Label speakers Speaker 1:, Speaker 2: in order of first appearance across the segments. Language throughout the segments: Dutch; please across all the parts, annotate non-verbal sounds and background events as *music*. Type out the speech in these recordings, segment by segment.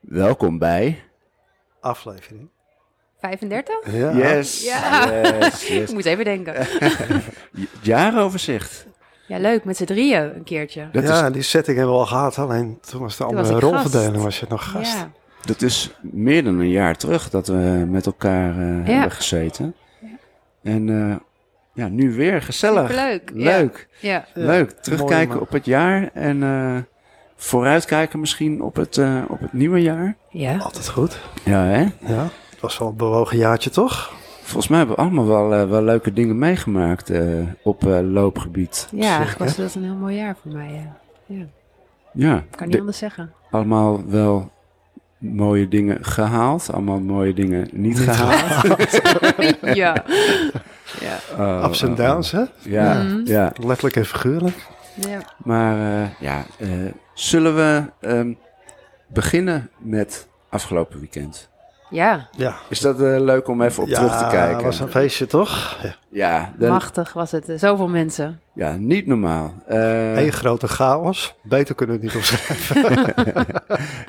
Speaker 1: Welkom bij.
Speaker 2: aflevering.
Speaker 3: 35?
Speaker 2: Ja.
Speaker 1: Yes.
Speaker 3: Ja.
Speaker 1: yes,
Speaker 3: Ik
Speaker 1: yes.
Speaker 3: moet even denken.
Speaker 1: Jaaroverzicht.
Speaker 3: Ja, leuk, met z'n drieën een keertje.
Speaker 1: Dat,
Speaker 2: ja,
Speaker 1: is,
Speaker 2: die setting hebben we al gehad. Alleen toen was de
Speaker 3: Toen
Speaker 2: andere
Speaker 3: was ik
Speaker 2: rolverdeling,
Speaker 3: gast.
Speaker 2: was je nog gast.
Speaker 3: Ja.
Speaker 1: dat is meer dan een jaar terug dat we met elkaar eh,
Speaker 3: Ja.
Speaker 1: hebben gezeten. En eh, ja, nu weer gezellig.
Speaker 3: Superleuk, ja.
Speaker 1: Leuk.
Speaker 3: ja.
Speaker 2: Ja,
Speaker 1: Leuk.
Speaker 2: mooi,
Speaker 1: Terugkijken
Speaker 2: man.
Speaker 1: op het jaar en eh, vooruitkijken misschien op het, eh, op het nieuwe jaar.
Speaker 3: Ja.
Speaker 2: Altijd goed.
Speaker 1: Ja, hè?
Speaker 2: Ja. Het was wel een bewogen jaartje, toch?
Speaker 1: Volgens mij hebben we allemaal wel, eh, wel leuke dingen meegemaakt eh, op eh, loopgebied.
Speaker 3: Ja, eigenlijk was dat een heel mooi jaar voor mij. Ja. Ja.
Speaker 1: Ja,
Speaker 3: Kan niet
Speaker 1: de-
Speaker 3: anders
Speaker 1: *laughs*
Speaker 3: zeggen.
Speaker 1: allemaal wel mooie dingen gehaald, allemaal mooie dingen niet gehaald.
Speaker 3: ja. ja.
Speaker 1: *laughs* Oh,
Speaker 2: Ups en
Speaker 1: oh,
Speaker 2: downs, hè?
Speaker 1: oh. Ja,
Speaker 3: Mhm.
Speaker 1: ja.
Speaker 2: Letterlijk en figuurlijk.
Speaker 3: Ja.
Speaker 1: Maar eh, ja, eh, zullen we ehm, beginnen met afgelopen weekend?
Speaker 3: Ja,
Speaker 2: Ja.
Speaker 1: Is dat eh, leuk om even op
Speaker 2: ja,
Speaker 1: terug te kijken?
Speaker 2: was een feestje, toch? Ja.
Speaker 1: Ja, de-
Speaker 3: machtig was het. Eh, Zoveel mensen.
Speaker 1: ja, niet normaal. Eh,
Speaker 2: Eén grote chaos. Beter kunnen we het niet omschrijven.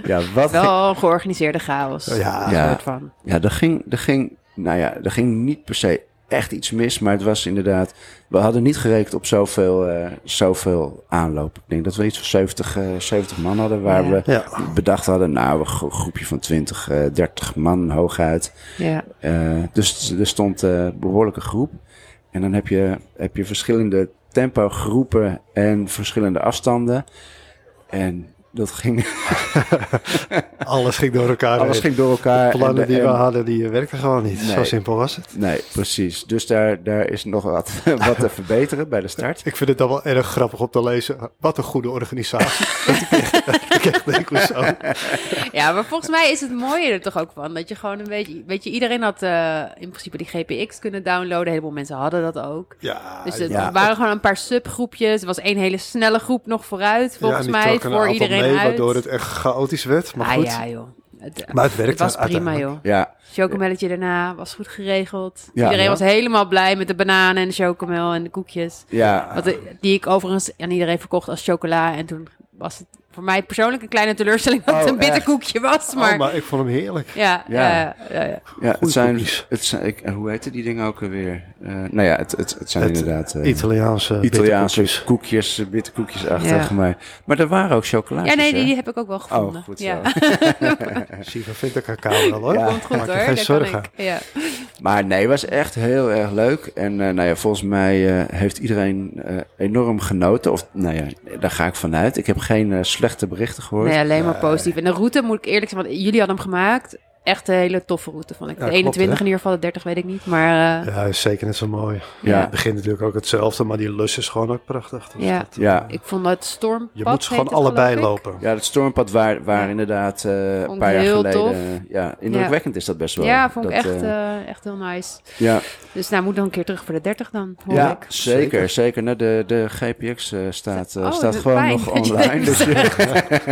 Speaker 1: ja, wat
Speaker 3: Wel een georganiseerde chaos.
Speaker 2: Ja.
Speaker 3: Een
Speaker 1: Ja.
Speaker 3: soort van.
Speaker 1: Ja, er ging, er ging, nou ja, er ging niet per se echt iets mis, maar het was inderdaad, we hadden niet gerekend op zoveel, eh, zoveel aanloop. Ik denk dat we iets van 70, eh, 70 man hadden, waar
Speaker 3: Ja.
Speaker 1: we
Speaker 2: Ja.
Speaker 1: bedacht hadden, nou, een gro- groepje van 20, eh 30 man hooguit.
Speaker 3: Ja.
Speaker 1: Eh, dus er stond eh, een behoorlijke groep. En dan heb je, heb je verschillende tempogroepen en verschillende afstanden. En dat ging,
Speaker 2: Alles ging door
Speaker 1: *laughs*
Speaker 2: elkaar.
Speaker 1: alles
Speaker 2: heen.
Speaker 1: ging door elkaar.
Speaker 2: De plannen
Speaker 1: En de-
Speaker 2: die we
Speaker 1: en-
Speaker 2: hadden, die eh, werkten gewoon niet.
Speaker 1: Nee.
Speaker 2: Zo simpel was het.
Speaker 1: Nee, precies. Dus daar, daar is nog wat, *laughs* wat te verbeteren bij de start.
Speaker 2: Ik vind het dan wel erg grappig om te lezen. Wat een goede organisatie. *laughs* dat ik echt denk, hoezo?
Speaker 3: ja, maar volgens mij is het mooie er toch ook van. Dat je gewoon een beetje... Weet je, iedereen had eh, in principe die GPX kunnen downloaden. Een heleboel mensen hadden dat ook.
Speaker 2: Ja,
Speaker 3: Dus het
Speaker 1: ja.
Speaker 3: waren gewoon een paar subgroepjes. Er was één hele snelle groep nog vooruit, volgens
Speaker 2: die
Speaker 3: mij,
Speaker 2: trokken een
Speaker 3: voor
Speaker 2: aantal
Speaker 3: iedereen
Speaker 2: mee,
Speaker 3: uit.
Speaker 2: Waardoor het echt chaotisch werd. Maar
Speaker 3: ah
Speaker 2: goed,
Speaker 3: ja, joh. Het, eh,
Speaker 2: Maar het werkte
Speaker 3: het was prima,
Speaker 2: uiteindelijk.
Speaker 3: joh.
Speaker 1: Ja,
Speaker 3: Chocomelletje daarna was goed geregeld.
Speaker 1: Ja,
Speaker 3: iedereen
Speaker 1: ja.
Speaker 3: was helemaal blij met de bananen en de chocomel en de koekjes.
Speaker 1: ja.
Speaker 3: Wat, de- die ik overigens aan iedereen verkocht als chocola. En toen was het voor mij persoonlijk een kleine teleurstelling dat
Speaker 1: Oh,
Speaker 3: het een bitter
Speaker 1: echt?
Speaker 3: koekje was.
Speaker 2: Maar,
Speaker 3: Maar,
Speaker 2: oh, maar ik vond hem heerlijk.
Speaker 3: ja,
Speaker 1: Ja.
Speaker 3: ja. ja.
Speaker 1: ja het
Speaker 2: goeie
Speaker 1: zijn,
Speaker 2: cookies.
Speaker 1: het zijn ik, hoe heette die dingen ook alweer? Eh, nou ja, het, het, het zijn
Speaker 2: Het
Speaker 1: inderdaad eh,
Speaker 2: Italiaanse
Speaker 1: Italiaanse
Speaker 2: bitterkoekjes.
Speaker 1: koekjes, eh, witte koekjes achtig.
Speaker 3: Ja.
Speaker 1: Maar, maar er waren ook chocolaatjes,
Speaker 3: ja, nee,
Speaker 1: hè?
Speaker 3: die, die heb ik ook wel gevonden.
Speaker 1: Oh, goed zo. *laughs*
Speaker 3: Ja,
Speaker 2: Siva vindt de cacao wel hoor.
Speaker 1: Ja.
Speaker 3: *laughs* komt goed
Speaker 2: Maak
Speaker 3: hoor.
Speaker 2: je geen
Speaker 3: dat kan
Speaker 2: zorgen.
Speaker 3: ik. Ja.
Speaker 1: Maar nee, was echt heel erg leuk. En eh, nou ja, volgens mij eh, heeft iedereen eh, enorm genoten. Of nou ja, daar ga ik vanuit. Ik heb geen eh, slechte berichten gehoord.
Speaker 3: Nee, alleen maar positief. En de route moet ik eerlijk zeggen, want jullie hadden hem gemaakt. Echt een hele toffe route, vond ik.
Speaker 2: Ja,
Speaker 3: de
Speaker 2: klopt,
Speaker 3: 21
Speaker 2: hè?
Speaker 3: in ieder geval, de 30 weet ik niet. Maar eh,
Speaker 2: Ja, hij is zeker net zo mooi.
Speaker 1: Ja.
Speaker 2: Het begint natuurlijk ook hetzelfde, maar die lus is gewoon ook prachtig. Dus
Speaker 3: Ja.
Speaker 2: dat, eh,
Speaker 1: Ja.
Speaker 3: ik vond dat stormpad...
Speaker 2: Je moet
Speaker 3: heet
Speaker 2: gewoon
Speaker 3: het,
Speaker 2: allebei
Speaker 3: geloof ik.
Speaker 2: lopen.
Speaker 1: Ja, het stormpad waar, waar
Speaker 3: Ja.
Speaker 1: inderdaad eh, een
Speaker 3: ik
Speaker 1: paar jaar
Speaker 3: heel
Speaker 1: geleden...
Speaker 3: tof.
Speaker 1: Ja, indrukwekkend is dat best wel.
Speaker 3: Ja, vond ik
Speaker 1: Dat,
Speaker 3: echt,
Speaker 1: eh,
Speaker 3: eh, echt heel nice.
Speaker 1: ja,
Speaker 3: Dus nou, moet dan een keer terug voor de 30 dan, hoor
Speaker 1: ja
Speaker 3: ik.
Speaker 1: zeker, zeker. Nou, de, de GPX eh, staat, eh,
Speaker 3: Oh,
Speaker 1: staat
Speaker 3: dat
Speaker 1: gewoon
Speaker 3: pijn
Speaker 1: nog
Speaker 3: dat je
Speaker 1: online.
Speaker 3: denkt.
Speaker 1: Dus,
Speaker 3: *laughs*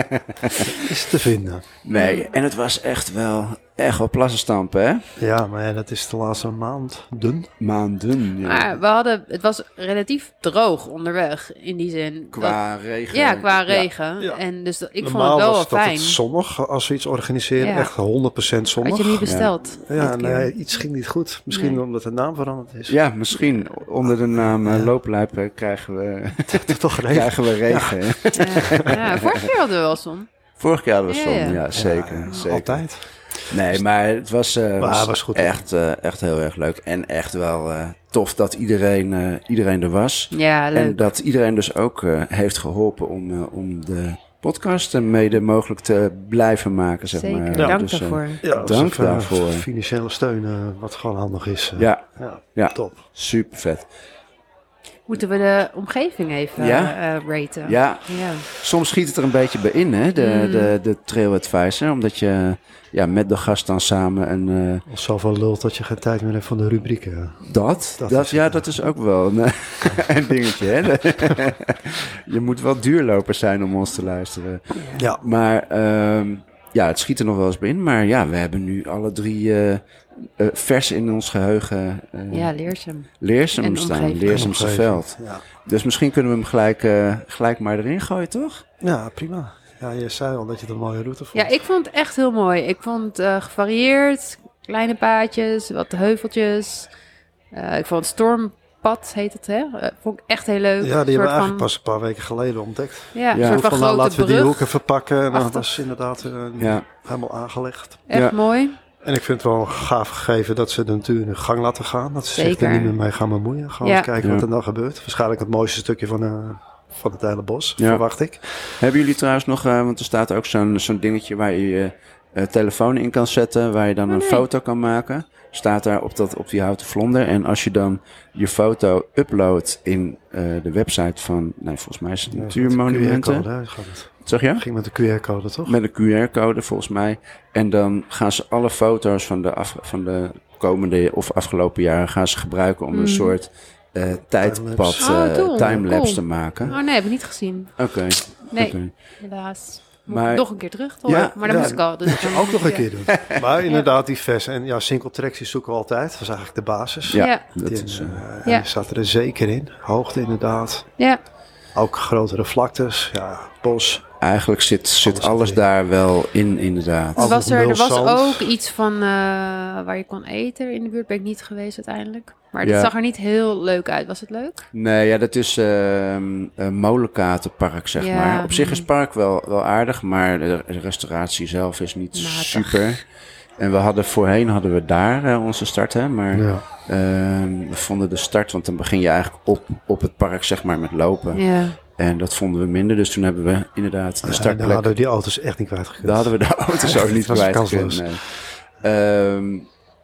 Speaker 2: Is te vinden.
Speaker 1: nee, en het was echt wel, echt wel plassenstampen, hè?
Speaker 2: Ja, maar ja, dat is de laatste maand dun.
Speaker 1: Maanden, ja.
Speaker 3: Maar eh, we hadden, het was relatief droog onderweg, in die zin. Dat-
Speaker 1: qua regen.
Speaker 3: ja, qua regen.
Speaker 2: Ja.
Speaker 3: En dus dat- ik
Speaker 2: Normaal
Speaker 3: vond het wel
Speaker 2: was
Speaker 3: wel
Speaker 2: dat
Speaker 3: fijn.
Speaker 2: het zonnig als we iets organiseren.
Speaker 3: Ja.
Speaker 2: Echt 100% zonnig.
Speaker 3: Had je niet besteld.
Speaker 2: ja,
Speaker 3: dit keer.
Speaker 2: nee, iets ging niet goed. Misschien
Speaker 3: Nee.
Speaker 2: omdat de naam veranderd is. *laughs*
Speaker 1: Ja, misschien onder de naam eh, looplijp eh, krijgen we, *laughs*
Speaker 2: Toch regen.
Speaker 1: krijgen we regen. hè?
Speaker 3: Ja. Ja, vorig jaar hadden we wel zon.
Speaker 1: Vorige keer hadden we
Speaker 3: Ja,
Speaker 1: zon, ja,
Speaker 3: ja.
Speaker 1: zeker, zeker.
Speaker 2: Altijd.
Speaker 1: Nee, maar het was, eh,
Speaker 2: Maar
Speaker 1: was,
Speaker 2: het was goed.
Speaker 1: Echt, eh, echt heel erg leuk. En echt wel eh, tof dat iedereen, eh, iedereen er was.
Speaker 3: Ja, leuk.
Speaker 1: En dat iedereen dus ook eh, heeft geholpen om, eh, om de podcast eh, mede mogelijk te blijven maken. Zeg
Speaker 3: Zeker,
Speaker 1: maar.
Speaker 3: dank
Speaker 1: Dus, eh,
Speaker 3: daarvoor.
Speaker 2: Ja, dat
Speaker 1: Dank
Speaker 2: is even, eh,
Speaker 1: daarvoor.
Speaker 2: Financiële steun, eh, wat gewoon handig is. eh.
Speaker 1: ja,
Speaker 2: Ja,
Speaker 1: Ja.
Speaker 2: top.
Speaker 1: super vet.
Speaker 3: Moeten we de omgeving even
Speaker 1: Ja.
Speaker 3: eh, eh, raten?
Speaker 1: Ja,
Speaker 3: Ja.
Speaker 1: soms schiet het er een beetje bij in, hè, de, de, de trail advisor. Omdat je ja, met de gast dan samen een... eh,
Speaker 2: Of zoveel lult dat je geen tijd meer hebt van de eh. rubrieken.
Speaker 1: dat, dat,
Speaker 2: Dat is-
Speaker 1: ja, dat is ook wel een, *laughs* een dingetje, hè. je moet wel duurloper zijn om ons te luisteren.
Speaker 2: Ja.
Speaker 1: Maar ehm, ja, het schiet er nog wel eens bij in. Maar ja, we hebben nu alle drie eh, eh, vers in ons geheugen eh,
Speaker 3: ja, leerzaam.
Speaker 1: Leersum
Speaker 3: en
Speaker 1: staan.
Speaker 3: omgeving.
Speaker 1: Leersumse
Speaker 2: Omgeving.
Speaker 1: veld.
Speaker 2: Ja.
Speaker 1: Dus misschien kunnen we hem gelijk, eh, gelijk maar erin gooien, toch?
Speaker 2: ja, prima. Ja, je zei al dat je er een mooie route vond.
Speaker 3: Ja, ik vond het echt heel mooi. Ik vond het eh, gevarieerd. Kleine paadjes, wat heuveltjes. Eh, ik vond het stormpad, heet het, hè? Eh, vond ik echt heel
Speaker 2: Ja,
Speaker 3: leuk.
Speaker 2: die
Speaker 3: Een
Speaker 2: hebben we
Speaker 3: soort
Speaker 2: eigenlijk
Speaker 3: van-
Speaker 2: pas een paar weken geleden ontdekt.
Speaker 3: Ja, een
Speaker 1: Ja.
Speaker 3: soort van
Speaker 2: Van, nou,
Speaker 3: grote
Speaker 2: laten we
Speaker 3: brug.
Speaker 2: die hoeken verpakken. En Nou, dat
Speaker 3: Achter.
Speaker 2: is inderdaad eh,
Speaker 1: Ja.
Speaker 2: helemaal aangelegd.
Speaker 3: Echt
Speaker 1: Ja.
Speaker 3: mooi.
Speaker 2: En ik vind het wel een gaaf gegeven dat ze de natuur in gang laten gaan. Dat ze zich er
Speaker 3: Zeker.
Speaker 2: niet meer mee gaan bemoeien. Gewoon
Speaker 3: Ja.
Speaker 2: eens kijken wat
Speaker 1: Ja.
Speaker 2: er dan gebeurt. Waarschijnlijk het mooiste stukje van, eh, van het hele bos,
Speaker 1: Ja.
Speaker 2: verwacht ik.
Speaker 1: Hebben jullie trouwens nog, eh, want er staat ook zo'n zo'n dingetje waar je je eh, telefoon in kan zetten, waar je dan
Speaker 3: Oh,
Speaker 1: een
Speaker 3: nee.
Speaker 1: foto kan maken. Staat daar op, dat, op die houten vlonder. En als je dan je foto uploadt in eh, de website van, nee, volgens mij is het
Speaker 2: Ja, met de
Speaker 1: Natuurmonumenten.
Speaker 2: QR-code, hè, gaat het.
Speaker 1: Zeg je?
Speaker 2: Het ging met de QR-code, toch?
Speaker 1: Met een QR-code volgens mij. En dan gaan ze alle foto's van de, af, van de komende of afgelopen jaren gaan ze gebruiken om een
Speaker 2: Hmm.
Speaker 3: Mm.
Speaker 1: soort eh, tijdpad
Speaker 2: Timelapse.
Speaker 3: Oh,
Speaker 1: eh,
Speaker 3: cool.
Speaker 1: timelapse
Speaker 3: Cool.
Speaker 1: te maken.
Speaker 3: Oh nee, heb ik niet gezien.
Speaker 1: Oké.
Speaker 3: Nee,
Speaker 1: oké.
Speaker 3: helaas. Moet
Speaker 1: Maar-
Speaker 3: ik nog een keer terug, toch?
Speaker 1: Ja,
Speaker 3: maar dat
Speaker 2: ja.
Speaker 3: moest ik
Speaker 1: *laughs*
Speaker 3: al. Dus dan
Speaker 2: Ook nog een
Speaker 3: ja.
Speaker 2: keer doen. Maar inderdaad, die vers. En ja, single tracks die zoeken we altijd. Dat is eigenlijk de basis.
Speaker 1: Ja,
Speaker 3: Ja.
Speaker 1: dat
Speaker 2: Die,
Speaker 1: is.
Speaker 2: eh,
Speaker 1: eh,
Speaker 2: en
Speaker 3: Ja.
Speaker 2: die zat er zeker in. Hoogte inderdaad.
Speaker 3: Ja,
Speaker 2: Ook grotere vlaktes. Ja, bos.
Speaker 1: Eigenlijk zit, zit
Speaker 2: Alles
Speaker 1: alles
Speaker 2: erin. daar
Speaker 1: daar wel in, inderdaad.
Speaker 2: Al-
Speaker 3: er was er, er was
Speaker 2: Mulzand.
Speaker 3: ook iets van eh, waar je kon eten in de buurt. Ben ik niet geweest uiteindelijk. Maar dat
Speaker 1: Ja.
Speaker 3: zag er niet heel leuk uit. Was het leuk?
Speaker 1: Nee, ja, dat is ehm een molenkatenpark, zeg
Speaker 3: Ja. Hmm.
Speaker 1: maar. Op zich is het park wel, wel aardig, maar de de restauratie zelf is niet
Speaker 3: Matig.
Speaker 1: super. En we hadden voorheen hadden we daar eh, onze start, hè, maar
Speaker 2: Ja.
Speaker 1: ehm, we vonden de start, want dan begin je eigenlijk op, op het park, zeg maar, met lopen.
Speaker 3: Ja.
Speaker 1: En dat vonden we minder, dus toen hebben we inderdaad de
Speaker 2: Ah, En daar
Speaker 1: startplek
Speaker 2: hadden we die auto's echt niet kwijtgekund.
Speaker 1: Daar hadden we de auto zo
Speaker 2: *laughs* Het
Speaker 1: niet
Speaker 2: was
Speaker 1: kwijt
Speaker 2: kansloos.
Speaker 1: gekund, nee. Ehm,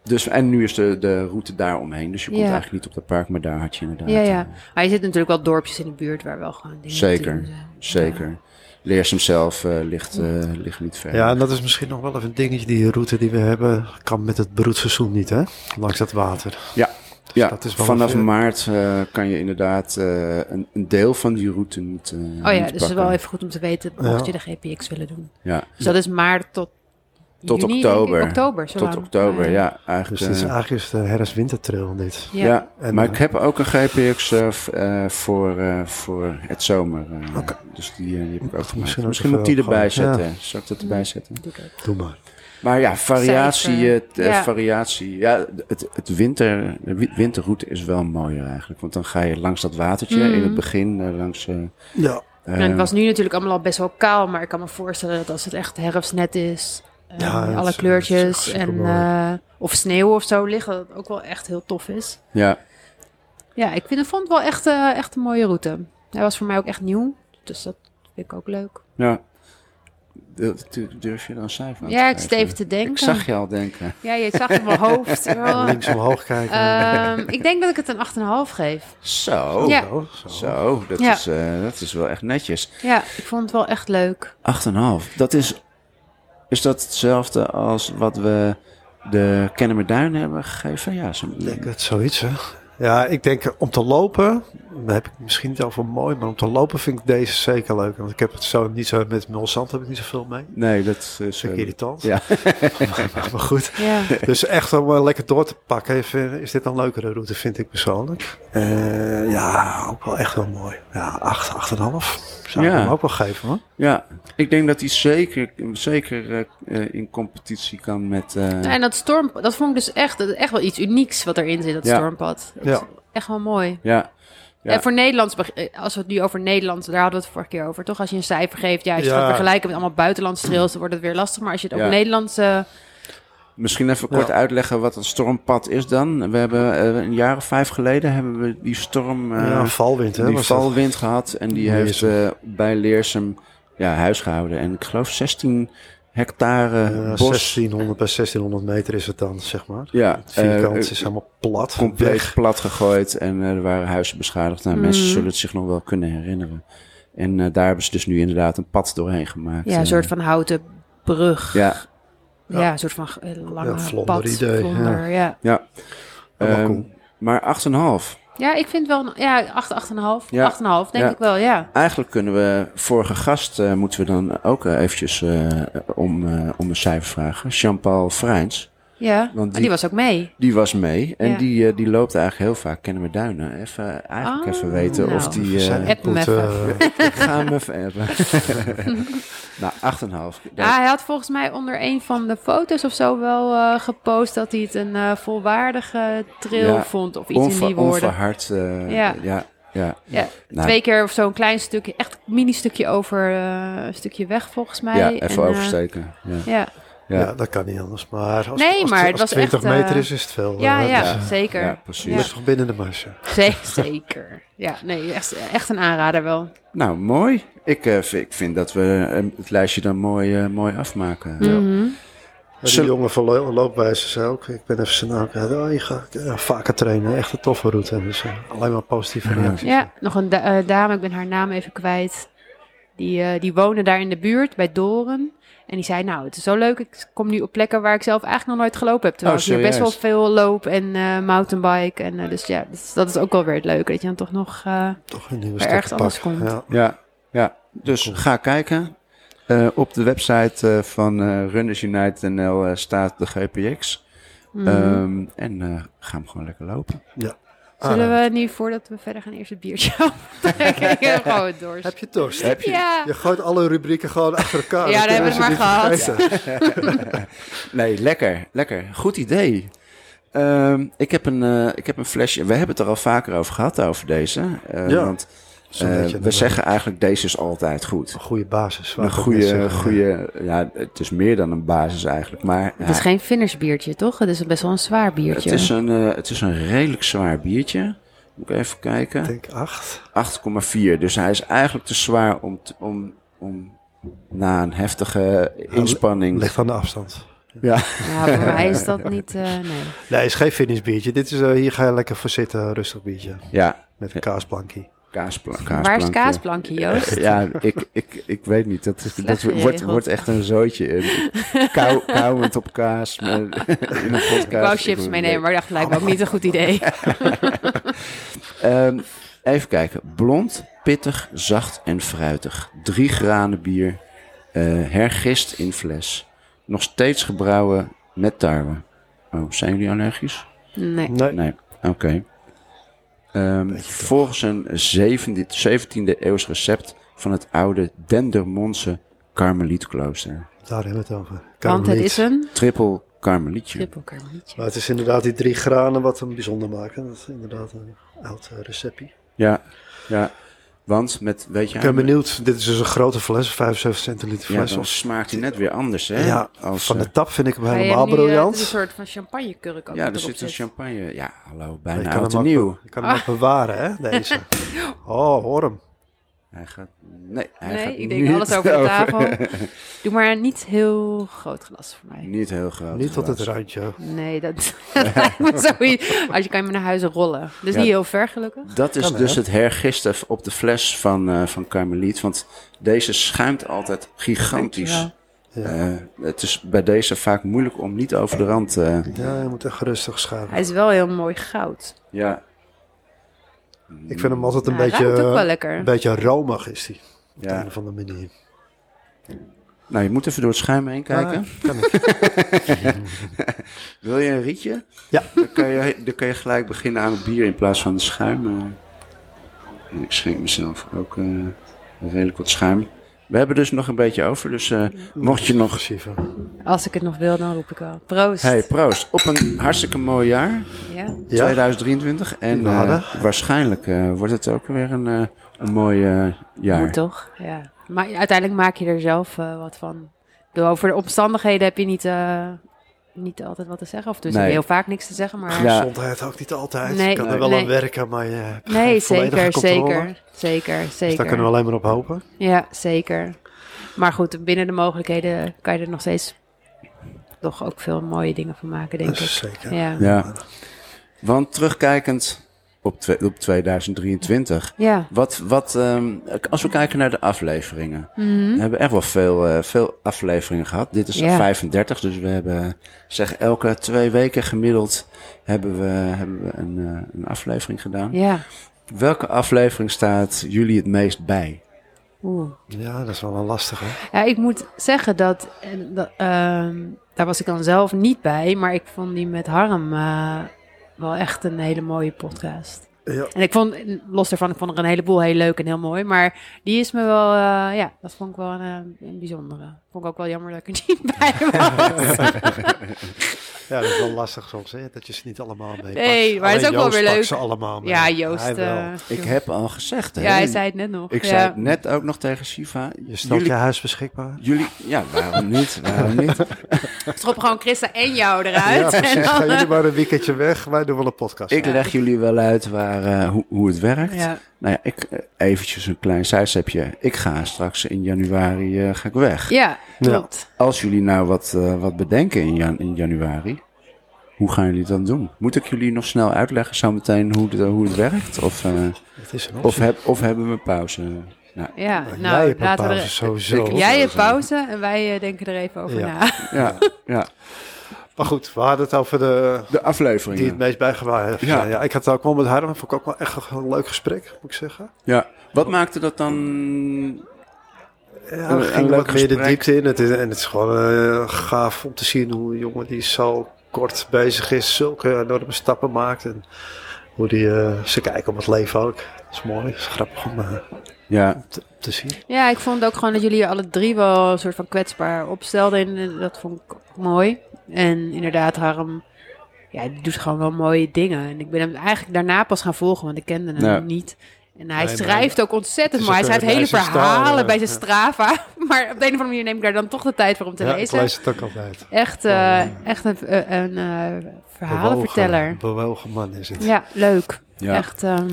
Speaker 1: dus, en nu is de, de route daar omheen. Dus je komt
Speaker 3: Ja.
Speaker 1: eigenlijk niet op dat park, maar daar had je inderdaad.
Speaker 3: Ja, ja.
Speaker 1: eh,
Speaker 3: Maar je zit natuurlijk wel dorpjes in de buurt waar wel gewoon dingen
Speaker 1: Zeker,
Speaker 3: te doen zijn.
Speaker 1: zeker. Leersum zelf eh, ligt, eh, ligt niet ver.
Speaker 2: Ja, en dat is misschien nog wel even een dingetje. Die route die we hebben kan met het broedseizoen niet, hè? Langs dat water.
Speaker 1: Ja, ja.
Speaker 2: dat is wel
Speaker 1: vanaf
Speaker 2: een-
Speaker 1: maart eh, kan je inderdaad eh, een, een deel van die route niet. eh,
Speaker 3: Ja. Oh ja,
Speaker 1: niet
Speaker 3: dus het is
Speaker 1: pakken.
Speaker 3: wel even goed om te weten mocht je de GPX willen doen.
Speaker 1: Ja,
Speaker 3: Dus dat is maart tot,
Speaker 1: Tot
Speaker 3: juni, denk ik.
Speaker 1: oktober.
Speaker 3: Oktober, zo
Speaker 1: tot
Speaker 3: lang.
Speaker 1: oktober,
Speaker 3: Ah,
Speaker 1: ja.
Speaker 2: Dus
Speaker 1: Eigenlijk,
Speaker 2: dit is
Speaker 1: eh,
Speaker 2: eigenlijk is de herfst-wintertrail dit.
Speaker 1: ja.
Speaker 3: Ja.
Speaker 2: En,
Speaker 1: maar
Speaker 2: eh,
Speaker 1: ik heb ook een GPX eh, v- eh, voor, eh, voor het zomer. eh, Dus die, eh, die heb ik ook gemaakt.
Speaker 2: Misschien
Speaker 1: Misschien,
Speaker 2: ook
Speaker 1: moet
Speaker 2: even
Speaker 1: ik die erbij
Speaker 2: opgehangen,
Speaker 1: zetten. Zal ik dat erbij zetten?
Speaker 3: Doe dat.
Speaker 2: Doe maar.
Speaker 1: Maar ja, variatie.
Speaker 3: Cijfer.
Speaker 1: eh, t- eh,
Speaker 3: Ja.
Speaker 1: variatie. Ja, het, het winter, de wi- winterroute is wel mooier eigenlijk. Want dan ga je langs dat watertje
Speaker 3: Mhm.
Speaker 1: in het begin. eh, langs, eh,
Speaker 2: Ja,
Speaker 3: En het
Speaker 1: eh,
Speaker 3: was nu natuurlijk allemaal al best wel kaal, maar ik kan me voorstellen dat als het echt herfst net is, eh,
Speaker 2: Ja, dat is-
Speaker 3: alle
Speaker 2: dat is
Speaker 3: kleurtjes
Speaker 2: echt
Speaker 3: en
Speaker 2: supermooi.
Speaker 3: eh, of sneeuw of zo liggen, dat het ook wel echt heel tof is.
Speaker 1: ja,
Speaker 3: Ja, ik vind, ik vond het wel echt, eh, echt een mooie route. Hij was voor mij ook echt nieuw, dus dat vind ik ook leuk.
Speaker 1: ja. Dat- dat Durf je dan cijfer aan te
Speaker 3: Ja, ik
Speaker 1: geven?
Speaker 3: zit even te denken.
Speaker 1: Ik zag je al denken.
Speaker 3: Ja, je zag het in mijn hoofd. Oh.
Speaker 2: links omhoog kijken.
Speaker 3: Ehm, ik denk dat ik het een 8,5 geef.
Speaker 1: Zo.
Speaker 3: Ja.
Speaker 2: Zo, Oh, nou, zo.
Speaker 1: Zo, dat,
Speaker 3: Ja.
Speaker 1: is, eh, dat is wel echt netjes.
Speaker 3: Ja, ik vond het wel echt leuk.
Speaker 1: 8,5. Dat is, is dat hetzelfde als wat we de Kennemerduin hebben gegeven? Ja, zo,
Speaker 2: Ik denk dat zoiets, hè? Ja, ik denk eh, om te lopen, daar heb ik misschien niet over mooi, maar om te lopen vind ik deze zeker leuk. Want ik heb het zo niet zo met Mulzand heb ik niet zoveel mee.
Speaker 1: nee, dat is... eh,
Speaker 2: Dat is irritant.
Speaker 1: Ja.
Speaker 2: *laughs* maar goed.
Speaker 3: Ja,
Speaker 2: *laughs* Dus echt om eh, lekker door te pakken, even, is dit een leukere route, vind ik persoonlijk. Eh, ja, ook wel echt wel mooi. Ja, 8, 8,5. Zou ik
Speaker 1: Ja.
Speaker 2: hem ook wel geven, hoor.
Speaker 1: ja, ik denk dat hij zeker, zeker eh, eh, in competitie kan met... eh,
Speaker 3: en dat storm, dat vond ik dus echt, dat is echt wel iets unieks wat erin zit, dat
Speaker 1: Ja.
Speaker 3: stormpad. Dat
Speaker 2: Ja.
Speaker 3: is echt wel mooi.
Speaker 1: Ja, Ja.
Speaker 3: En voor Nederlands, beg- eh, als we het nu over Nederlands, daar hadden we het vorige keer over, toch? Als je een cijfer geeft, ja, als je
Speaker 2: Ja.
Speaker 3: het gaat vergelijken met allemaal buitenlandse trails, dan wordt het weer lastig. Maar als je het
Speaker 1: Ja.
Speaker 3: op Nederlandse...
Speaker 1: misschien even
Speaker 2: Ja.
Speaker 1: kort uitleggen wat een stormpad is dan. We hebben eh, een jaar of vijf geleden hebben we die storm... eh,
Speaker 2: ja, valwind, hè?
Speaker 1: die
Speaker 2: was dat.
Speaker 1: valwind gehad. En die heeft
Speaker 2: Leersum.
Speaker 1: eh, bij Leersum ja, huis gehouden. En ik geloof 16 hectare
Speaker 2: Ja,
Speaker 1: bos.
Speaker 2: 1600 Eh, bij 1600 meter is het dan, zeg maar.
Speaker 1: Ja,
Speaker 2: Het vierkant
Speaker 1: eh,
Speaker 2: is helemaal plat.
Speaker 1: compleet
Speaker 2: weg.
Speaker 1: plat gegooid. En eh, er waren huizen beschadigd. Nou, mensen
Speaker 3: Mm.
Speaker 1: zullen het zich nog wel kunnen herinneren. En eh, daar hebben ze dus nu inderdaad een pad doorheen gemaakt.
Speaker 3: Ja, een
Speaker 1: Eh,
Speaker 3: soort Oh, van houten brug. Ja,
Speaker 1: Ja,
Speaker 2: Ja.
Speaker 3: een soort van eh,
Speaker 2: Ja,
Speaker 3: lange
Speaker 2: vlonder
Speaker 3: pad.
Speaker 2: idee,
Speaker 3: vlonder, ja.
Speaker 1: ja.
Speaker 2: Allemaal
Speaker 1: Ehm,
Speaker 2: cool.
Speaker 1: Maar 8,5.
Speaker 3: ja, ik vind wel... een- Ja, 8, 8,5.
Speaker 1: Ja.
Speaker 3: 8,5 denk
Speaker 1: Ja.
Speaker 3: ik wel, ja.
Speaker 1: Eigenlijk kunnen we vorige gast, eh, moeten we dan ook eh, eventjes eh, om, eh, om een cijfer vragen. Jean-Paul Vrijns.
Speaker 3: Ja, maar die,
Speaker 1: die-
Speaker 3: was ook mee.
Speaker 1: Die was mee en
Speaker 3: Ja.
Speaker 1: die, eh, die loopt eigenlijk heel vaak kennen we duinen. Even, eh, eigenlijk
Speaker 3: Ah,
Speaker 1: even weten
Speaker 3: nou.
Speaker 1: of die... eh, *laughs*
Speaker 2: Zijn
Speaker 3: App
Speaker 2: goed,
Speaker 3: hem even.
Speaker 2: eh,
Speaker 1: ik ga hem even appen. *laughs* nou, 8,5. Dat-
Speaker 3: Ja, hij had volgens mij onder een van de foto's of zo wel eh, gepost dat hij het een eh, volwaardige trail
Speaker 1: Ja,
Speaker 3: vond. Of iets in die
Speaker 1: Onver-
Speaker 3: woorden.
Speaker 1: Onverhard. eh,
Speaker 3: Ja.
Speaker 1: ja. ja,
Speaker 3: Ja,
Speaker 1: Nou.
Speaker 3: twee keer of zo'n klein stukje, echt een mini stukje over eh, een stukje weg volgens mij.
Speaker 1: Ja, even
Speaker 3: En, eh,
Speaker 1: oversteken. Ja.
Speaker 3: ja,
Speaker 2: ja.
Speaker 1: Ja.
Speaker 2: dat kan niet anders. Maar als,
Speaker 3: Nee,
Speaker 2: als,
Speaker 3: maar het
Speaker 2: als
Speaker 3: was
Speaker 2: 20
Speaker 3: echt, eh,
Speaker 2: meter is, is het veel.
Speaker 3: ja,
Speaker 2: eh,
Speaker 3: ja,
Speaker 2: dus, eh,
Speaker 3: zeker.
Speaker 1: Ja, precies.
Speaker 2: het is toch binnen de marge.
Speaker 3: *laughs* Ze- Zeker. Ja, nee, echt, echt een aanrader wel.
Speaker 1: Nou, mooi. Ik, eh, vind- ik vind dat we eh, het lijstje dan mooi, eh, mooi afmaken. Ja.
Speaker 3: Mhm.
Speaker 2: Ja, Die
Speaker 1: Zullen-
Speaker 2: jongen van lo- loopwijzers ook. Ik ben even zijn naam kwijt. Oh, je gaat ja, vaker trainen. Echt een toffe route. Dus eh, alleen maar positieve reacties.
Speaker 3: Ja, nog een da- eh, dame, ik ben haar naam even kwijt. Die, eh, die woonde daar in de buurt bij Doren. En die zei, nou, het is zo leuk. Ik kom nu op plekken waar ik zelf eigenlijk nog nooit gelopen heb. Terwijl
Speaker 1: Oh,
Speaker 3: ik hier best wel
Speaker 1: serieus?
Speaker 3: veel loop en eh, mountainbike. En, eh, dus ja, dat is, dat is ook wel weer het leuke. Dat je dan toch nog... eh,
Speaker 2: Toch een nieuwe
Speaker 3: Maar
Speaker 2: stap
Speaker 3: ergens anders
Speaker 2: pakken.
Speaker 3: komt.
Speaker 2: Ja.
Speaker 1: Ja, ja. dus ga kijken. Eh, op de website eh, van eh Runners Unite NL eh, staat de GPX.
Speaker 3: mhm.
Speaker 1: Ehm, en eh, ga hem gewoon lekker lopen.
Speaker 3: Zullen we nu, voordat we verder gaan, eerst het biertje *laughs* optrekken? Ik *laughs* heb gewoon door.
Speaker 2: Heb je dorst?
Speaker 3: Ja.
Speaker 2: Je gooit alle rubrieken gewoon achter elkaar.
Speaker 3: Ja,
Speaker 2: Dan
Speaker 3: dat
Speaker 2: kunnen
Speaker 3: hebben we
Speaker 2: ze
Speaker 3: maar
Speaker 2: niet
Speaker 3: gehad.
Speaker 2: vergeten.
Speaker 1: Nee, lekker, lekker. Goed idee. Ehm, ik, heb een, eh, ik heb een flesje. We hebben het er al vaker over gehad, over deze. Eh,
Speaker 2: Ja,
Speaker 1: want
Speaker 2: Zo'n
Speaker 1: eh,
Speaker 2: beetje
Speaker 1: we
Speaker 2: een-
Speaker 1: zeggen eigenlijk, deze is altijd goed.
Speaker 2: Een goede basis. wou
Speaker 1: Een
Speaker 2: ik ook net
Speaker 1: goede,
Speaker 2: zeggen.
Speaker 1: goede, ja, het is meer dan een basis eigenlijk. Maar
Speaker 3: Het
Speaker 1: ja,
Speaker 3: is geen finishbiertje, toch? Het is best wel een zwaar biertje.
Speaker 1: het, is een, eh, het is een redelijk zwaar biertje. Moet ik even
Speaker 2: Ik
Speaker 1: kijken.
Speaker 2: denk acht.
Speaker 1: 8,4. Dus hij is eigenlijk te zwaar om, t- om, om na een heftige inspanning.
Speaker 2: Ligt aan de afstand.
Speaker 1: Ja.
Speaker 3: Ja, voor mij is
Speaker 1: *laughs*
Speaker 3: dat niet... eh, nee.
Speaker 2: Nee, het is geen finishbiertje. Dit is, eh, hier ga je lekker voor zitten. Rustig biertje.
Speaker 1: ja,
Speaker 2: Met een kaasplankie.
Speaker 1: kaaspla
Speaker 3: Waar is
Speaker 1: kaasplankje.
Speaker 3: kaasplankje, Joost?
Speaker 1: Ja, ik, ik, ik weet niet. Dat, is- dat
Speaker 3: Slecht
Speaker 1: wordt,
Speaker 3: geregeld.
Speaker 1: wordt echt een zootje. Kou,
Speaker 3: *laughs*
Speaker 1: kauwend op kaas. maar- in een podcast.
Speaker 3: Ik wou chips
Speaker 1: Ik-
Speaker 3: meenemen, maar ik dacht, lijkt me ook niet een goed
Speaker 1: *laughs*
Speaker 3: idee.
Speaker 1: Ehm, even kijken. Blond, pittig, zacht en fruitig. Drie granen bier. eh, hergist in fles. Nog steeds gebrouwen met tarwe. Oh, zijn jullie allergisch?
Speaker 3: Nee.
Speaker 2: Nee.
Speaker 1: Nee. Oké. Ehm, volgens een 17e, 17e eeuws recept van het oude Dendermondse Karmelietklooster.
Speaker 2: Daar hebben we het over.
Speaker 3: Want het
Speaker 2: Karmeliet.
Speaker 3: is een
Speaker 1: Triple Karmelietje.
Speaker 3: trippelkarmelietje.
Speaker 2: Maar het is inderdaad die drie granen wat hem bijzonder maken. Dat is inderdaad een oud eh, receptje.
Speaker 1: Ja, ja. Want met, weet je...
Speaker 2: Ik ben benieuwd. Dit is dus een grote fles, 75 centiliter
Speaker 1: Ja,
Speaker 2: fles.
Speaker 1: dan
Speaker 2: of,
Speaker 1: smaakt hij net weer anders, hè?
Speaker 2: ja,
Speaker 1: Als,
Speaker 2: van
Speaker 1: eh,
Speaker 2: de tap vind ik hem
Speaker 3: Ga je
Speaker 2: helemaal
Speaker 3: hem nu, eh,
Speaker 2: briljant.
Speaker 3: een soort van champagnekurk ook
Speaker 1: Ja, er
Speaker 3: erop
Speaker 1: zit een
Speaker 3: zetten?
Speaker 1: champagne. Ja, hallo,
Speaker 2: Ik
Speaker 1: bijna
Speaker 2: kan
Speaker 1: oud
Speaker 2: hem
Speaker 1: en
Speaker 2: ook-
Speaker 1: nieuw.
Speaker 2: Ik kan hem ook
Speaker 3: Ah.
Speaker 2: bewaren, hè,
Speaker 3: *laughs*
Speaker 2: deze. Oh, hoor hem.
Speaker 1: Hij gaat... Nee, hij gaat
Speaker 3: Nee, ik denk
Speaker 1: niet *laughs*
Speaker 3: alles over de tafel. Doe maar een niet heel groot glas voor mij.
Speaker 1: Niet heel groot.
Speaker 2: Niet tot het
Speaker 1: glas.
Speaker 2: randje.
Speaker 3: Nee, dat, *laughs* dat lijkt me zoiets. Als je kan je me naar huis rollen. Dus
Speaker 1: Ja.
Speaker 3: niet heel ver, gelukkig.
Speaker 1: Dat is
Speaker 2: Kan,
Speaker 1: dus
Speaker 2: hè?
Speaker 1: het hergisten op de fles van, eh van Carmeliet. Want deze schuimt altijd gigantisch.
Speaker 3: Dankjewel.
Speaker 1: Eh, het is bij deze vaak moeilijk om niet over de rand... eh
Speaker 2: Ja, je moet echt rustig schuiven.
Speaker 3: Hij is wel heel mooi goud.
Speaker 1: ja.
Speaker 2: Ik vind hem altijd een
Speaker 3: Hij
Speaker 2: beetje,
Speaker 3: ruikt ook wel
Speaker 2: eh,
Speaker 3: lekker.
Speaker 2: een beetje romig is die. Op
Speaker 1: Ja.
Speaker 2: de een of andere manier.
Speaker 1: Nou, je moet even door het schuim heen kijken.
Speaker 2: Ah, kan ik.
Speaker 1: Wil je een rietje?
Speaker 2: Ja.
Speaker 1: Dan kan, je, dan kan je gelijk beginnen aan het bier in plaats van het schuim. eh. En ik schenk mezelf ook eh, redelijk wat schuim. We hebben dus nog een beetje over, dus eh, mocht je nog... *laughs*
Speaker 2: Agressieve.
Speaker 3: Als ik het nog wil, dan roep ik wel. Proost.
Speaker 1: Hey, proost. Op een hartstikke mooi jaar,
Speaker 3: Ja.
Speaker 2: Ja,
Speaker 1: 2023. En
Speaker 2: we
Speaker 1: eh,
Speaker 2: hadden.
Speaker 1: waarschijnlijk eh, wordt het ook weer een, eh, een mooi eh,
Speaker 3: Moet
Speaker 1: jaar.
Speaker 3: toch? Ja. Maar uiteindelijk maak je er zelf eh, wat van. Ik bedoel, Over de omstandigheden heb je niet, eh, niet altijd wat te zeggen. Of dus
Speaker 1: Nee.
Speaker 3: heel vaak niks te zeggen. Maar
Speaker 1: Ja.
Speaker 2: gezondheid ook niet altijd.
Speaker 3: Nee,
Speaker 2: je kan er wel
Speaker 3: nee.
Speaker 2: aan werken, maar je hebt
Speaker 3: nee,
Speaker 2: geen volledige
Speaker 3: zeker,
Speaker 2: controle.
Speaker 3: zeker, zeker,
Speaker 2: Dus daar
Speaker 3: zeker.
Speaker 2: kunnen we alleen maar op hopen.
Speaker 3: Ja, zeker. Maar goed, binnen de mogelijkheden kan je er nog steeds toch ook veel mooie dingen van maken, denk
Speaker 2: Dat
Speaker 3: ik.
Speaker 2: is zeker.
Speaker 3: Ja. ja.
Speaker 1: Ja. Want terugkijkend op, twe- op 2023... Wat, wat, ehm, als we kijken naar de afleveringen. We hebben echt wel veel, eh, veel afleveringen gehad. Dit is
Speaker 3: Mhm. Ja.
Speaker 1: 35, dus we hebben zeg elke twee weken gemiddeld hebben we, hebben we een, eh, een aflevering gedaan.
Speaker 3: Ja.
Speaker 1: Welke aflevering staat jullie het meest bij?
Speaker 3: Oeh.
Speaker 2: Ja, dat is wel een lastige.
Speaker 3: Ja, ik moet zeggen dat, eh, dat, ehm, daar was ik dan zelf niet bij, maar ik vond die met Harm eh, wel echt een hele mooie podcast.
Speaker 2: Ja.
Speaker 3: En ik vond, los daarvan, ik vond er een heleboel heel leuk en heel mooi, maar die is me wel, eh, ja, dat vond ik wel een, eh, een bijzondere. Vond ik ook wel jammer dat ik er niet *laughs* bij was.
Speaker 2: ja, dat is wel lastig soms, hè, dat je ze niet allemaal mee pakt.
Speaker 3: Nee, maar het is
Speaker 2: Alleen
Speaker 3: ook
Speaker 2: Joost
Speaker 3: wel weer
Speaker 2: pakt
Speaker 3: leuk.
Speaker 2: ze allemaal mee.
Speaker 3: ja, Joost.
Speaker 2: Hij wel.
Speaker 3: eh,
Speaker 1: Ik
Speaker 3: Joost.
Speaker 1: heb al gezegd, hè?
Speaker 3: ja, hij zei het net nog.
Speaker 1: Ik
Speaker 3: ja.
Speaker 1: zei het net ook nog tegen Shiva.
Speaker 2: Je stelt
Speaker 1: jullie,
Speaker 2: je huis *laughs* beschikbaar.
Speaker 1: jullie, ja, waarom niet? Waarom niet?
Speaker 3: *laughs* Schop gewoon Christa en jou eruit. en dan, eh,
Speaker 2: Gaan jullie maar een weekendje weg, wij doen wel een podcast.
Speaker 1: Ik leg jullie wel uit waar, eh, hoe, hoe het werkt.
Speaker 3: ja.
Speaker 1: Nou ja, ik, eh, eventjes een klein zijstapje. Ik ga straks in januari eh, ga ik weg.
Speaker 3: ja, klopt.
Speaker 1: Als jullie nou wat, eh, wat bedenken in, jan- in januari, hoe gaan jullie het dan doen? Moet ik jullie nog snel uitleggen zometeen hoe, het- hoe het werkt? Of, eh,
Speaker 2: Het is een
Speaker 1: of,
Speaker 2: optie.
Speaker 1: heb, of hebben we pauze? Nou,
Speaker 3: Ja,
Speaker 2: Maar jij
Speaker 3: nou,
Speaker 2: hebt een
Speaker 3: laten we
Speaker 2: pauze
Speaker 3: er-
Speaker 2: sowieso.
Speaker 1: Ik-
Speaker 3: Jij hebt pauze en wij eh, denken er even over
Speaker 2: Ja.
Speaker 3: na.
Speaker 1: ja, ja,
Speaker 2: Maar goed, we hadden het over de,
Speaker 1: de afleveringen.
Speaker 2: die het meest bijgewaard
Speaker 1: Ja.
Speaker 2: ja. ja, ik had het ook wel met Harm. Vond ik ook wel echt een leuk gesprek, moet ik zeggen.
Speaker 1: Ja, wat maakte dat dan?
Speaker 2: Ja,
Speaker 1: Een- een
Speaker 2: we
Speaker 1: leuk
Speaker 2: gingen wat meer de
Speaker 1: gesprek.
Speaker 2: diepte in. Het is, en het is gewoon eh, gaaf om te zien hoe een jongen die zo kort bezig is, zulke enorme stappen maakt. En hoe die, eh, ze kijken om het leven ook. Dat is mooi, dat is grappig om eh,
Speaker 1: Ja,
Speaker 2: te, te zien.
Speaker 3: *laughs* Ja, ik vond ook gewoon dat jullie je alle drie wel een soort van kwetsbaar opstelden. En eh, dat vond ik ook mooi. En inderdaad, Harm, ja, die doet gewoon wel mooie dingen. En ik ben hem eigenlijk daarna pas gaan volgen, want ik kende hem
Speaker 1: Ja.
Speaker 3: niet. En
Speaker 2: Nee,
Speaker 3: hij
Speaker 2: maar
Speaker 3: schrijft ook
Speaker 2: het
Speaker 3: ontzettend
Speaker 2: is
Speaker 3: mooi. Hij
Speaker 2: ook,
Speaker 3: schrijft
Speaker 2: eh,
Speaker 3: hele
Speaker 2: bij zijn
Speaker 3: verhalen
Speaker 2: stijl, eh,
Speaker 3: bij zijn
Speaker 2: ja.
Speaker 3: Strava. *laughs* Maar op de een of andere manier neem ik daar dan toch de tijd voor om te
Speaker 2: ja,
Speaker 3: lezen.
Speaker 2: ik lees het ook altijd.
Speaker 3: Echt, eh, echt een, eh, een eh, verhalenverteller.
Speaker 2: Bewogen, bewogen man is het.
Speaker 3: Ja, leuk.
Speaker 1: ja.
Speaker 3: Echt, ehm,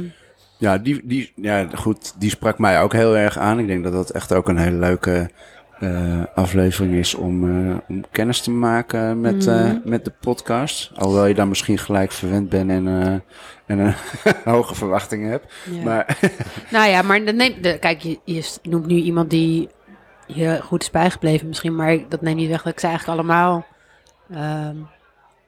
Speaker 1: Ja, die, die, ja, goed, die sprak mij ook heel erg aan. Ik denk dat dat echt ook een hele leuke eh, aflevering is om, eh, om kennis te maken met, eh,
Speaker 3: Mhm.
Speaker 1: met de podcast. Alhoewel je dan misschien gelijk verwend bent en, eh, en een *laughs* hoge verwachtingen hebt.
Speaker 3: ja.
Speaker 1: Maar
Speaker 3: Nou ja, maar dat neemt, de- kijk, je, je s- noemt nu iemand die je goed is bijgebleven misschien, maar ik- dat neemt niet weg dat ik ze eigenlijk allemaal ehm,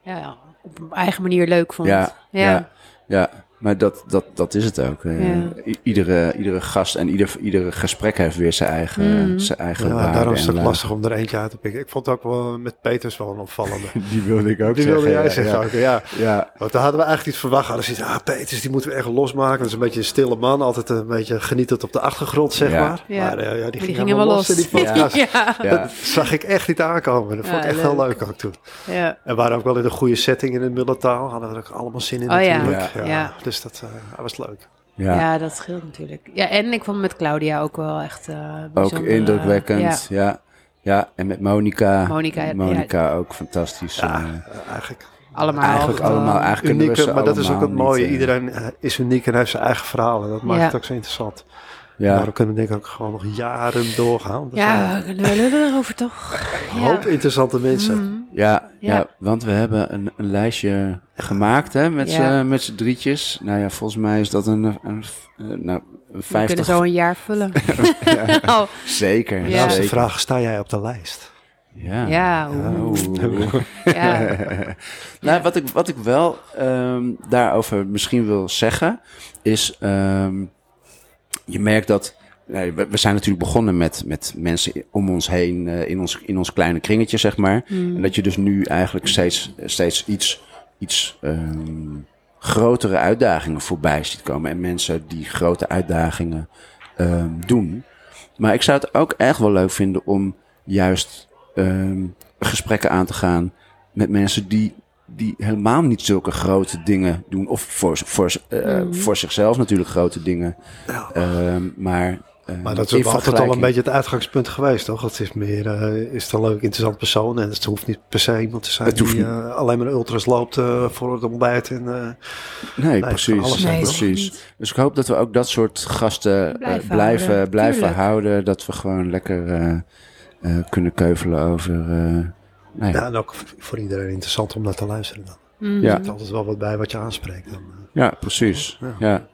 Speaker 3: ja, op een eigen manier leuk vond.
Speaker 1: ja, ja. ja,
Speaker 3: ja.
Speaker 1: maar dat, dat, dat is het ook. eh.
Speaker 3: Ja.
Speaker 1: I- iedere, iedere gast en ieder, iedere gesprek heeft weer zijn eigen,
Speaker 3: Mhm.
Speaker 1: zijn eigen
Speaker 2: Ja,
Speaker 1: waarde
Speaker 2: daarom
Speaker 1: en eh,
Speaker 2: is het
Speaker 1: laag.
Speaker 2: lastig om er eentje uit te pikken. Ik vond het ook wel met Peters wel een opvallende.
Speaker 1: Die wilde ik ook
Speaker 2: Die
Speaker 1: zeggen.
Speaker 2: wilde jij
Speaker 1: ja,
Speaker 2: zeggen
Speaker 1: ja.
Speaker 2: ook, ja.
Speaker 1: Ja,
Speaker 2: Want daar hadden we eigenlijk iets verwacht. Hadden ze zoiets, ah, Peters, die moeten we echt losmaken. Dat is een beetje een stille man. Altijd een beetje genietend op de achtergrond, zeg
Speaker 1: Ja.
Speaker 2: maar.
Speaker 3: Ja.
Speaker 2: Maar eh, ja, die,
Speaker 3: Die
Speaker 2: ging
Speaker 3: gingen
Speaker 2: helemaal
Speaker 3: wel
Speaker 2: los. in
Speaker 3: los.
Speaker 2: die podcast.
Speaker 3: *laughs* ja.
Speaker 1: ja.
Speaker 2: *laughs* Dat zag ik echt niet aankomen. Dat vond ik
Speaker 3: Ja,
Speaker 2: echt heel leuk ook toen.
Speaker 3: ja.
Speaker 2: En we waren ook wel in een goede setting in een middeltaal. Hadden we er ook allemaal zin in
Speaker 3: Oh ja.
Speaker 2: natuurlijk.
Speaker 3: Ja.
Speaker 2: Ja.
Speaker 3: Ja.
Speaker 2: Dus dat eh, was leuk.
Speaker 1: ja.
Speaker 3: Ja, dat scheelt natuurlijk. Ja, en ik vond met Claudia ook wel echt eh
Speaker 1: Ook
Speaker 3: bijzonder, eh,
Speaker 1: indrukwekkend, ja. ja. en met Monica.
Speaker 3: Monica, ja.
Speaker 1: Monica ook fantastisch.
Speaker 2: Ja,
Speaker 1: eh,
Speaker 2: eh, eigenlijk
Speaker 3: ja, allemaal.
Speaker 1: eigenlijk
Speaker 3: gewoon-
Speaker 1: allemaal, eigenlijk kunnen we
Speaker 2: uniek.
Speaker 1: ze
Speaker 2: Maar dat is ook het
Speaker 1: allemaal
Speaker 2: mooie.
Speaker 1: niet, eh,
Speaker 2: Iedereen eh, is uniek en heeft zijn eigen verhaal. En dat maakt
Speaker 3: Ja.
Speaker 2: het ook zo interessant.
Speaker 1: ja,
Speaker 2: Daarom kunnen we denk ik ook gewoon nog jaren doorgaan. Er
Speaker 3: Ja,
Speaker 2: zijn
Speaker 3: we kunnen wel lullen erover toch?
Speaker 2: een hoop
Speaker 3: Ja.
Speaker 2: interessante mensen.
Speaker 3: Mhm.
Speaker 1: ja, ja.
Speaker 3: Ja.
Speaker 1: want we hebben een, een lijstje gemaakt hè, met
Speaker 3: Ja.
Speaker 1: z'n- met z'n drietjes. Nou ja, volgens mij is dat een, een, een- nou, een
Speaker 3: We
Speaker 1: 50.
Speaker 3: kunnen zo een jaar
Speaker 1: *laughs*
Speaker 3: vullen. *laughs* Oh,
Speaker 1: Zeker,
Speaker 3: Ja.
Speaker 2: Ja. de
Speaker 1: zeker.
Speaker 2: vraag, sta jij op de lijst?
Speaker 1: Ja.
Speaker 3: ja, oeh.
Speaker 2: *laughs*
Speaker 1: Oh. *laughs*
Speaker 3: *laughs* ja.
Speaker 1: Nou, wat ik, wat ik wel ehm, daarover misschien wil zeggen, is ehm, je merkt dat. nee, we, we zijn natuurlijk begonnen met, met mensen om ons heen, eh, in, ons, in ons kleine kringetje, zeg maar. En dat je dus nu eigenlijk steeds, steeds iets, iets ehm, grotere uitdagingen voorbij ziet komen. En mensen die grote uitdagingen ehm, doen. Maar ik zou het ook echt wel leuk vinden om juist ehm, gesprekken aan te gaan met mensen die, die helemaal niet zulke grote dingen doen. Of voor, voor, eh,
Speaker 3: Mhm.
Speaker 1: voor zichzelf natuurlijk grote dingen.
Speaker 2: Ja.
Speaker 1: Ehm, maar, eh,
Speaker 2: Maar dat
Speaker 1: in
Speaker 2: is ook altijd al
Speaker 1: vergelijking-
Speaker 2: een beetje het uitgangspunt geweest, toch? Het is meer, eh, is het een leuk, interessant persoon. En het hoeft niet per se iemand te zijn
Speaker 1: Het hoeft
Speaker 2: die eh, alleen maar ultras loopt eh, voor het ontbijt. En, eh,
Speaker 1: Nee,
Speaker 2: kan
Speaker 1: precies.
Speaker 2: alles zijn,
Speaker 3: Nee,
Speaker 2: toch?
Speaker 1: precies. Dus ik hoop dat we ook dat soort gasten
Speaker 3: Blijven
Speaker 1: eh, blijven,
Speaker 3: houden,
Speaker 1: blijven
Speaker 3: tuurlijk.
Speaker 1: houden. Dat we gewoon lekker eh, eh, kunnen keuvelen over. eh, nou ja.
Speaker 2: ja, en ook voor iedereen interessant om naar te luisteren dan.
Speaker 3: Mhm.
Speaker 1: Ja.
Speaker 2: Er is altijd wel wat bij wat je aanspreekt. Dan, eh.
Speaker 1: ja, precies. Ja.
Speaker 2: Ja.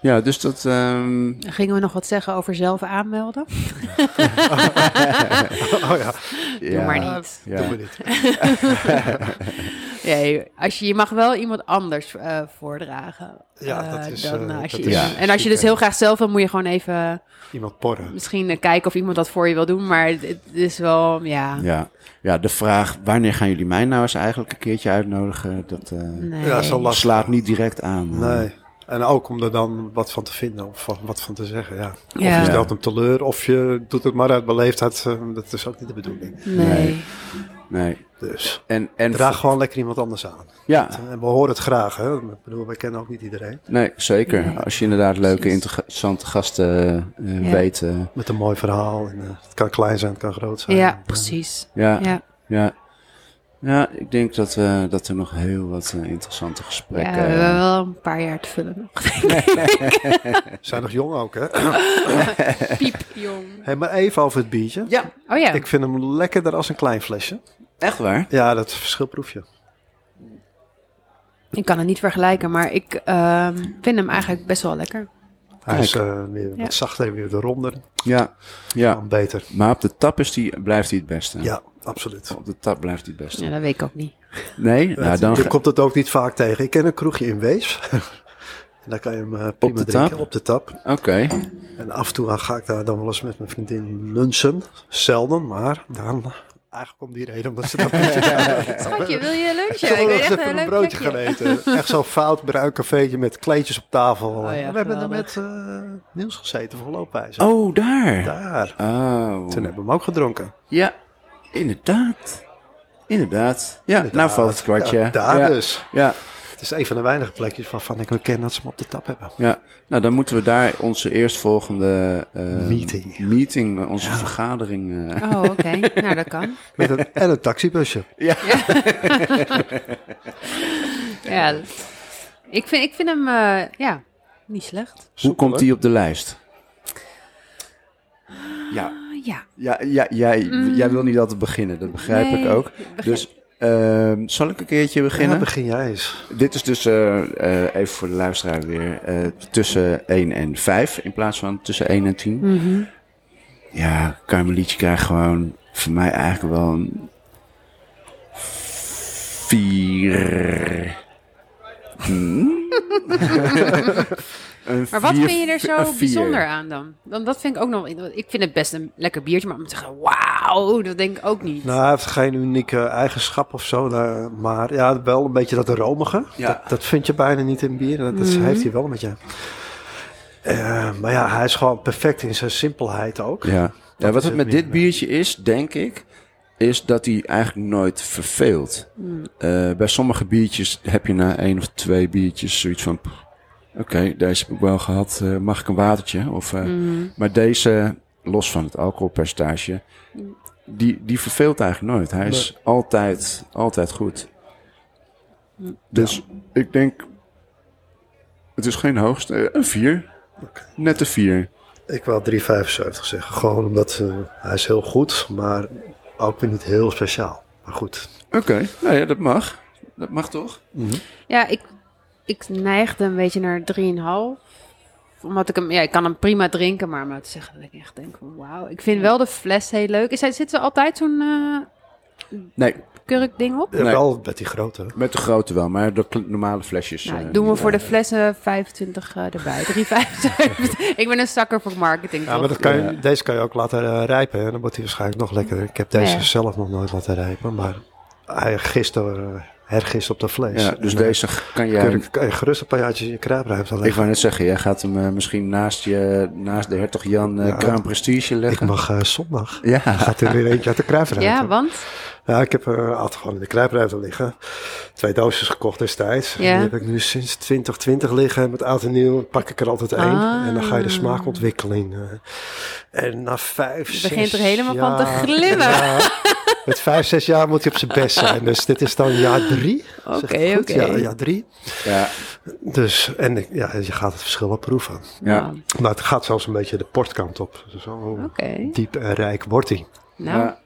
Speaker 1: Ja, dus dat... ehm,
Speaker 3: Gingen we nog wat zeggen over zelf aanmelden?
Speaker 2: *laughs* Oh ja,
Speaker 1: ja,
Speaker 3: Doe maar niet.
Speaker 1: ja.
Speaker 2: doe maar niet.
Speaker 3: Nee, als je, je mag wel iemand anders eh, voordragen.
Speaker 2: Ja,
Speaker 3: Eh,
Speaker 2: dat is,
Speaker 3: dan,
Speaker 2: eh,
Speaker 3: eh, als
Speaker 2: dat
Speaker 3: je-
Speaker 1: is
Speaker 3: En als je dus
Speaker 2: super.
Speaker 3: heel graag zelf wil, moet je gewoon even eh,
Speaker 2: Iemand porren.
Speaker 3: misschien eh, kijken of iemand dat voor je wil doen. Maar het, het is wel, ja.
Speaker 1: Ja. ja, de vraag wanneer gaan jullie mij nou eens eigenlijk een keertje uitnodigen, dat eh,
Speaker 3: Nee.
Speaker 2: Ja, zo lastig.
Speaker 1: slaat niet direct aan. eh.
Speaker 2: Nee. En ook om er dan wat van te vinden of van- wat van te zeggen. Ja. Of
Speaker 3: Ja.
Speaker 2: je stelt hem teleur of je doet het maar uit beleefdheid. eh, Dat is ook niet de bedoeling.
Speaker 3: Nee.
Speaker 1: Nee. Nee.
Speaker 2: Dus
Speaker 1: En, en
Speaker 2: draag gewoon lekker iemand anders aan.
Speaker 1: Ja,
Speaker 2: En we horen het graag. Hè? Ik bedoel, wij kennen ook niet iedereen.
Speaker 1: nee, zeker.
Speaker 3: Nee.
Speaker 1: Als je inderdaad leuke,
Speaker 3: Precies.
Speaker 1: interessante gasten eh,
Speaker 3: Ja.
Speaker 1: weet. eh,
Speaker 2: Met een mooi verhaal. En, eh, het kan klein zijn, het kan groot zijn.
Speaker 3: Ja, precies.
Speaker 1: ja, ja.
Speaker 3: Ja.
Speaker 1: ja. ik denk dat, we dat er nog heel wat eh, interessante
Speaker 3: Ja,
Speaker 1: gesprekken...
Speaker 3: we
Speaker 2: eh.
Speaker 3: hebben wel een paar jaar te vullen
Speaker 2: *laughs*
Speaker 3: nog.
Speaker 2: We zijn nog jong ook, hè? *clears throat*
Speaker 3: Piep, jong.
Speaker 2: Hey, maar even over het biertje.
Speaker 1: Ja,
Speaker 3: Oh ja.
Speaker 2: Ik vind hem lekkerder als een klein flesje.
Speaker 1: echt waar.
Speaker 2: Ja, dat verschil proef je.
Speaker 3: Ik kan het niet vergelijken, maar ik ehm, vind hem eigenlijk best wel lekker.
Speaker 2: Hij
Speaker 1: Kijk.
Speaker 2: is eh, weer
Speaker 3: Ja.
Speaker 2: wat zachter en weer wat ronder.
Speaker 1: Ja, ja.
Speaker 2: Dan beter.
Speaker 1: Maar op de tap is die, blijft hij het beste.
Speaker 2: Ja, absoluut.
Speaker 1: Op de tap blijft hij het beste.
Speaker 3: Ja, dat weet ik ook niet.
Speaker 1: Nee? Nou, dan
Speaker 2: je
Speaker 1: ga-
Speaker 2: komt het ook niet vaak tegen. Ik ken een kroegje in Wees. *laughs* en daar kan je hem eh, prima
Speaker 1: de
Speaker 2: drinken
Speaker 1: tap?
Speaker 2: op de tap.
Speaker 1: Oké.
Speaker 2: En af en toe ga ik daar dan wel eens met mijn vriendin lunchen. Zelden, maar dan... Eigenlijk om die reden, omdat ze dat
Speaker 1: *laughs*
Speaker 3: Schatje, wil je lunchen?
Speaker 2: Zullen
Speaker 3: Ik
Speaker 2: we
Speaker 3: weet
Speaker 2: eens
Speaker 3: echt
Speaker 2: even
Speaker 3: een
Speaker 2: een
Speaker 3: leuk
Speaker 2: broodje
Speaker 3: plekje.
Speaker 2: gaan eten? Echt zo'n fout bruin cafeetje met kleedjes op tafel.
Speaker 3: Oh ja,
Speaker 2: we hebben er met
Speaker 3: geweldig.
Speaker 2: eh Niels gezeten voor loopwijzer.
Speaker 1: Oh, daar.
Speaker 2: Daar.
Speaker 1: Oh.
Speaker 2: Toen hebben we hem ook gedronken.
Speaker 1: Ja, inderdaad. Inderdaad. Ja, nou valt het kwartje.
Speaker 2: Ja, daar
Speaker 1: ja.
Speaker 2: dus.
Speaker 1: Ja,
Speaker 2: Het is een van de weinige plekjes waarvan ik me ken dat ze hem op de tap hebben.
Speaker 1: ja. Nou, dan moeten we daar onze eerstvolgende... eh,
Speaker 2: Meeting.
Speaker 1: Meeting, eh, onze vergadering... eh,
Speaker 3: Oh, oké. *laughs* Nou, dat kan.
Speaker 1: *laughs*
Speaker 2: Met een, en een taxibusje.
Speaker 3: Ja. Ik vind, ik vind hem, eh, ja, niet slecht.
Speaker 1: hoe komt die op de lijst? Ja,
Speaker 3: Ah, ja.
Speaker 1: ja, ja jij, jij wil niet altijd beginnen, dat begrijp ik
Speaker 3: Nee,
Speaker 1: ook.
Speaker 3: begin-
Speaker 1: Dus ehm, zal ik een keertje
Speaker 2: Ja,
Speaker 1: beginnen?
Speaker 2: begin jij eens.
Speaker 1: Dit is dus, eh, eh, even voor de luisteraar weer, eh, tussen 1 en 5 in plaats van tussen 1 en 10.
Speaker 3: Mhm.
Speaker 1: Ja, Carmelietje krijgt gewoon voor mij eigenlijk wel een 4. Hmm?
Speaker 3: *laughs* Maar wat vind je er
Speaker 1: eh,
Speaker 3: zo bijzonder aan dan? Want dat vind ik ook nog. Ik vind het best een lekker biertje, maar om te zeggen, wauw, dat denk ik ook niet.
Speaker 2: Nou, hij heeft geen unieke eigenschap of zo. daar- Maar ja, wel een beetje dat romige.
Speaker 1: Ja.
Speaker 2: Dat, dat vind je bijna niet in bier. Dat, dat
Speaker 3: Mhm.
Speaker 2: heeft hij wel met je. Eh, maar ja, hij is gewoon perfect in zijn simpelheid ook.
Speaker 1: Ja. ja, wat
Speaker 2: is
Speaker 1: het
Speaker 2: het
Speaker 1: met
Speaker 2: meer,
Speaker 1: dit biertje is, denk ik, is dat hij eigenlijk nooit verveelt.
Speaker 2: Hmm.
Speaker 1: Eh, bij sommige biertjes heb je na één of twee biertjes zoiets van... "Pff, Oké, deze heb ik wel gehad. eh, mag ik een watertje? Of, eh,
Speaker 2: Hmm.
Speaker 1: Maar deze, los van het alcoholpercentage, die, die verveelt eigenlijk nooit. Hij is altijd, altijd goed.
Speaker 2: Hmm.
Speaker 1: Dus ik denk, het is geen hoogste, eh, een vier. Net een vier.
Speaker 2: Ik wil 3,75 zeggen. Gewoon omdat eh, hij is heel goed, maar ook weer niet heel speciaal. Maar goed.
Speaker 1: Oké, nou ja, dat mag. Dat mag toch?
Speaker 3: Ja, ik, ik neigde een beetje naar 3,5. Omdat ik hem, ja, ik kan hem prima drinken, maar om nou te zeggen dat ik echt denk, van, wauw. Ik vind wel de fles heel leuk. Is, hij- zit er altijd zo'n eh,
Speaker 1: Nee,
Speaker 3: kurkding op?
Speaker 2: Ja,
Speaker 1: Nee.
Speaker 2: Wel met die grote.
Speaker 1: met de grote wel, maar de kle- normale flesjes.
Speaker 3: Nou,
Speaker 1: eh,
Speaker 3: doen we
Speaker 1: niet.
Speaker 3: voor de flessen 25 eh,
Speaker 1: *laughs*
Speaker 3: erbij. 3,75. ik ben een zakker voor marketing.
Speaker 2: Ja, maar
Speaker 3: toch?
Speaker 2: dat kan je,
Speaker 1: Ja.
Speaker 2: deze kan je ook laten eh, rijpen. En dan wordt hij waarschijnlijk nog lekkerder. Ik heb deze
Speaker 3: Ja.
Speaker 2: zelf nog nooit laten rijpen. Maar hij gist door, eh, hergist op de vlees.
Speaker 1: Ja, dus
Speaker 2: En, eh,
Speaker 1: deze kan jij...
Speaker 2: kun je- kan je gerust een paar jaartjes in je kruipruimte
Speaker 1: Ik
Speaker 2: leggen.
Speaker 1: wou net zeggen, jij gaat hem eh, misschien naast, je, naast de hertog Jan eh
Speaker 2: Ja.
Speaker 1: Kraan Prestige
Speaker 2: Ik,
Speaker 1: leggen.
Speaker 2: mag eh, zondag.
Speaker 1: Ja,
Speaker 2: Gaat er weer eentje uit de kruipruimte.
Speaker 3: Ja, want?
Speaker 2: Ja, ik heb eh altijd gewoon in de kruipruimte liggen. Twee doosjes gekocht destijds.
Speaker 3: Ja.
Speaker 2: Die heb ik nu sinds 2020 liggen. Met oud en nieuw pak ik er altijd één.
Speaker 3: Ah.
Speaker 2: En dan ga je de smaakontwikkeling. eh. en na vijf,
Speaker 3: Je
Speaker 2: zes
Speaker 3: begint er helemaal van te
Speaker 2: jaar-
Speaker 3: glimmen.
Speaker 2: Ja, met vijf, zes jaar moet hij op zijn best zijn. Dus dit is dan jaar drie. Zeg ik
Speaker 3: Oké,
Speaker 2: goed?
Speaker 3: oké.
Speaker 2: Ja, jaar drie.
Speaker 1: ja,
Speaker 2: Dus, en ik- ja, je gaat het verschil wel proeven.
Speaker 1: ja.
Speaker 3: Nou,
Speaker 2: Maar het gaat zelfs een beetje de portkant op. Zo
Speaker 3: Oké.
Speaker 2: diep en rijk wordt hij.
Speaker 3: Nou,
Speaker 1: Ja.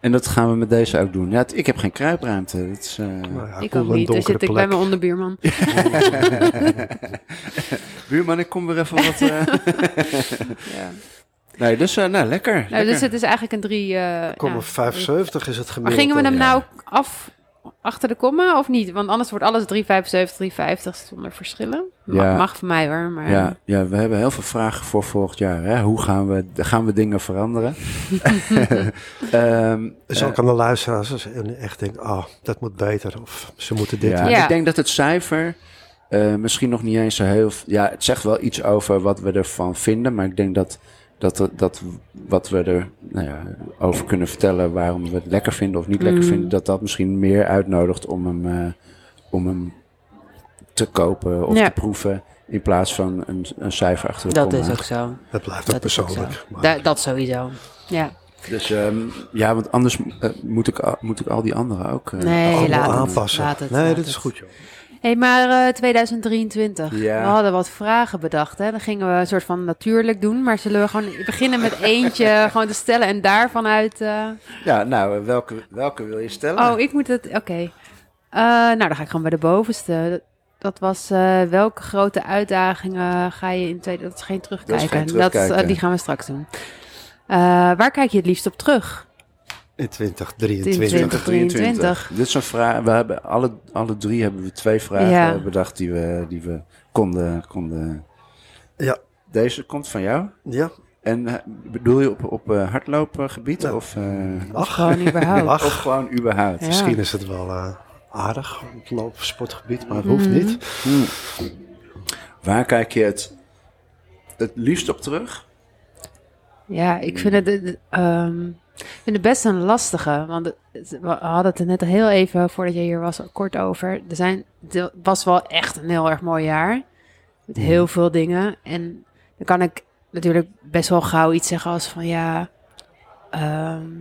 Speaker 1: En dat gaan we met deze ook doen. Ja, het- ik heb geen kruipruimte. Dat is, eh,
Speaker 2: Nou ja,
Speaker 3: ik
Speaker 2: cool,
Speaker 3: ook
Speaker 2: een
Speaker 3: niet.
Speaker 2: donkere
Speaker 3: Dan zit ik bij
Speaker 2: plek.
Speaker 3: mijn
Speaker 2: *laughs*
Speaker 3: onderbuurman.
Speaker 1: Buurman, ik kom weer even wat... eh,
Speaker 3: Ja.
Speaker 1: *laughs* Nee, dus eh, nou, lekker.
Speaker 3: Nou,
Speaker 1: lekker.
Speaker 3: dus het is eigenlijk een drie... eh,
Speaker 2: Kom,
Speaker 3: ja.
Speaker 2: 75 is het
Speaker 3: Maar
Speaker 2: gemiddelde.
Speaker 3: gingen we hem
Speaker 1: ja.
Speaker 3: nou af achter de komma of niet? Want anders wordt alles 3,75, 3,50 zonder verschillen. Mag,
Speaker 1: Ja.
Speaker 3: mag van mij hoor, maar...
Speaker 1: Ja, ja, we hebben heel veel vragen voor volgend jaar. Hè? Hoe gaan we, gaan we dingen
Speaker 3: *laughs*
Speaker 1: veranderen? *laughs* Ehm,
Speaker 2: Dus ook aan de luisteraars als- en echt denken, ah, dat moet beter. Of ze moeten dit
Speaker 1: ja,
Speaker 3: Ja.
Speaker 1: Ik denk dat het cijfer eh, misschien nog niet eens zo heel... Ja, het zegt wel iets over wat we ervan vinden. Maar ik denk dat, dat, er- dat wat we er nou ja, over kunnen vertellen... waarom we het lekker vinden of niet lekker
Speaker 3: Mm.
Speaker 1: vinden... dat dat misschien meer uitnodigt om hem, eh, om hem te kopen of
Speaker 3: Ja.
Speaker 1: te proeven... in plaats van een, een cijfer achter de
Speaker 4: Dat
Speaker 1: komma.
Speaker 4: is ook zo.
Speaker 2: Dat blijft ook
Speaker 4: Dat is ook
Speaker 2: persoonlijk. Maar
Speaker 4: Da- dat sowieso.
Speaker 3: Ja.
Speaker 1: Dus ehm, ja, want anders eh, moet, ik, al- moet ik al die anderen ook. eh,
Speaker 3: Nee,
Speaker 2: allemaal
Speaker 3: laat het.
Speaker 2: aanpassen.
Speaker 4: Laat het,
Speaker 2: nee,
Speaker 4: laat
Speaker 2: dit is
Speaker 4: het.
Speaker 2: goed, joh.
Speaker 3: hey, maar eh, 2023.
Speaker 1: Ja.
Speaker 3: We hadden wat vragen bedacht. Hè? Dan gingen we een soort van natuurlijk doen. Maar zullen we gewoon beginnen met *laughs* eentje gewoon te stellen en daarvan uit... eh,
Speaker 1: Ja, nou, eh, welke, welke wil je stellen?
Speaker 3: Oh, ik moet het... Oké. Eh, nou, dan ga ik gewoon bij de bovenste. Dat, dat was eh, welke grote uitdagingen ga je in tweede... Dat is geen terugkijken.
Speaker 1: geen
Speaker 3: eh,
Speaker 1: terugkijken.
Speaker 3: die gaan we straks doen. Eh, waar kijk je het liefst op terug?
Speaker 2: In
Speaker 3: 20.
Speaker 2: 2023.
Speaker 3: 23.
Speaker 1: Dit is een vraag. We hebben alle, alle drie hebben we twee vragen
Speaker 3: Ja.
Speaker 1: eh, bedacht die we, die we konden, konden.
Speaker 2: Ja.
Speaker 1: Deze komt van jou.
Speaker 2: Ja,
Speaker 1: En eh, bedoel je op, op eh, hardloopgebied?
Speaker 2: Ja.
Speaker 1: Of, eh,
Speaker 2: ach,
Speaker 3: Gewoon überhaupt.
Speaker 2: Ach.
Speaker 1: of gewoon überhaupt?
Speaker 3: Ja.
Speaker 2: misschien is het wel eh, aardig, op het loop- sportgebied, maar het hoeft
Speaker 3: Mhm.
Speaker 2: niet.
Speaker 1: Hmm. Waar kijk je het, het liefst op terug?
Speaker 3: Ja, ik vind het, het, ehm, ik vind het best een lastige. Want het- we hadden het er net heel even voordat je hier was kort over. Er zijn, het was wel echt een heel erg mooi jaar. Met heel veel dingen. En dan kan ik natuurlijk best wel gauw iets zeggen als van ja. ehm,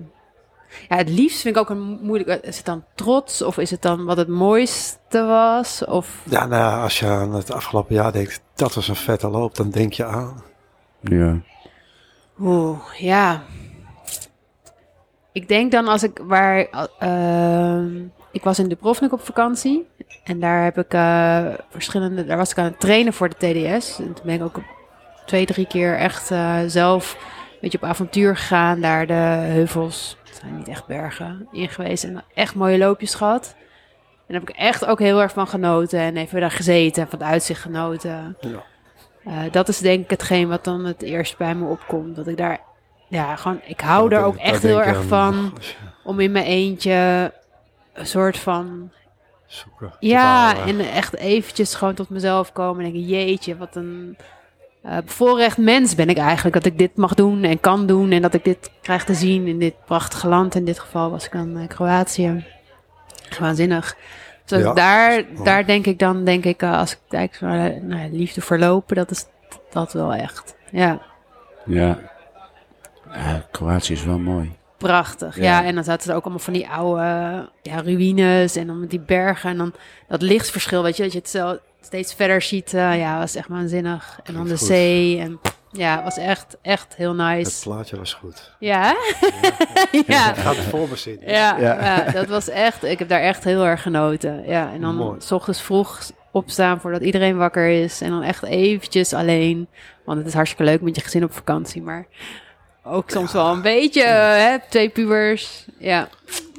Speaker 3: ja, het liefst vind ik ook een mo- moeilijk. Is het dan trots of is het dan wat het mooiste was? Of
Speaker 2: Ja, nou, ja, als je aan het afgelopen jaar denkt, dat was een vette loop, dan denk je aan.
Speaker 1: Ja.
Speaker 3: Oeh, ja. Ik denk dan als ik waar. ehm, ik was in Dubrovnik op vakantie. En daar heb ik eh, verschillende. Daar was ik aan het trainen voor de TDS. En toen ben ik ook twee, drie keer echt eh, zelf een beetje op avontuur gegaan. Daar de heuvels, het zijn niet echt bergen, in geweest. En echt mooie loopjes gehad. En daar heb ik echt ook heel erg van genoten. En even daar gezeten en van het uitzicht genoten.
Speaker 2: Ja.
Speaker 3: Eh, dat is denk ik hetgeen wat dan het eerst bij me opkomt. Dat ik daar, ja, gewoon, ik hou
Speaker 2: Daar
Speaker 3: daar ook
Speaker 2: denk-
Speaker 3: echt
Speaker 2: daar
Speaker 3: heel
Speaker 2: denk
Speaker 3: erg
Speaker 2: je aan,
Speaker 3: van.
Speaker 2: als je
Speaker 3: Om in mijn eentje een soort van
Speaker 2: Zoeken.
Speaker 3: ja,
Speaker 2: eh, Te bouwen.
Speaker 3: en echt eventjes gewoon tot mezelf komen en denken, jeetje, wat een eh bevoorrecht mens ben ik eigenlijk. Dat ik dit mag doen en kan doen en dat ik dit krijg te zien in dit prachtige land. In dit geval was ik dan eh, Kroatië. Waanzinnig. Dus als
Speaker 2: Ja,
Speaker 3: ik daar,
Speaker 2: mooi.
Speaker 3: daar denk ik dan, denk ik, eh, als ik kijk naar eh, nou, liefde verlopen, dat is dat wel echt. Ja,
Speaker 1: ja. Ja, Kroatië is wel mooi.
Speaker 3: prachtig. Ja,
Speaker 1: Ja.
Speaker 3: en dan zaten er ook allemaal van die oude ja, ruïnes en dan met die bergen en dan dat lichtverschil, weet je, dat je het zo steeds verder ziet. eh, ja, was echt waanzinnig. En dan de
Speaker 2: Klinkt goed.
Speaker 3: zee en ja, was echt, echt
Speaker 2: Het
Speaker 3: heel nice.
Speaker 2: plaatje was goed.
Speaker 3: Ja, hè? *laughs* ja.
Speaker 2: Gaat het voor me
Speaker 3: *laughs*
Speaker 2: zitten.
Speaker 3: Ja,
Speaker 1: Ja.
Speaker 3: ja, dat was echt. Ik heb daar echt heel erg genoten. Ja, en dan
Speaker 2: Mooi.
Speaker 3: s ochtends vroeg opstaan voordat iedereen wakker is. En dan echt eventjes alleen. Want het is hartstikke leuk met je gezin op vakantie. Maar ook soms wel een beetje, hè, twee pubers. Ja,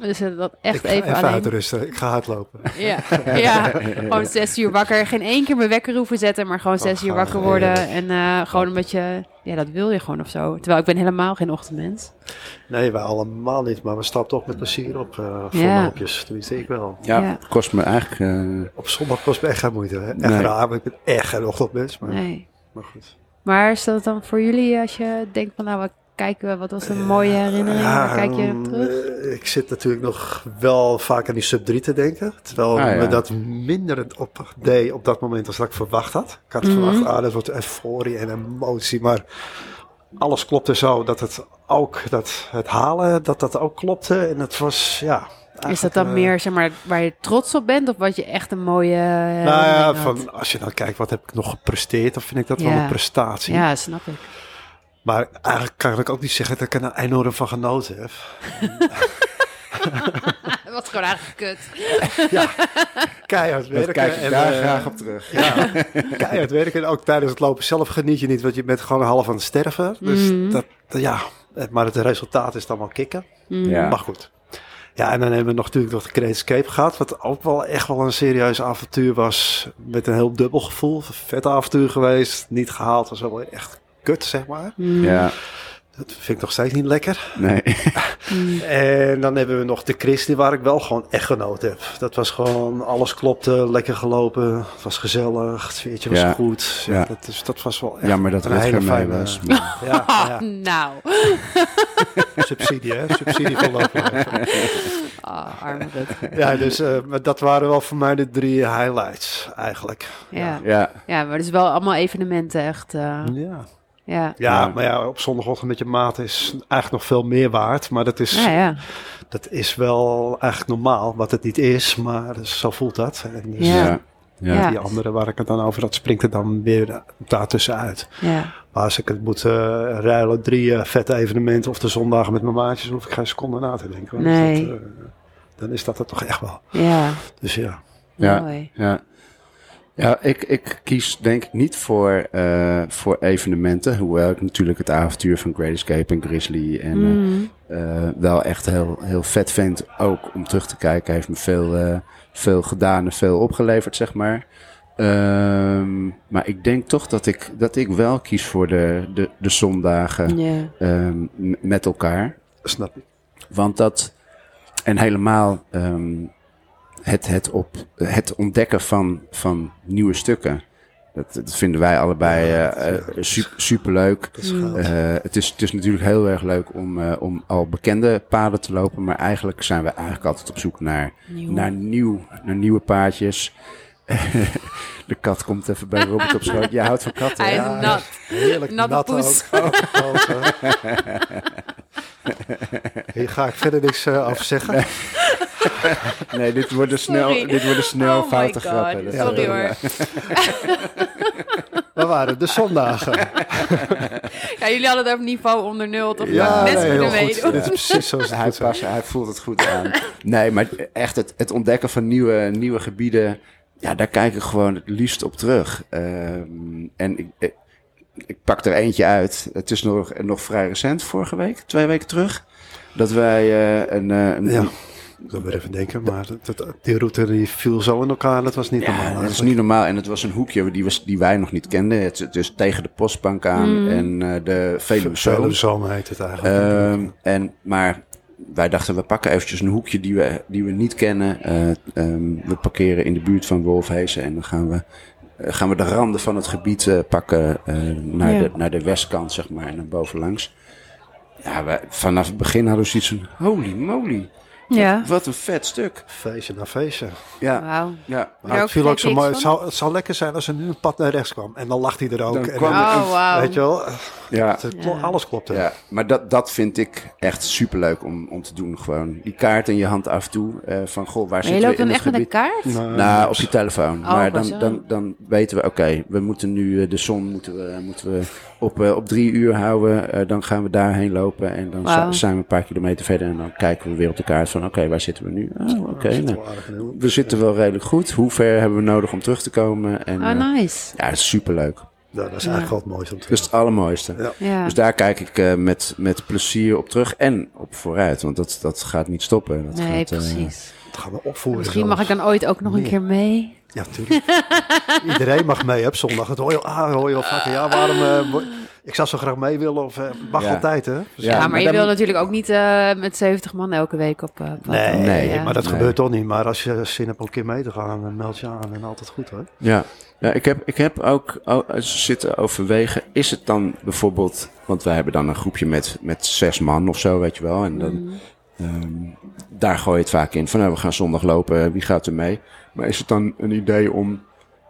Speaker 3: dus eh, dat echt
Speaker 2: ik ga
Speaker 3: even,
Speaker 2: even
Speaker 3: alleen.
Speaker 2: uitrusten. Ik ga hardlopen.
Speaker 3: Ja, ja, gewoon zes uur wakker. Geen één keer mijn wekker hoeven zetten, maar gewoon zes uur
Speaker 2: gaan
Speaker 3: wakker
Speaker 2: we.
Speaker 3: worden. En eh, gewoon een beetje, ja, dat wil je gewoon of zo. Terwijl ik ben helemaal geen ochtendmens.
Speaker 2: Nee, wij allemaal niet, maar we stappen toch met plezier op eh voor
Speaker 3: Ja.
Speaker 2: loopjes. Tenminste, ik wel.
Speaker 1: Ja,
Speaker 3: Ja.
Speaker 1: het kost me eigenlijk... eh,
Speaker 2: Op zondag kost me echt geen moeite. Hè? Echt
Speaker 1: Nee.
Speaker 2: raar, want ik ben echt geen ochtendmens. Maar,
Speaker 3: Nee.
Speaker 2: maar goed.
Speaker 3: Maar is dat dan voor jullie als je denkt van nou, wat kijken we, wat was een mooie herinnering? Waar kijk je op
Speaker 2: mm,
Speaker 3: terug?
Speaker 2: eh, Ik zit natuurlijk nog wel vaak aan die sub 3 te denken. Terwijl
Speaker 1: Ah, ja.
Speaker 2: me dat minder het op deed op dat moment als dat ik verwacht had. Ik had
Speaker 3: Mhm.
Speaker 2: verwacht, ah, dat wordt euforie en emotie. Maar alles klopte zo dat het ook, dat het halen, dat dat ook klopte. En het was, ja...
Speaker 3: Is dat
Speaker 2: eigenlijk,
Speaker 3: dan
Speaker 2: eh,
Speaker 3: meer zeg maar, waar je trots op bent of wat je echt een mooie.
Speaker 2: Nou
Speaker 3: herinnering
Speaker 2: ja,
Speaker 3: had?
Speaker 2: van, als je dan kijkt wat heb ik nog gepresteerd, dan vind ik dat wel
Speaker 3: Ja.
Speaker 2: een prestatie.
Speaker 3: ja, snap ik.
Speaker 2: Maar eigenlijk kan ik ook niet zeggen dat ik er nou enorm van genoten heb.
Speaker 3: *laughs* Dat was gewoon eigenlijk kut.
Speaker 2: Keihard
Speaker 1: Daar
Speaker 2: werken.
Speaker 1: kijk ik
Speaker 2: en,
Speaker 1: daar
Speaker 2: eh,
Speaker 1: graag op terug.
Speaker 2: Ja, keihard werken. En ook tijdens het lopen zelf geniet je niet, want je bent gewoon half aan het sterven. Dus
Speaker 3: Mhm.
Speaker 2: dat, ja, maar het resultaat is dan wel kicken.
Speaker 3: Mm.
Speaker 1: Ja.
Speaker 2: Maar goed. Ja, en dan hebben we nog natuurlijk nog de Great Escape gehad. Wat ook wel echt wel een serieus avontuur was. Met een heel dubbel gevoel. Vet avontuur geweest. Niet gehaald. Was wel echt kut, zeg maar.
Speaker 1: Ja,
Speaker 2: Dat vind ik nog steeds niet lekker.
Speaker 1: nee.
Speaker 2: En dan hebben we nog de Christie, waar ik wel gewoon echt genoten heb. Dat was gewoon, alles klopte, lekker gelopen. Het was gezellig, het sfeertje was
Speaker 1: Ja,
Speaker 2: goed. Ja,
Speaker 1: ja.
Speaker 2: Dat, is, dat was wel echt
Speaker 1: Jammer dat
Speaker 2: een hele
Speaker 1: Rutger mee
Speaker 2: fijne...
Speaker 1: was. maar-
Speaker 2: Ja, ja,
Speaker 3: *laughs* Nou,
Speaker 2: subsidie hè, subsidie van
Speaker 1: *laughs*
Speaker 2: lopen.
Speaker 3: Ah, arme Rutger.
Speaker 2: Ja, dus eh, maar dat waren wel voor mij de drie highlights eigenlijk.
Speaker 3: Ja.
Speaker 1: Ja,
Speaker 3: ja, maar het is wel allemaal evenementen echt. eh,
Speaker 2: Ja.
Speaker 3: ja.
Speaker 2: ja,
Speaker 1: Ja.
Speaker 2: maar ja, op zondagochtend met je maat is eigenlijk nog veel meer waard. Maar dat is,
Speaker 3: Ja, ja.
Speaker 2: dat is wel eigenlijk normaal, wat het niet is. Maar dus zo voelt dat. En dus,
Speaker 3: Ja.
Speaker 1: ja, ja.
Speaker 3: Ja.
Speaker 2: Die andere waar ik het dan over had, springt er dan weer daartussenuit.
Speaker 3: ja.
Speaker 2: Maar als ik het moet eh, ruilen, drie eh, vette evenementen of de zondagen met mijn maatjes, dan hoef ik geen seconde na te denken. want
Speaker 3: Nee.
Speaker 2: dat, eh, dan is dat het toch echt wel.
Speaker 3: ja.
Speaker 2: Dus ja.
Speaker 1: Ja.
Speaker 3: Mooi.
Speaker 1: Ja, ja ik, ik kies denk ik niet voor, eh, voor evenementen. Hoewel ik natuurlijk het avontuur van Great Escape en Grizzly en eh,
Speaker 3: Mm.
Speaker 1: eh, wel echt heel, heel vet vind. Ook om terug te kijken, heeft me veel, eh, veel gedaan en veel opgeleverd, zeg maar. Ehm, maar ik denk toch dat ik, dat ik wel kies voor de, de, de zondagen
Speaker 3: Ja.
Speaker 1: ehm, m- met elkaar.
Speaker 2: Snap ik.
Speaker 1: Want dat, en helemaal ehm, het, het, op, het ontdekken van, van nieuwe stukken. Dat, dat vinden wij allebei eh,
Speaker 2: Ja, dat
Speaker 1: eh, su- superleuk.
Speaker 2: Dat is goud.
Speaker 1: Eh, het, is, het is natuurlijk heel erg leuk om, eh, om al bekende paden te lopen. Maar eigenlijk zijn we eigenlijk altijd op zoek naar,
Speaker 3: Nieuw.
Speaker 1: naar, nieuw, naar nieuwe paadjes. *laughs* De kat komt even bij Robert op schoot. Jij houdt van katten,
Speaker 3: Hij
Speaker 1: hè?
Speaker 3: is
Speaker 2: Ja,
Speaker 3: nat.
Speaker 2: Heerlijk
Speaker 3: Natte
Speaker 2: nat
Speaker 3: poes.
Speaker 2: ook. Oh, God, hè. Hier ga ik verder niks eh af zeggen.
Speaker 1: Nee, dit worden snel,
Speaker 3: *laughs* Sorry.
Speaker 1: dit worden snel
Speaker 3: Oh my
Speaker 1: foute
Speaker 3: God.
Speaker 1: grappen. Dat-
Speaker 3: Sorry
Speaker 1: eh,
Speaker 3: hoor.
Speaker 2: We waren de zondagen.
Speaker 3: Ja, jullie hadden het over niveau onder nul. Toch?
Speaker 1: Ja,
Speaker 3: Ja,
Speaker 1: nee,
Speaker 3: best
Speaker 1: heel
Speaker 3: kunnen
Speaker 1: goed.
Speaker 3: meedoen.
Speaker 2: Dit is precies zoals het
Speaker 1: Hij,
Speaker 2: moet zijn.
Speaker 1: past, hij voelt het goed aan. Nee, maar echt het, het ontdekken van nieuwe, nieuwe gebieden. Ja, daar kijk ik gewoon het liefst op terug. Ehm, en ik, ik, ik pak er eentje uit. Het is nog, nog vrij recent, vorige week, twee weken terug. Dat wij eh, een, eh, een,
Speaker 2: Ja, ik wil weer even denken, maar dat, dat- die route die viel zo in elkaar, dat was niet normaal.
Speaker 1: Ja, dat is
Speaker 2: eigenlijk.
Speaker 1: niet normaal. En het was een hoekje die, was, die wij nog niet kenden. Het, het is tegen de postbank aan en eh, de Veluwe Zoom.
Speaker 2: Veluwezoom heet het eigenlijk.
Speaker 1: Ehm, en, maar wij dachten, we pakken eventjes een hoekje die we, die we niet kennen. Eh, ehm, we parkeren in de buurt van Wolfhezen en dan gaan we, eh, gaan we de randen van het gebied eh, pakken eh, naar,
Speaker 3: Ja.
Speaker 1: de, naar de westkant, zeg maar, en dan bovenlangs. Ja, we, vanaf het begin hadden we zoiets van, holy moly,
Speaker 3: Ja.
Speaker 1: wat een vet stuk.
Speaker 2: feestje na feestje.
Speaker 1: Ja,
Speaker 3: Wauw.
Speaker 1: ja.
Speaker 2: Maar
Speaker 3: Ja,
Speaker 2: het
Speaker 3: ook
Speaker 2: viel ook zo
Speaker 3: geen
Speaker 2: mooi.
Speaker 3: niks
Speaker 2: Het zou, het zou lekker zijn als er nu een pad naar rechts kwam. En dan lag hij er ook.
Speaker 1: Dan
Speaker 2: en
Speaker 1: kwam
Speaker 2: dan-
Speaker 1: er
Speaker 3: Oh, wauw.
Speaker 2: Weet je wel,
Speaker 1: ja.
Speaker 2: het klo-
Speaker 3: Ja.
Speaker 2: alles klopte.
Speaker 1: Ja, maar dat, dat vind ik echt superleuk om, om te doen. Gewoon die kaart in je hand af en toe. eh, van, goh, waar
Speaker 3: Maar je
Speaker 1: zitten we
Speaker 3: loopt
Speaker 1: in
Speaker 3: dan
Speaker 1: het
Speaker 3: echt met een
Speaker 1: gebied?
Speaker 3: kaart?
Speaker 2: Nou,
Speaker 1: Nou, op je telefoon. maar dan,
Speaker 3: zo.
Speaker 1: dan, dan weten we, oké, we moeten nu eh, de zon moeten we, moeten we op, eh, op drie uur houden. Eh, dan gaan we daarheen lopen en dan
Speaker 3: Wauw.
Speaker 1: zi- zijn we een paar kilometer verder. En dan kijken we weer op de kaart van, oké, waar zitten we nu? Oh, oké,
Speaker 2: dat is
Speaker 1: nou,
Speaker 2: wel aardig in de hoek.
Speaker 1: we zitten wel redelijk goed. Hoe ver hebben we nodig om terug te komen? En, eh,
Speaker 3: Oh, nice.
Speaker 1: ja, het is superleuk.
Speaker 2: Nou, dat is
Speaker 3: Ja.
Speaker 2: eigenlijk wel het mooiste om te
Speaker 1: Dat is het allermooiste.
Speaker 2: Ja.
Speaker 3: Ja.
Speaker 1: Dus daar kijk ik eh, met, met plezier op terug en op vooruit. Want dat, dat gaat niet stoppen. Dat
Speaker 3: Nee,
Speaker 1: gaat, eh,
Speaker 3: precies.
Speaker 2: Dat gaan we opvoeren.
Speaker 3: Misschien
Speaker 2: zelfs.
Speaker 3: mag ik dan ooit ook nog een keer mee.
Speaker 2: Ja, tuurlijk.
Speaker 3: *laughs*
Speaker 2: Iedereen mag mee hè, op zondag. Dat hoor je, ah, hoor je al vaker. Ja, waarom... eh, wo- ik zou zo graag mee willen. Of, eh, mag
Speaker 1: Ja.
Speaker 2: altijd, hè?
Speaker 1: Ja,
Speaker 3: Ja, maar,
Speaker 1: maar
Speaker 3: je
Speaker 1: dan-
Speaker 3: wil natuurlijk ook niet eh, met 70 man elke week op eh pad.
Speaker 2: Nee,
Speaker 1: Nee,
Speaker 3: ja.
Speaker 2: maar dat
Speaker 1: Nee.
Speaker 2: gebeurt toch niet. Maar als je zin hebt om een keer mee te gaan, dan meld je aan en altijd goed hoor.
Speaker 1: Ja, ja ik, heb, ik heb ook o- zitten overwegen. Is het dan bijvoorbeeld. Want wij hebben dan een groepje met, met zes man of zo, weet je wel. En dan,
Speaker 3: Mhm.
Speaker 1: ehm, daar gooi je het vaak in. Van nou, we gaan zondag lopen, wie gaat er mee? Maar is het dan een idee om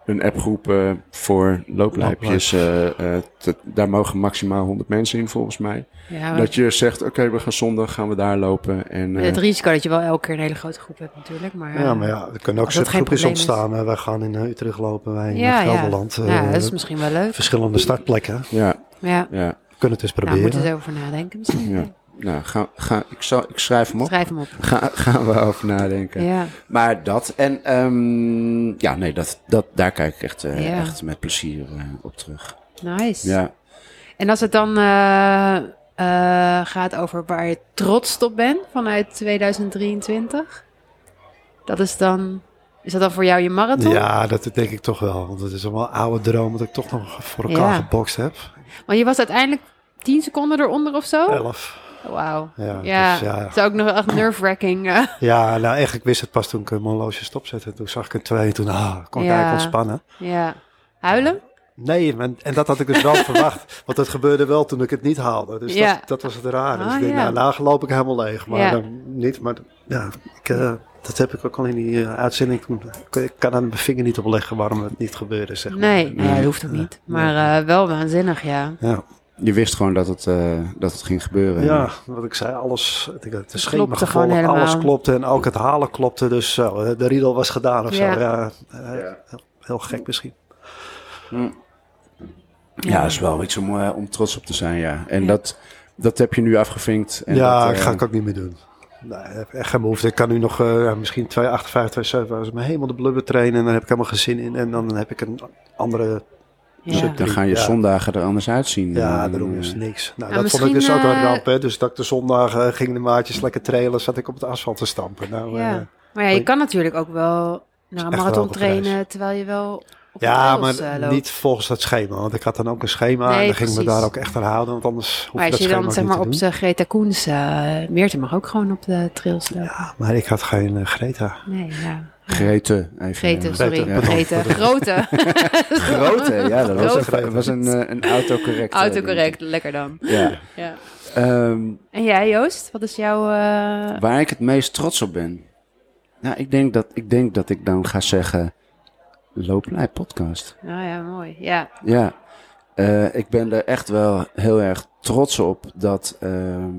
Speaker 1: een appgroep eh, voor looplijpjes. eh, eh, te- daar mogen maximaal 100 mensen in volgens mij.
Speaker 3: Ja, maar
Speaker 1: Dat je zegt, oké, we gaan zondag, gaan we daar lopen. En, eh,
Speaker 3: Het risico dat je wel elke keer een hele grote groep hebt natuurlijk. Maar,
Speaker 2: Ja, maar ja, er kunnen ook
Speaker 3: Als dat geen
Speaker 2: subgroepjes
Speaker 3: probleem is.
Speaker 2: ontstaan. hè. Wij gaan in eh, Utrecht lopen, wij in
Speaker 3: ja,
Speaker 2: eh,
Speaker 3: ja.
Speaker 2: Gelderland. eh,
Speaker 3: Ja, dat is misschien wel leuk.
Speaker 2: Verschillende startplekken.
Speaker 1: ja,
Speaker 3: Ja, Nou,
Speaker 1: ja,
Speaker 2: Kunnen het eens
Speaker 3: daar
Speaker 2: proberen.
Speaker 3: moeten ze over nadenken misschien.
Speaker 1: ja. Nou, ga, ga, ik, zal, ik schrijf hem op.
Speaker 3: Schrijf hem op.
Speaker 1: Ga, gaan we over nadenken.
Speaker 3: Ja.
Speaker 1: Maar dat en ehm, ja, nee, dat, dat, daar kijk ik echt, eh,
Speaker 3: Ja.
Speaker 1: echt met plezier eh, op terug.
Speaker 3: Nice.
Speaker 1: Ja.
Speaker 3: En als het dan eh, eh, gaat over waar je trots op bent vanuit 2023, dat is dan. Is dat dan voor jou je marathon?
Speaker 2: Ja, dat denk ik toch wel. Want het is allemaal een oude droom dat ik toch nog voor elkaar
Speaker 3: Ja.
Speaker 2: gebokst heb.
Speaker 3: Want je was uiteindelijk 10 seconden eronder of zo?
Speaker 2: Elf.
Speaker 3: Wauw.
Speaker 2: Ja,
Speaker 3: Ja,
Speaker 2: dus ja.
Speaker 3: het is ook nog echt nerve-wracking. eh.
Speaker 2: Ja, nou echt, ik wist het pas toen ik mijn horloge stopzette. Toen zag ik een twee en toen ah, kon ik
Speaker 3: Ja.
Speaker 2: eigenlijk ontspannen.
Speaker 3: ja. Huilen?
Speaker 2: Nee, en, en dat had ik
Speaker 3: *laughs*
Speaker 2: dus wel verwacht. Want dat gebeurde wel toen ik het niet haalde. Dus
Speaker 3: Ja.
Speaker 2: dat, dat was het rare. Dus
Speaker 3: Ah,
Speaker 2: ik denk,
Speaker 3: ja.
Speaker 2: nou, nou loop ik helemaal leeg. Maar
Speaker 3: Ja.
Speaker 2: eh, niet, maar ja, ik, eh, dat heb ik ook al in die eh, uitzending. toen- Ik, ik kan aan mijn vinger niet opleggen waarom het niet gebeurde, zeg maar.
Speaker 3: Nee, nee, dat hoeft ook niet. Maar eh, wel waanzinnig, ja.
Speaker 2: Ja.
Speaker 1: Je wist gewoon dat het, eh, dat het ging gebeuren.
Speaker 2: Ja, wat ik zei, alles, ik, het schema
Speaker 3: klopte gewoon
Speaker 2: gevolg, alles
Speaker 3: helemaal.
Speaker 2: klopte en ook het halen klopte. Dus zo, eh, de riedel was gedaan of
Speaker 3: Ja.
Speaker 2: zo. Ja, eh, heel, heel gek misschien.
Speaker 1: Ja, is wel iets om, eh, om trots op te zijn, ja. En Dat, dat heb je nu afgevinkt. En
Speaker 2: ja,
Speaker 1: dat,
Speaker 2: dat
Speaker 1: eh,
Speaker 2: ga ik ook niet meer doen. Nee, ik heb echt geen behoefte. Ik kan nu nog eh, ja, misschien 2,58, 2,7 als ik me helemaal de blubber trainen. En dan heb ik helemaal geen zin in. En dan heb ik een andere...
Speaker 3: ja.
Speaker 1: Dan gaan je
Speaker 2: Ja.
Speaker 1: zondagen er anders uitzien.
Speaker 2: Ja,
Speaker 1: Eh,
Speaker 2: daarom is niks. Nou,
Speaker 3: Ja,
Speaker 2: dat vond ik dus
Speaker 3: misschien,
Speaker 2: ook een
Speaker 3: eh,
Speaker 2: ramp. Hè. Dus dat ik de zondag eh, ging de maatjes lekker trailen. Zat ik op het asfalt te stampen. Nou, eh,
Speaker 3: Ja. Maar ja, je kan natuurlijk ook wel naar een
Speaker 2: echt wel
Speaker 3: marathon
Speaker 2: op reis.
Speaker 3: trainen terwijl je wel op
Speaker 2: Ja,
Speaker 3: de trails,
Speaker 2: maar
Speaker 3: eh, loopt.
Speaker 2: niet volgens dat schema. Want ik had dan ook een schema
Speaker 3: Nee,
Speaker 2: en dan gingen we
Speaker 3: precies.
Speaker 2: daar ook echt aan houden. Want anders hoef
Speaker 3: Maar
Speaker 2: je
Speaker 3: als
Speaker 2: dat
Speaker 3: je
Speaker 2: schema
Speaker 3: dan
Speaker 2: ook
Speaker 3: zeg
Speaker 2: niet
Speaker 3: maar
Speaker 2: te
Speaker 3: op
Speaker 2: doen.
Speaker 3: zijn Greta Koens, eh Meerte mag ook gewoon op de trails lopen.
Speaker 2: Ja, maar ik had geen eh, Greta.
Speaker 3: Nee, ja.
Speaker 1: Grete. Even, eh,
Speaker 3: Greta, sorry.
Speaker 2: Grete, pardon.
Speaker 3: Greta. *laughs* Grote.
Speaker 1: Grote, ja, dat was,
Speaker 2: Grote.
Speaker 1: dat was een, eh, een autocorrect. eh,
Speaker 3: Autocorrect, lekker dan.
Speaker 1: ding. Ja.
Speaker 3: Ja.
Speaker 1: Ehm,
Speaker 3: En jij, Joost? Wat is jouw... eh,
Speaker 1: waar ik het meest trots op ben. Nou, ik denk dat ik, denk dat ik dan ga zeggen. Looplei podcast.
Speaker 3: Nou ja, mooi. Ja.
Speaker 1: Ja, eh, ik ben er echt wel heel erg trots op dat, ehm,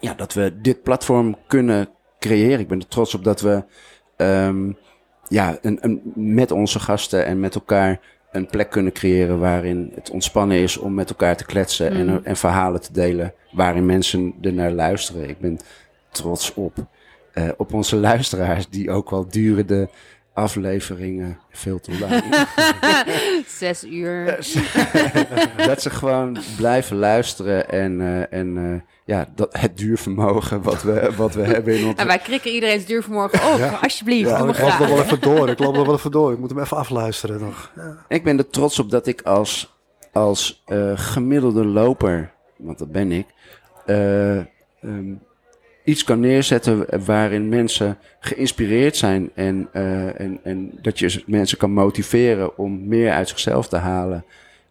Speaker 1: ja, dat we dit platform kunnen creëren. Ik ben er trots op dat we ehm, ja, een, een, met onze gasten en met elkaar een plek kunnen creëren waarin het ontspannen is om met elkaar te kletsen en, en verhalen te delen waarin mensen er naar luisteren. Ik ben trots op, eh, op onze luisteraars die ook al duren de afleveringen veel te lang.
Speaker 3: Zes uur.
Speaker 1: dat ze gewoon blijven luisteren en, eh, en eh, ja, dat, het duurvermogen wat we, wat we hebben in ons.
Speaker 3: En wij krikken iedereen's duur vanmorgen op. Alsjeblieft, doe me
Speaker 2: ik loop er
Speaker 3: graag.
Speaker 2: wel even door. Ik loop er wel even door. Ik moet hem even afluisteren nog.
Speaker 1: Ik ben er trots op dat ik als, als eh, gemiddelde loper, want dat ben ik, eh, ehm, iets kan neerzetten waarin mensen geïnspireerd zijn. En, eh, en, en dat je mensen kan motiveren om meer uit zichzelf te halen.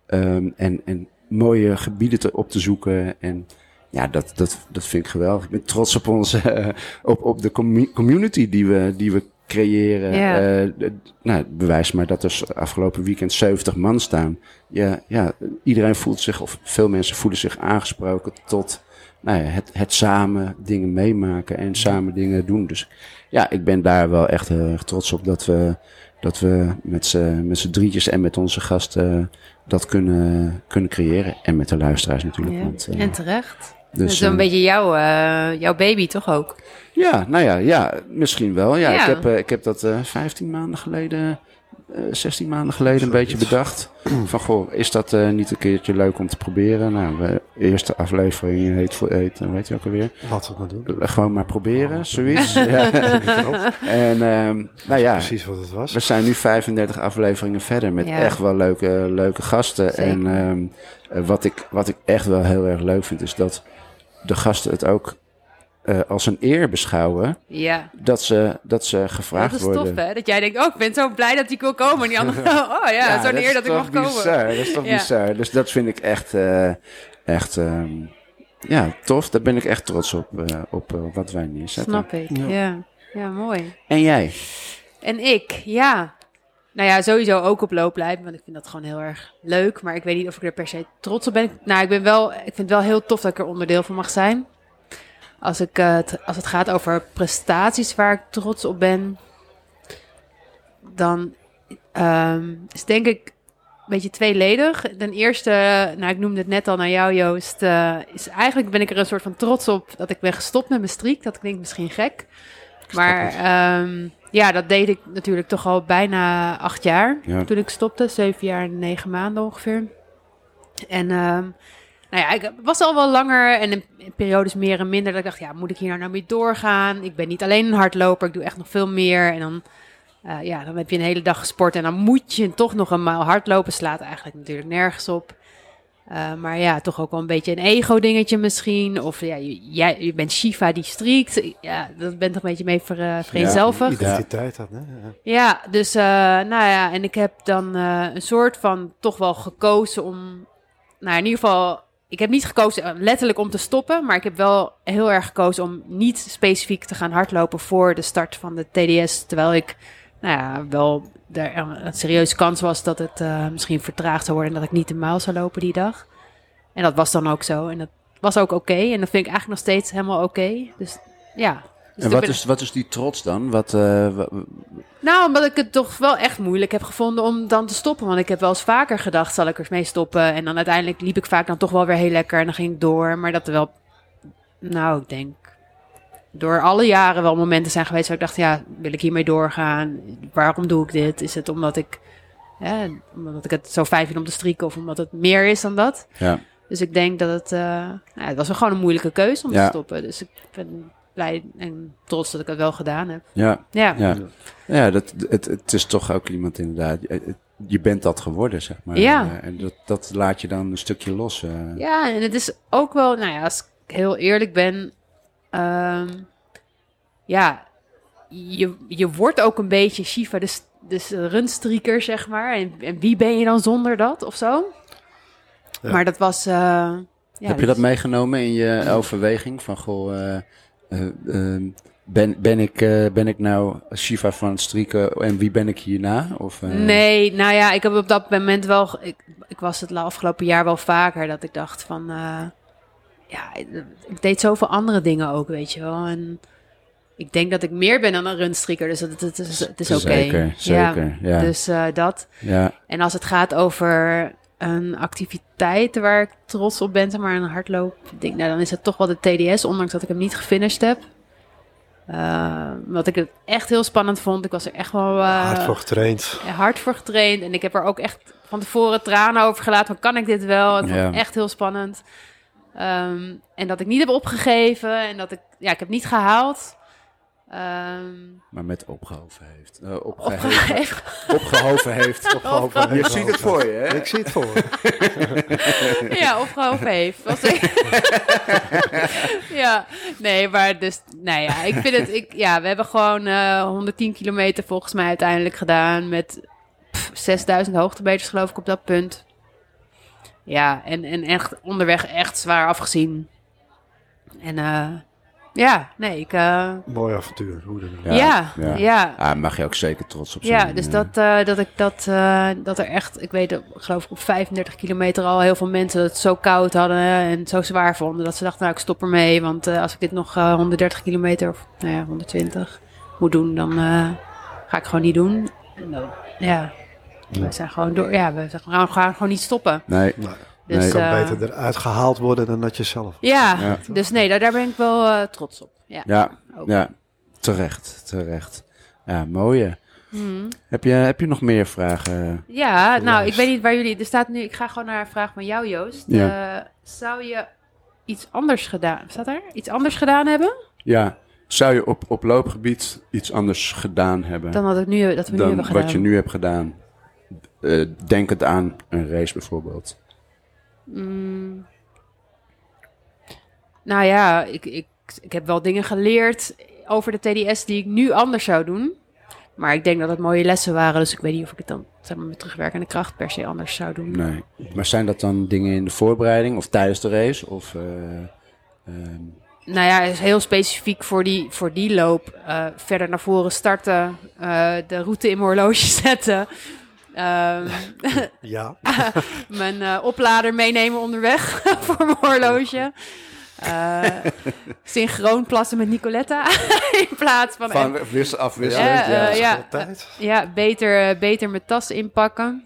Speaker 1: Ehm, en, en mooie gebieden te, op te zoeken. En ja, dat, dat, dat vind ik geweldig. Ik ben trots op onze, *laughs* eh, op, op de commu- community die we, die we creëren.
Speaker 3: Ja.
Speaker 1: Eh, d- nou, het bewijst maar dat er s- afgelopen weekend 70 man staan. Ja, ja, iedereen voelt zich, of veel mensen voelen zich aangesproken tot nou ja, het, het samen dingen meemaken en samen dingen doen. Dus ja, ik ben daar wel echt heel erg trots op dat we, dat we met z'n met z'n drietjes en met onze gasten eh, dat kunnen, kunnen creëren. En met de luisteraars natuurlijk.
Speaker 3: Ja.
Speaker 1: want, eh,
Speaker 3: En terecht.
Speaker 1: dus,
Speaker 3: dat is een
Speaker 1: eh,
Speaker 3: beetje jouw, eh, jouw baby, toch ook?
Speaker 1: ja, nou ja, ja misschien wel. Ja,
Speaker 3: Ja.
Speaker 1: Ik, heb, eh, ik heb dat eh 15 maanden geleden, eh 16 maanden geleden een beetje bedacht. Van goh, is dat eh, niet een keertje leuk om te proberen? Nou, we- eerste aflevering heet, voor- heet eh, weet je ook alweer. Eh,
Speaker 2: Laten we het maar
Speaker 3: *laughs*
Speaker 2: doen.
Speaker 1: Gewoon maar proberen, zoiets. Ja. En ehm, nou ja,
Speaker 2: Precies wat het was.
Speaker 1: we zijn nu 35 afleveringen verder met
Speaker 3: Ja.
Speaker 1: echt wel leuke, leuke gasten.
Speaker 3: Zeker.
Speaker 1: En ehm, eh, wat, ik, wat ik echt wel heel erg leuk vind, is dat de gasten het ook eh, als een eer beschouwen
Speaker 3: Ja.
Speaker 1: dat ze, dat ze gevraagd
Speaker 3: Dat is
Speaker 1: worden.
Speaker 3: tof, hè? Dat jij denkt, oh, ik ben zo blij dat ik wil komen. En die andere, oh ja, zo'n
Speaker 1: dat
Speaker 3: eer
Speaker 1: is
Speaker 3: dat ik
Speaker 1: toch
Speaker 3: mag komen.
Speaker 1: bizar, Dat is toch
Speaker 3: Ja.
Speaker 1: bizar. Dus dat vind ik echt, eh, echt ehm, ja, tof. Daar ben ik echt trots op, eh, op eh, wat wij neerzetten.
Speaker 3: Snap ik, ja.
Speaker 2: Ja.
Speaker 3: ja. mooi.
Speaker 1: En jij?
Speaker 3: En ik, ja. Nou ja, sowieso ook op looplijpen, want ik vind dat gewoon heel erg leuk. Maar ik weet niet of ik er per se trots op ben. Nou, ik, ben wel, ik vind het wel heel tof dat ik er onderdeel van mag zijn. Als, ik, eh, het- als het gaat over prestaties waar ik trots op ben, dan ehm, is denk ik beetje tweeledig. Ten eerste, nou ik noemde het net al naar jou Joost, eh, is eigenlijk ben ik er een soort van trots op dat ik ben gestopt met mijn streak. Dat klinkt misschien gek, maar ehm, ja, dat deed ik natuurlijk toch al bijna acht jaar
Speaker 1: Ja.
Speaker 3: toen ik stopte. Zeven jaar en negen maanden ongeveer. En ehm, nou ja, ik was al wel langer en in in periodes meer en minder. Dat ik dacht, ja, moet ik hier nou, nou mee doorgaan? Ik ben niet alleen een hardloper, ik doe echt nog veel meer. En dan, eh, ja, dan heb je een hele dag gesport en dan moet je toch nog een maal hardlopen. Slaat eigenlijk natuurlijk nergens op. Eh, maar ja, toch ook wel een beetje een ego-dingetje misschien. Of ja, je- jij, je bent Shiva die strikt. Ja, dat bent toch een beetje mee ver, eh, vereenzelvigd.
Speaker 2: Identiteit had, hè? Ja.
Speaker 3: Ja, dus eh, nou ja, en ik heb dan eh, een soort van toch wel gekozen om. Nou, in ieder geval, ik heb niet gekozen eh, letterlijk om te stoppen, maar ik heb wel heel erg gekozen om niet specifiek te gaan hardlopen voor de start van de TDS. Terwijl ik, nou ja, wel er een een serieuze kans was dat het eh, misschien vertraagd zou worden en dat ik niet de maal zou lopen die dag. En dat was dan ook zo. En dat was ook oké. En dat vind ik eigenlijk nog steeds helemaal oké. Dus ja. Dus
Speaker 1: En wat
Speaker 3: daar ben-
Speaker 1: is, wat is die trots dan? Wat, eh, wa-
Speaker 3: nou, omdat ik het toch wel echt moeilijk heb gevonden om dan te stoppen. Want ik heb wel eens vaker gedacht, zal ik ermee stoppen? En dan uiteindelijk liep ik vaak dan toch wel weer heel lekker en dan ging ik door. Maar dat er wel, nou, ik denk, door alle jaren wel momenten zijn geweest waar ik dacht, ja, wil ik hiermee doorgaan? Waarom doe ik dit? Is het omdat ik, hè, omdat ik het zo fijn vind om te strieken of omdat het meer is dan dat?
Speaker 1: ja.
Speaker 3: Dus ik denk dat het, eh, nou, ja, het was wel gewoon een moeilijke keuze om
Speaker 1: Ja.
Speaker 3: te stoppen. Dus ik ben blij en trots dat ik het wel gedaan heb.
Speaker 1: ja.
Speaker 3: Ja.
Speaker 1: Ja, ja dat, het, het is toch ook iemand inderdaad. Je- het- Je bent dat geworden, zeg maar.
Speaker 3: Ja.
Speaker 1: Eh, En dat, dat laat je dan een stukje los. eh.
Speaker 3: Ja, en het is ook wel, nou ja, als ik heel eerlijk ben, ehm, ja, je, je wordt ook een beetje Shiva, dus, dus een runstreaker, zeg maar. En, en wie ben je dan zonder dat of zo?
Speaker 2: Ja.
Speaker 3: Maar dat was. eh, ja, dus-
Speaker 1: Heb je dat
Speaker 3: is-
Speaker 1: meegenomen in je
Speaker 3: *clears throat*
Speaker 1: overweging? Van, goh, eh, eh, ehm, ben, ben, ik, eh, ben ik nou Shiva van het strieken en wie ben ik hierna? Of, eh,
Speaker 3: Nee, nou ja, ik heb op dat moment wel. ge- Ik, ik was het la- afgelopen jaar wel vaker dat ik dacht van. eh, ja, ik deed zoveel andere dingen ook, weet je wel. En ik denk dat ik meer ben dan een runstreaker, dus dat, het- het is, het is oké.
Speaker 1: Zeker,
Speaker 3: Ja.
Speaker 1: zeker. Ja, ja.
Speaker 3: Dus eh, dat. En als het gaat over een activiteit waar ik trots op ben, zeg maar een hardloopding, nou, dan is het toch wel de TDS, ondanks dat ik hem niet gefinished heb. Eh, wat ik het echt heel spannend vond. Ik was er echt wel eh,
Speaker 2: Hard voor getraind.
Speaker 3: hard voor getraind. En ik heb er ook echt van tevoren tranen over gelaten. Van, kan ik dit wel? Het
Speaker 1: Ja.
Speaker 3: was echt heel spannend. Ehm, en dat ik niet heb opgegeven. En dat ik... Ja, ik heb niet gehaald. Ehm
Speaker 1: Maar met opgehoven heeft. Eh, opgeheven,
Speaker 3: opgegeven.
Speaker 1: opgehoven
Speaker 3: *laughs*
Speaker 1: heeft.
Speaker 2: Opgehoven.
Speaker 1: Je ziet het voor je, hè?
Speaker 2: Ik zie het voor. me.
Speaker 3: Ja, of gewoon veef. Was ik- *laughs* ja, nee, maar dus, nou ja, ik vind het, ik, ja, we hebben gewoon eh, 110 kilometer volgens mij uiteindelijk gedaan met pff, 6000 hoogtemeters geloof ik op dat punt. Ja, en, en echt onderweg echt zwaar afgezien. En eh, ja, nee, ik, eh,
Speaker 2: *laughs* Mooi avontuur. Hoe dan ook.
Speaker 1: Ja,
Speaker 3: ja,
Speaker 1: ja.
Speaker 3: ja, ja.
Speaker 1: Ah, mag je ook zeker trots op zijn.
Speaker 3: dus
Speaker 1: eh.
Speaker 3: dat, eh, dat ik dat, eh, dat er echt, ik weet, dat, geloof ik, op 35 kilometer al heel veel mensen dat het zo koud hadden en zo zwaar vonden dat ze dachten, nou, ik stop ermee, want eh, als ik dit nog eh, 130 kilometer of nou ja, 120 moet doen, dan eh, ga ik gewoon niet doen. En dan, ja, we zijn gewoon door, ja, we zijn gewoon- we gaan gewoon niet stoppen.
Speaker 1: Nee,
Speaker 2: Nou,
Speaker 3: Dus,
Speaker 1: Nee,
Speaker 2: kan
Speaker 3: eh,
Speaker 2: beter eruit gehaald worden dan dat je zelf.
Speaker 3: ja,
Speaker 1: Ja.
Speaker 3: dus nee, daar, daar ben ik wel eh, trots op. Ja.
Speaker 1: ja,
Speaker 3: Ook.
Speaker 1: ja, terecht, terecht. Ja, mooie.
Speaker 3: Hmm.
Speaker 1: Heb, je, heb je nog meer vragen?
Speaker 3: Ja, nou,
Speaker 2: Juist.
Speaker 3: ik weet niet waar jullie... Er staat nu... Ik ga gewoon naar een vraag van jou, Joost.
Speaker 1: Ja.
Speaker 3: Eh, zou je iets anders gedaan... Staat er? Iets anders gedaan hebben
Speaker 1: Ja, zou je op, op loopgebied iets anders gedaan hebben
Speaker 3: dan wat, ik nu, dat we nu
Speaker 1: dan
Speaker 3: hebben gedaan?
Speaker 1: wat je nu hebt gedaan? Eh, denkend aan een race bijvoorbeeld.
Speaker 3: Mm. Nou ja, ik, ik, ik heb wel dingen geleerd over de TDS die ik nu anders zou doen. Maar ik denk dat het mooie lessen waren. Dus ik weet niet of ik het dan zeg maar, met terugwerkende kracht per se anders zou doen.
Speaker 1: Nee. Maar zijn dat dan dingen in de voorbereiding of tijdens de race? Of, eh, ehm,
Speaker 3: Nou ja, is heel specifiek voor die, voor die loop. eh, verder naar voren starten. eh, de route in mijn horloge *laughs* zetten. ehm,
Speaker 2: Ja.
Speaker 3: mijn eh, oplader meenemen onderweg *laughs* voor mijn horloge. Eh, *laughs* synchroon plassen met Nicoletta. *laughs* in plaats van,
Speaker 1: van wis- afwisselend?
Speaker 3: Ja, eh,
Speaker 1: ja.
Speaker 3: ja.
Speaker 2: Altijd.
Speaker 3: ja, beter, eh, beter mijn tas inpakken.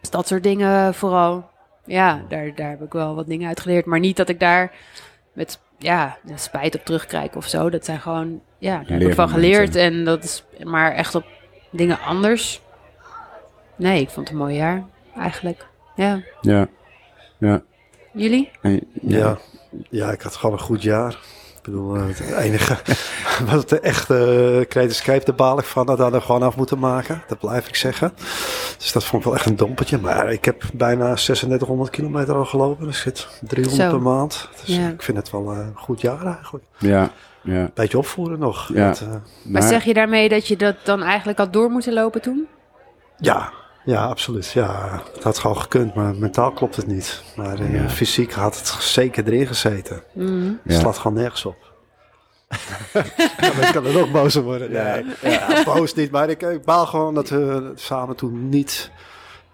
Speaker 3: Dus dat soort dingen vooral. Ja, daar, daar heb ik wel wat dingen uit geleerd. Maar niet dat ik daar met ja, spijt op terugkijk of zo. Dat zijn gewoon, ja, daar heb ik van geleerd. En dat is maar echt op dingen anders. Nee, ik vond het een mooi jaar eigenlijk. Ja.
Speaker 1: Ja. Ja.
Speaker 3: Jullie?
Speaker 1: En- ja.
Speaker 2: Ja. ja, ik had gewoon een goed jaar. Ik bedoel, eh, het enige *laughs* wat de echte Creative daar baal ik van, dat hadden we gewoon af moeten maken. Dat blijf ik zeggen. Dus dat vond ik wel echt een dompertje. Maar ik heb bijna 3600 kilometer al gelopen. Dus zit 300
Speaker 3: Zo.
Speaker 2: per maand. Dus
Speaker 3: Ja.
Speaker 2: ik vind het wel eh, een goed jaar eigenlijk.
Speaker 1: Ja. ja.
Speaker 2: Beetje opvoeren nog.
Speaker 1: Ja.
Speaker 2: Dat, eh,
Speaker 3: Maar, zeg je daarmee dat je dat dan eigenlijk had door moeten lopen toen?
Speaker 2: ja. ja, absoluut. Ja, het had gewoon gekund, maar mentaal klopt het niet. Maar eh,
Speaker 1: Ja.
Speaker 2: fysiek had het zeker erin gezeten.
Speaker 3: Mhm.
Speaker 1: Ja.
Speaker 2: slaat gewoon nergens op. *laughs* ja, maar ik kan er ook boos om worden. Nee, ja, boos niet. Maar ik, ik baal gewoon dat we samen toen niet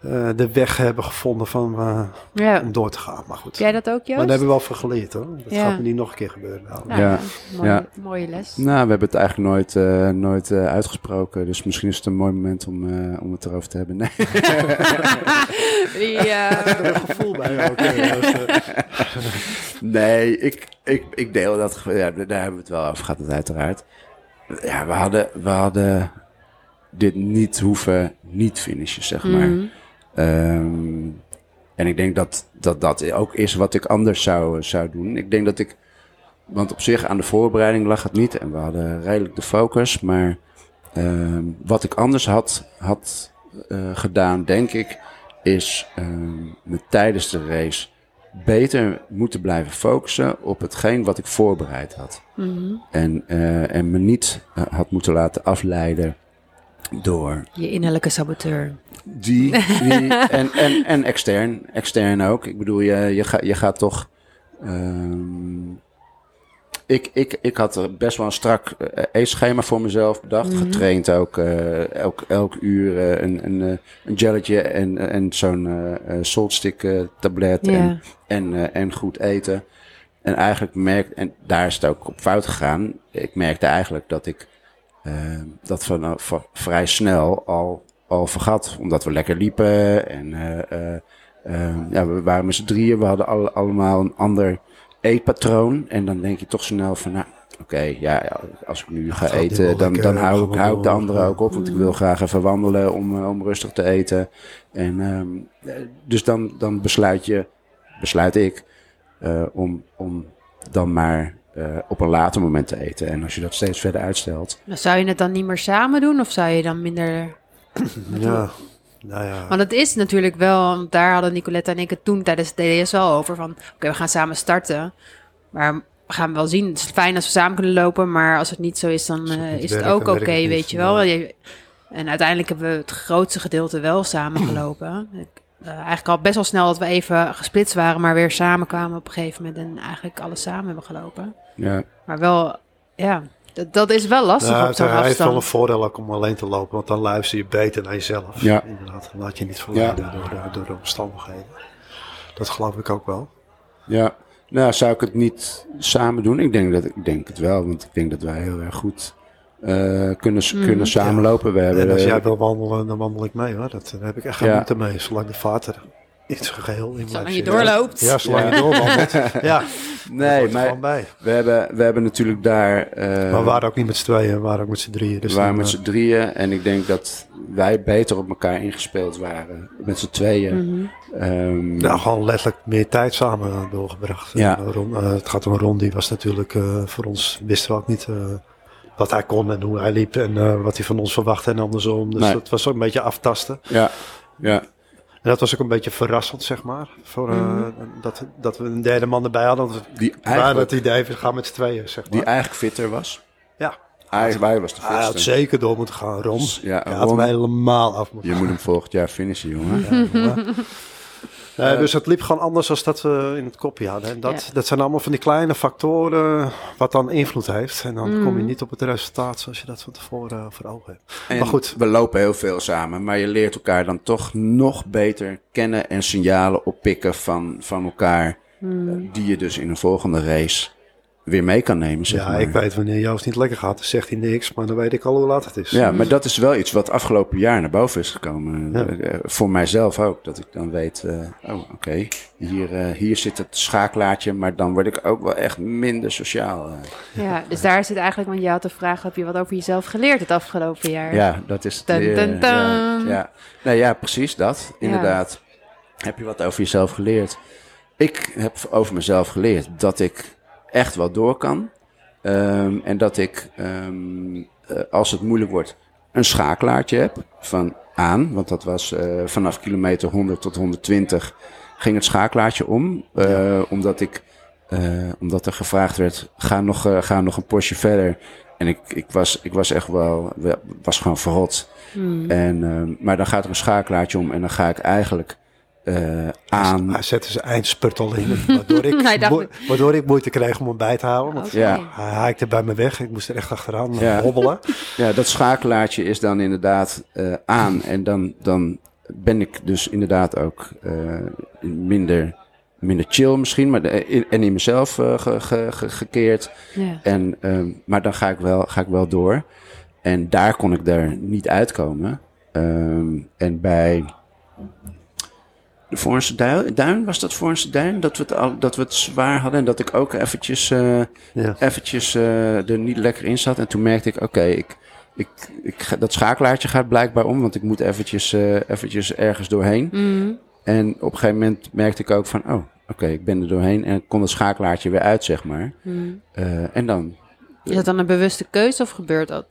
Speaker 2: eh, de weg hebben gevonden van, eh,
Speaker 3: Ja.
Speaker 2: om door te gaan. Maar goed,
Speaker 3: Heb jij dat ook,
Speaker 2: maar
Speaker 3: Joost?
Speaker 2: daar hebben we wel van geleerd hoor. Dat
Speaker 3: Ja.
Speaker 2: gaat me niet nog een keer gebeuren. Nou,
Speaker 3: Nou,
Speaker 1: Ja.
Speaker 3: Mooie,
Speaker 1: Ja.
Speaker 3: mooie les.
Speaker 1: Nou, we hebben het eigenlijk nooit, eh, nooit eh, uitgesproken. Dus misschien is het een mooi moment om, eh, om het erover te hebben. Nee.
Speaker 3: Die, eh,
Speaker 2: Ik heb er een gevoel bij me ook, eh, dus, eh,
Speaker 1: Nee, ik, ik, ik deel dat. ge- Ja, daar hebben we het wel over gehad, dat uiteraard. Ja, we hadden, we hadden dit niet hoeven niet finishen, zeg maar.
Speaker 3: mhm.
Speaker 1: Ehm, en ik denk dat, dat dat ook is wat ik anders zou, zou doen. Ik denk dat ik. Want op zich aan de voorbereiding lag het niet. En we hadden redelijk de focus. Maar ehm, wat ik anders had, had eh, gedaan, denk ik, is ehm, me tijdens de race beter moeten blijven focussen op hetgeen wat ik voorbereid had.
Speaker 3: Mhm.
Speaker 1: En, eh, en me niet eh, had moeten laten afleiden door
Speaker 3: Je innerlijke saboteur.
Speaker 1: die, die en, en, en extern, extern ook. Ik bedoel, je, je, ga, je gaat toch. ehm, ik, ik, ik had er best wel een strak eh, eetschema voor mezelf bedacht. Getraind ook. eh, elk, elk uur eh, een, een, eh, een gelletje en, en zo'n eh, eh, saltstick eh, tablet.
Speaker 3: Ja.
Speaker 1: En, en, eh, en goed eten. En eigenlijk merk, en daar is het ook op fout gegaan. Ik merkte eigenlijk dat ik eh, dat van, van- vrij snel al, al vergat. Omdat we lekker liepen en eh, eh, eh, ja, we waren met z'n drieën. We hadden alle- allemaal een ander eetpatroon. En dan denk je toch snel van, nou, oké, ja, ja, als ik nu ga
Speaker 2: Gaat die
Speaker 1: eten,
Speaker 2: wel
Speaker 1: dan,
Speaker 2: lekker
Speaker 1: dan hou, ik, hou ik de
Speaker 2: gewoon,
Speaker 1: anderen
Speaker 2: ja.
Speaker 1: ook op. Want ik wil graag even wandelen om, eh, om rustig te eten. En, ehm, eh, dus dan, dan besluit je, besluit ik, eh, om, om dan maar eh, op een later moment te eten. En als je dat steeds verder uitstelt,
Speaker 3: Nou, Zou je het dan niet meer samen doen of zou je dan minder...
Speaker 2: ja, nou ja.
Speaker 3: Want het is natuurlijk wel, want daar hadden Nicoletta en ik het toen tijdens de DDS wel over. Van oké, we gaan samen starten. Maar we gaan wel zien. Het is fijn als we samen kunnen lopen. Maar als het niet zo is, dan
Speaker 2: het
Speaker 3: eh,
Speaker 2: niet
Speaker 3: is het
Speaker 2: werkt,
Speaker 3: ook
Speaker 2: dan
Speaker 3: oké,
Speaker 2: werkt het
Speaker 3: weet
Speaker 2: niet,
Speaker 3: je wel.
Speaker 2: ja.
Speaker 3: Je- En uiteindelijk hebben we het grootste gedeelte
Speaker 2: *clears throat*
Speaker 3: wel samen gelopen. Ik- eh, eigenlijk al best wel snel dat we even gesplitst waren, maar weer samen kwamen op een gegeven moment. En eigenlijk alles samen hebben gelopen.
Speaker 1: ja,
Speaker 3: Maar wel, ja, dat, dat is wel lastig
Speaker 2: Nou,
Speaker 3: op zo'n
Speaker 2: hij heeft wel een
Speaker 3: afstand.
Speaker 2: voordeel ook om alleen te lopen, want dan luister je beter naar jezelf.
Speaker 1: Ja.
Speaker 2: Inderdaad, dan laat je niet verleiden door, de- door de omstandigheden. Dat geloof ik ook wel.
Speaker 1: ja. Nou, zou ik het niet samen doen? Ik denk, dat, ik denk het wel, want ik denk dat wij heel erg goed eh, kunnen,
Speaker 2: Mm.
Speaker 1: kunnen samenlopen. We hebben,
Speaker 2: En als
Speaker 1: eh,
Speaker 2: jij wil wandelen, dan wandel ik mee hoor. Dat, eh, daar heb ik echt geen
Speaker 1: Ja.
Speaker 2: moeite mee, zolang de vaart er in zijn geheel in blijft
Speaker 3: Zolang je
Speaker 2: zitten.
Speaker 3: doorloopt.
Speaker 2: Ja, zolang
Speaker 1: Ja.
Speaker 2: je
Speaker 1: *laughs*
Speaker 2: doorwandelt. Ja, dat
Speaker 1: nee,
Speaker 2: hoort er
Speaker 1: maar
Speaker 2: gewoon bij.
Speaker 1: we hebben, we hebben natuurlijk daar... eh,
Speaker 2: Maar we waren ook niet met z'n tweeën, we waren ook met z'n drieën. Dus
Speaker 1: we waren
Speaker 2: dan,
Speaker 1: met
Speaker 2: eh,
Speaker 1: z'n drieën en ik denk dat wij beter op elkaar ingespeeld waren. Met z'n tweeën. Ehm,
Speaker 2: Mhm. Nou, gewoon letterlijk meer tijd samen eh, doorgebracht.
Speaker 1: Ja.
Speaker 2: En Ron, eh, het gaat om Ron, die was natuurlijk eh, voor ons, wisten we ook niet eh, wat hij kon en hoe hij liep en eh, wat hij van ons verwachtte en andersom. Dus
Speaker 1: Nee.
Speaker 2: dat was ook een beetje aftasten.
Speaker 1: Ja, ja,
Speaker 2: En dat was ook een beetje verrassend, zeg maar. Voor, eh, dat, dat we een derde man erbij hadden. Want
Speaker 1: Die
Speaker 2: we waren
Speaker 1: Mhm. eigenlijk-
Speaker 2: het idee, we gaan met z'n tweeën, zeg maar.
Speaker 1: die eigenlijk fitter was.
Speaker 2: Ah, ja.
Speaker 1: Hij, wij was de
Speaker 2: Hij had
Speaker 1: fitste.
Speaker 2: zeker door moeten gaan, Ron.
Speaker 1: Ja,
Speaker 2: Hij had
Speaker 1: Ron-
Speaker 2: hem helemaal af moeten
Speaker 1: Je moet hem volgend jaar finishen, jongen.
Speaker 2: *laughs* Eh, dus het liep gewoon anders dan dat we in het kopje hadden. En dat, dat zijn allemaal van die kleine factoren wat dan invloed heeft. En dan kom je niet op het resultaat zoals je dat van tevoren eh, voor ogen hebt.
Speaker 1: En
Speaker 2: maar goed,
Speaker 1: we lopen heel veel samen, maar je leert elkaar dan toch nog beter kennen en
Speaker 2: Hmm.
Speaker 1: signalen oppikken van, van elkaar. eh, Die je dus in een volgende race weer mee kan nemen. Zeg
Speaker 2: ja,
Speaker 1: maar.
Speaker 2: ik weet wanneer Joost niet lekker gaat, dan zegt hij niks, maar dan weet ik al hoe laat het is.
Speaker 1: Ja, maar dat is wel iets wat afgelopen jaar naar boven is gekomen.
Speaker 2: Ja.
Speaker 1: Eh, Voor mijzelf ook. Dat ik dan weet, eh, oh oké, hier, eh, hier zit het schakelaartje, maar dan word ik ook wel echt minder sociaal. eh.
Speaker 3: Ja, dus daar zit eigenlijk, want je had de vraag, heb je wat over jezelf geleerd het afgelopen jaar?
Speaker 1: Ja, dat is het.
Speaker 3: Dun,
Speaker 1: weer,
Speaker 3: dun,
Speaker 1: Ja,
Speaker 3: dun.
Speaker 1: ja. Nou ja, precies dat. Inderdaad. Heb je wat over jezelf geleerd? Ik heb over mezelf geleerd dat ik echt wel door kan. Ehm, en dat ik, ehm, eh, als het moeilijk wordt, een schakelaartje heb van aan. Want dat was eh, vanaf kilometer 100 tot 120 ging het schakelaartje om. eh, Omdat ik... eh, omdat er gevraagd werd, ga nog, eh, ga nog een postje verder. En ik, ik, was, ik was echt wel, wel- was gewoon verrot. En, ehm, maar dan gaat er een schakelaartje om en dan ga ik eigenlijk eh, aan.
Speaker 2: Dus Hij zette zijn eindspurt al in,
Speaker 3: *laughs*
Speaker 2: waardoor ik,
Speaker 3: Hij dacht- Oh.
Speaker 2: mo- waardoor ik moeite kreeg om hem bij te houden. Want
Speaker 3: Oké.
Speaker 1: Ja.
Speaker 2: Hij haakte bij me weg, ik moest er echt achteraan
Speaker 1: Ja.
Speaker 3: *laughs*
Speaker 2: hobbelen.
Speaker 1: Ja, dat schakelaartje is dan inderdaad eh, aan. En dan, dan ben ik dus inderdaad ook eh, minder, minder chill misschien. Maar de, in- en in mezelf eh, ge- ge- ge- gekeerd.
Speaker 3: Ja.
Speaker 1: En, ehm, maar dan ga ik, wel, ga ik wel door. En daar kon ik er niet uitkomen. Ehm, en bij de Voornse Duin, Duin, was dat Voornse Duin? Dat we, het al, dat we het zwaar hadden en dat ik ook eventjes, eh,
Speaker 2: Ja.
Speaker 1: eventjes eh, er niet lekker in zat. En toen merkte ik, oké, ik, ik, ik ga- dat schakelaartje gaat blijkbaar om, want ik moet eventjes, eh, eventjes ergens doorheen.
Speaker 3: Mm.
Speaker 1: En op een gegeven moment merkte ik ook van, oh, oké, ik ben er doorheen. En ik kon het schakelaartje weer uit, zeg maar.
Speaker 3: Mm.
Speaker 1: Eh, en dan
Speaker 3: Is dat dan een bewuste keuze of gebeurt dat?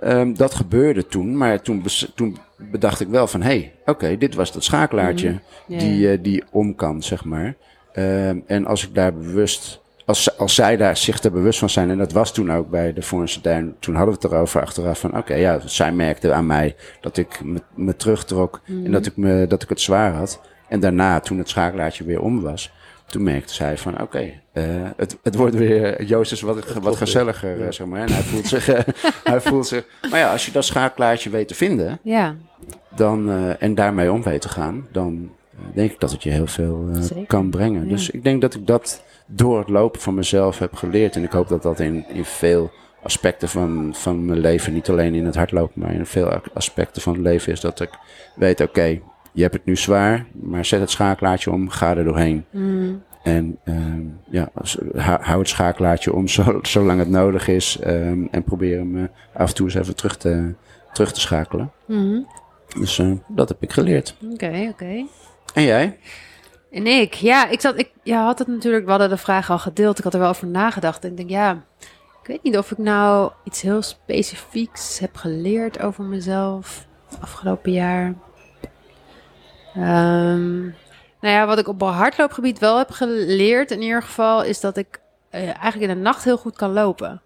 Speaker 1: Ehm, dat gebeurde toen, maar toen, bes- toen bedacht ik wel van... hé, hey, oké, dit was dat schakelaartje
Speaker 3: Ja.
Speaker 1: die, eh, die om kan, zeg maar. Ehm, en als ik daar bewust... Als, z- als zij daar zich er bewust van zijn... en dat was toen ook bij de Voornse Duin... toen hadden we het erover achteraf van... oké, ja, zij merkte aan mij dat ik me, me terugtrok... en dat ik, me, dat ik het zwaar had. En daarna, toen het schakelaartje weer om was... toen merkte zij van... oké, eh, het, het wordt weer... Joost is wat, wat gezelliger, eh, zeg maar. En hij voelt zich... eh, hij voelt zich... Maar ja, als je dat schakelaartje weet te vinden
Speaker 3: Ja,
Speaker 1: dan, eh, en daarmee om weet te gaan, dan eh, denk ik dat het je heel veel eh,
Speaker 3: Zeker,
Speaker 1: kan brengen.
Speaker 3: ja.
Speaker 1: Dus ik denk dat ik dat door het lopen van mezelf heb geleerd. En ik hoop dat dat in, in veel aspecten van, van mijn leven, niet alleen in het hardlopen, maar in veel ac- aspecten van het leven is dat ik weet, oké, je hebt het nu zwaar, maar zet het schakelaartje om, ga er doorheen.
Speaker 3: Mm.
Speaker 1: En ehm, ja, als- hou hou het schakelaartje om *laughs* zo, zolang het nodig is. ehm, en probeer hem eh, af en toe eens even terug te, terug te schakelen. Dus eh, dat heb ik geleerd.
Speaker 3: oké, Mhm. oké.
Speaker 1: En jij?
Speaker 3: En ik, ja, ik zat, ik ja, had het natuurlijk, we hadden de vraag al gedeeld. Ik had er wel over nagedacht. En ik denk, ja, ik weet niet of ik nou iets heel specifieks heb geleerd over mezelf afgelopen jaar. Ehm, nou ja, wat ik op hardloopgebied wel heb geleerd, in ieder geval, is dat ik eh, eigenlijk in de nacht heel goed kan lopen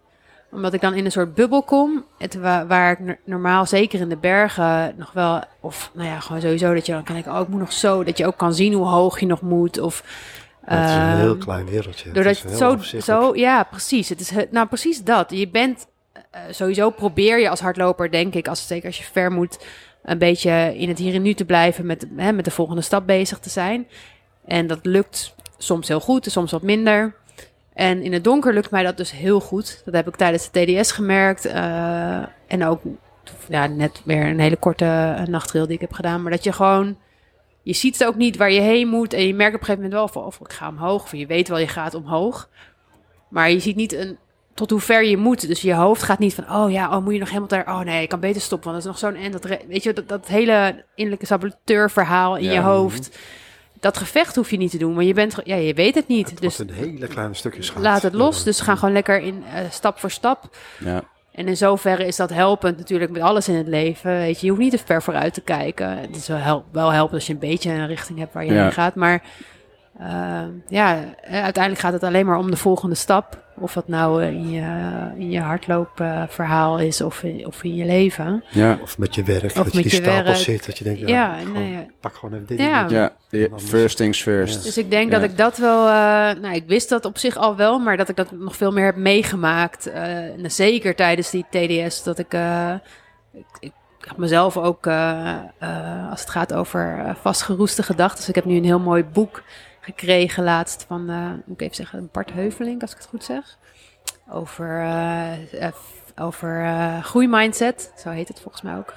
Speaker 3: omdat ik dan in een soort bubbel kom. Het, wa- waar ik no- normaal, zeker in de bergen, nog wel. Of nou ja, gewoon sowieso dat je dan kan ik, oh, ik moet nog zo. Dat je ook kan zien hoe hoog je nog moet. Of,
Speaker 2: het is een
Speaker 3: ehm,
Speaker 2: heel klein wereldje. Het
Speaker 3: Doordat
Speaker 2: is
Speaker 3: je
Speaker 2: heel
Speaker 3: het zo,
Speaker 2: overzichtelijk.
Speaker 3: zo, ja, precies. Het is, he- nou, precies dat. Je bent, eh, sowieso probeer je als hardloper, denk ik, als, zeker als je ver moet, een beetje in het hier en nu te blijven, met, hè, met de volgende stap bezig te zijn. En dat lukt soms heel goed, en soms wat minder. En in het donker lukt mij dat dus heel goed. Dat heb ik tijdens de TDS gemerkt. eh, en ook ja, net weer een hele korte eh, nachtrail die ik heb gedaan. Maar dat je gewoon je ziet het ook niet waar je heen moet. En je merkt op een gegeven moment wel van, of ik ga omhoog. Of je weet wel, je gaat omhoog. Maar je ziet niet een, tot hoe ver je moet. Dus je hoofd gaat niet van, oh ja, oh, moet je nog helemaal daar. Oh nee, ik kan beter stoppen, want dat is nog zo'n end. Dat, re- weet je, dat, dat hele innerlijke saboteurverhaal in
Speaker 1: Ja.
Speaker 3: je hoofd. Dat gevecht hoef je niet te doen, want je, bent, ge- ja, je weet het niet.
Speaker 2: Het
Speaker 3: dus
Speaker 2: wordt een hele kleine stukje schaats.
Speaker 3: laat het los. Dus ga gewoon lekker in eh, stap voor stap.
Speaker 1: Ja,
Speaker 3: En in zoverre is dat helpend natuurlijk met alles in het leven. Weet je, je hoeft niet te ver vooruit te kijken. Het is wel, help, wel helpend als je een beetje een richting hebt waar je
Speaker 1: Ja.
Speaker 3: heen gaat. Maar eh, ja, eh, uiteindelijk gaat het alleen maar om de volgende stap. Of dat nou eh, in je, in je hardloopverhaal is of in, of in je leven.
Speaker 1: ja,
Speaker 2: Of met je werk,
Speaker 3: Of
Speaker 2: dat
Speaker 3: met
Speaker 2: je die
Speaker 3: je
Speaker 2: stapel
Speaker 3: werk.
Speaker 2: zit, dat je denkt, ja,
Speaker 3: Ja,
Speaker 2: gewoon-
Speaker 3: nee, ja.
Speaker 2: pak gewoon even dit.
Speaker 3: Ja.
Speaker 2: en dit.
Speaker 1: ja. First things first.
Speaker 3: Dus ik denk
Speaker 1: Ja.
Speaker 3: dat ik dat wel... eh, nou, ik wist dat op zich al wel, maar dat ik dat nog veel meer heb meegemaakt. eh, en zeker tijdens die TDS, dat ik... eh, ik, ik had mezelf ook, eh, eh, als het gaat over eh, vastgeroeste gedachten... Dus ik heb nu een heel mooi boek gekregen laatst van, eh, moet ik even zeggen, Bart Heuvelink, als ik het goed zeg. Over, eh, eh, f- over eh, groeimindset, zo heet het volgens mij ook.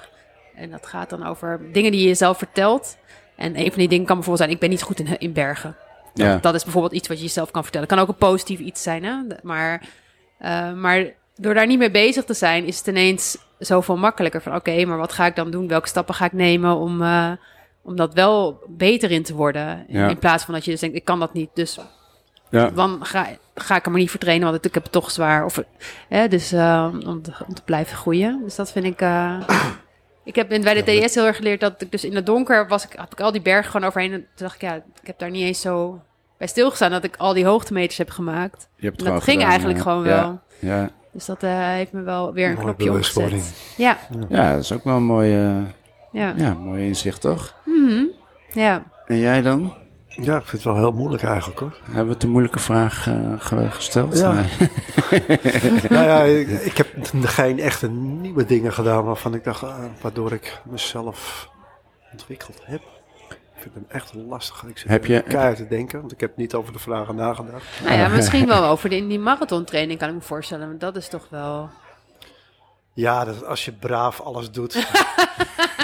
Speaker 3: En dat gaat dan over dingen die je jezelf vertelt. En een van die dingen kan bijvoorbeeld zijn, ik ben niet goed in, in bergen.
Speaker 1: Ja.
Speaker 3: Dat is bijvoorbeeld iets wat je jezelf kan vertellen. Kan ook een positief iets zijn, hè? Maar, eh, maar door daar niet mee bezig te zijn, is het ineens zoveel makkelijker. Van oké, maar wat ga ik dan doen? Welke stappen ga ik nemen om, eh, om dat wel beter in te worden? In-
Speaker 1: Ja.
Speaker 3: In plaats van dat je dus denkt, ik kan dat niet, dus
Speaker 1: Ja.
Speaker 3: dan ga, ga ik er maar niet voor trainen, want ik heb het toch zwaar. Of, hè, dus eh, om, te, om te blijven groeien. Dus dat vind ik... eh, ik heb in- bij de TDS heel erg geleerd dat ik dus in het donker was. Ik, had ik al die bergen gewoon overheen. En toen dacht ik, ja, ik heb daar niet eens zo bij stilgestaan dat ik al die hoogtemeters heb gemaakt.
Speaker 1: Je hebt het
Speaker 3: En
Speaker 1: gewoon
Speaker 3: dat ging
Speaker 1: gedaan,
Speaker 3: eigenlijk
Speaker 1: ja.
Speaker 3: gewoon
Speaker 1: Ja.
Speaker 3: wel.
Speaker 1: Ja.
Speaker 3: Dus dat eh, heeft me wel weer een
Speaker 2: Mooie
Speaker 3: knopje
Speaker 2: bewustwording.
Speaker 3: opgezet. Ja,
Speaker 1: ja, dat is ook wel een mooi, eh,
Speaker 3: ja,
Speaker 1: ja, mooi inzicht, toch?
Speaker 3: Mhm. ja.
Speaker 1: En jij dan?
Speaker 2: Ja, ik vind het wel heel moeilijk eigenlijk hoor.
Speaker 1: Hebben we het een moeilijke vraag eh, ge- gesteld?
Speaker 2: Ja.
Speaker 1: Nee.
Speaker 2: *laughs* nou ja, ik, ik heb geen echte nieuwe dingen gedaan waarvan ik dacht, ah, waardoor ik mezelf ontwikkeld heb. Ik vind hem echt lastig. Ik zit
Speaker 1: Heb je-
Speaker 2: er keihard te denken, want ik heb niet over de vragen nagedacht.
Speaker 3: Nou ja, misschien wel over die, die marathontraining kan ik me voorstellen. Want dat is toch wel...
Speaker 2: Ja, dat als je braaf alles
Speaker 3: *laughs*
Speaker 2: doet.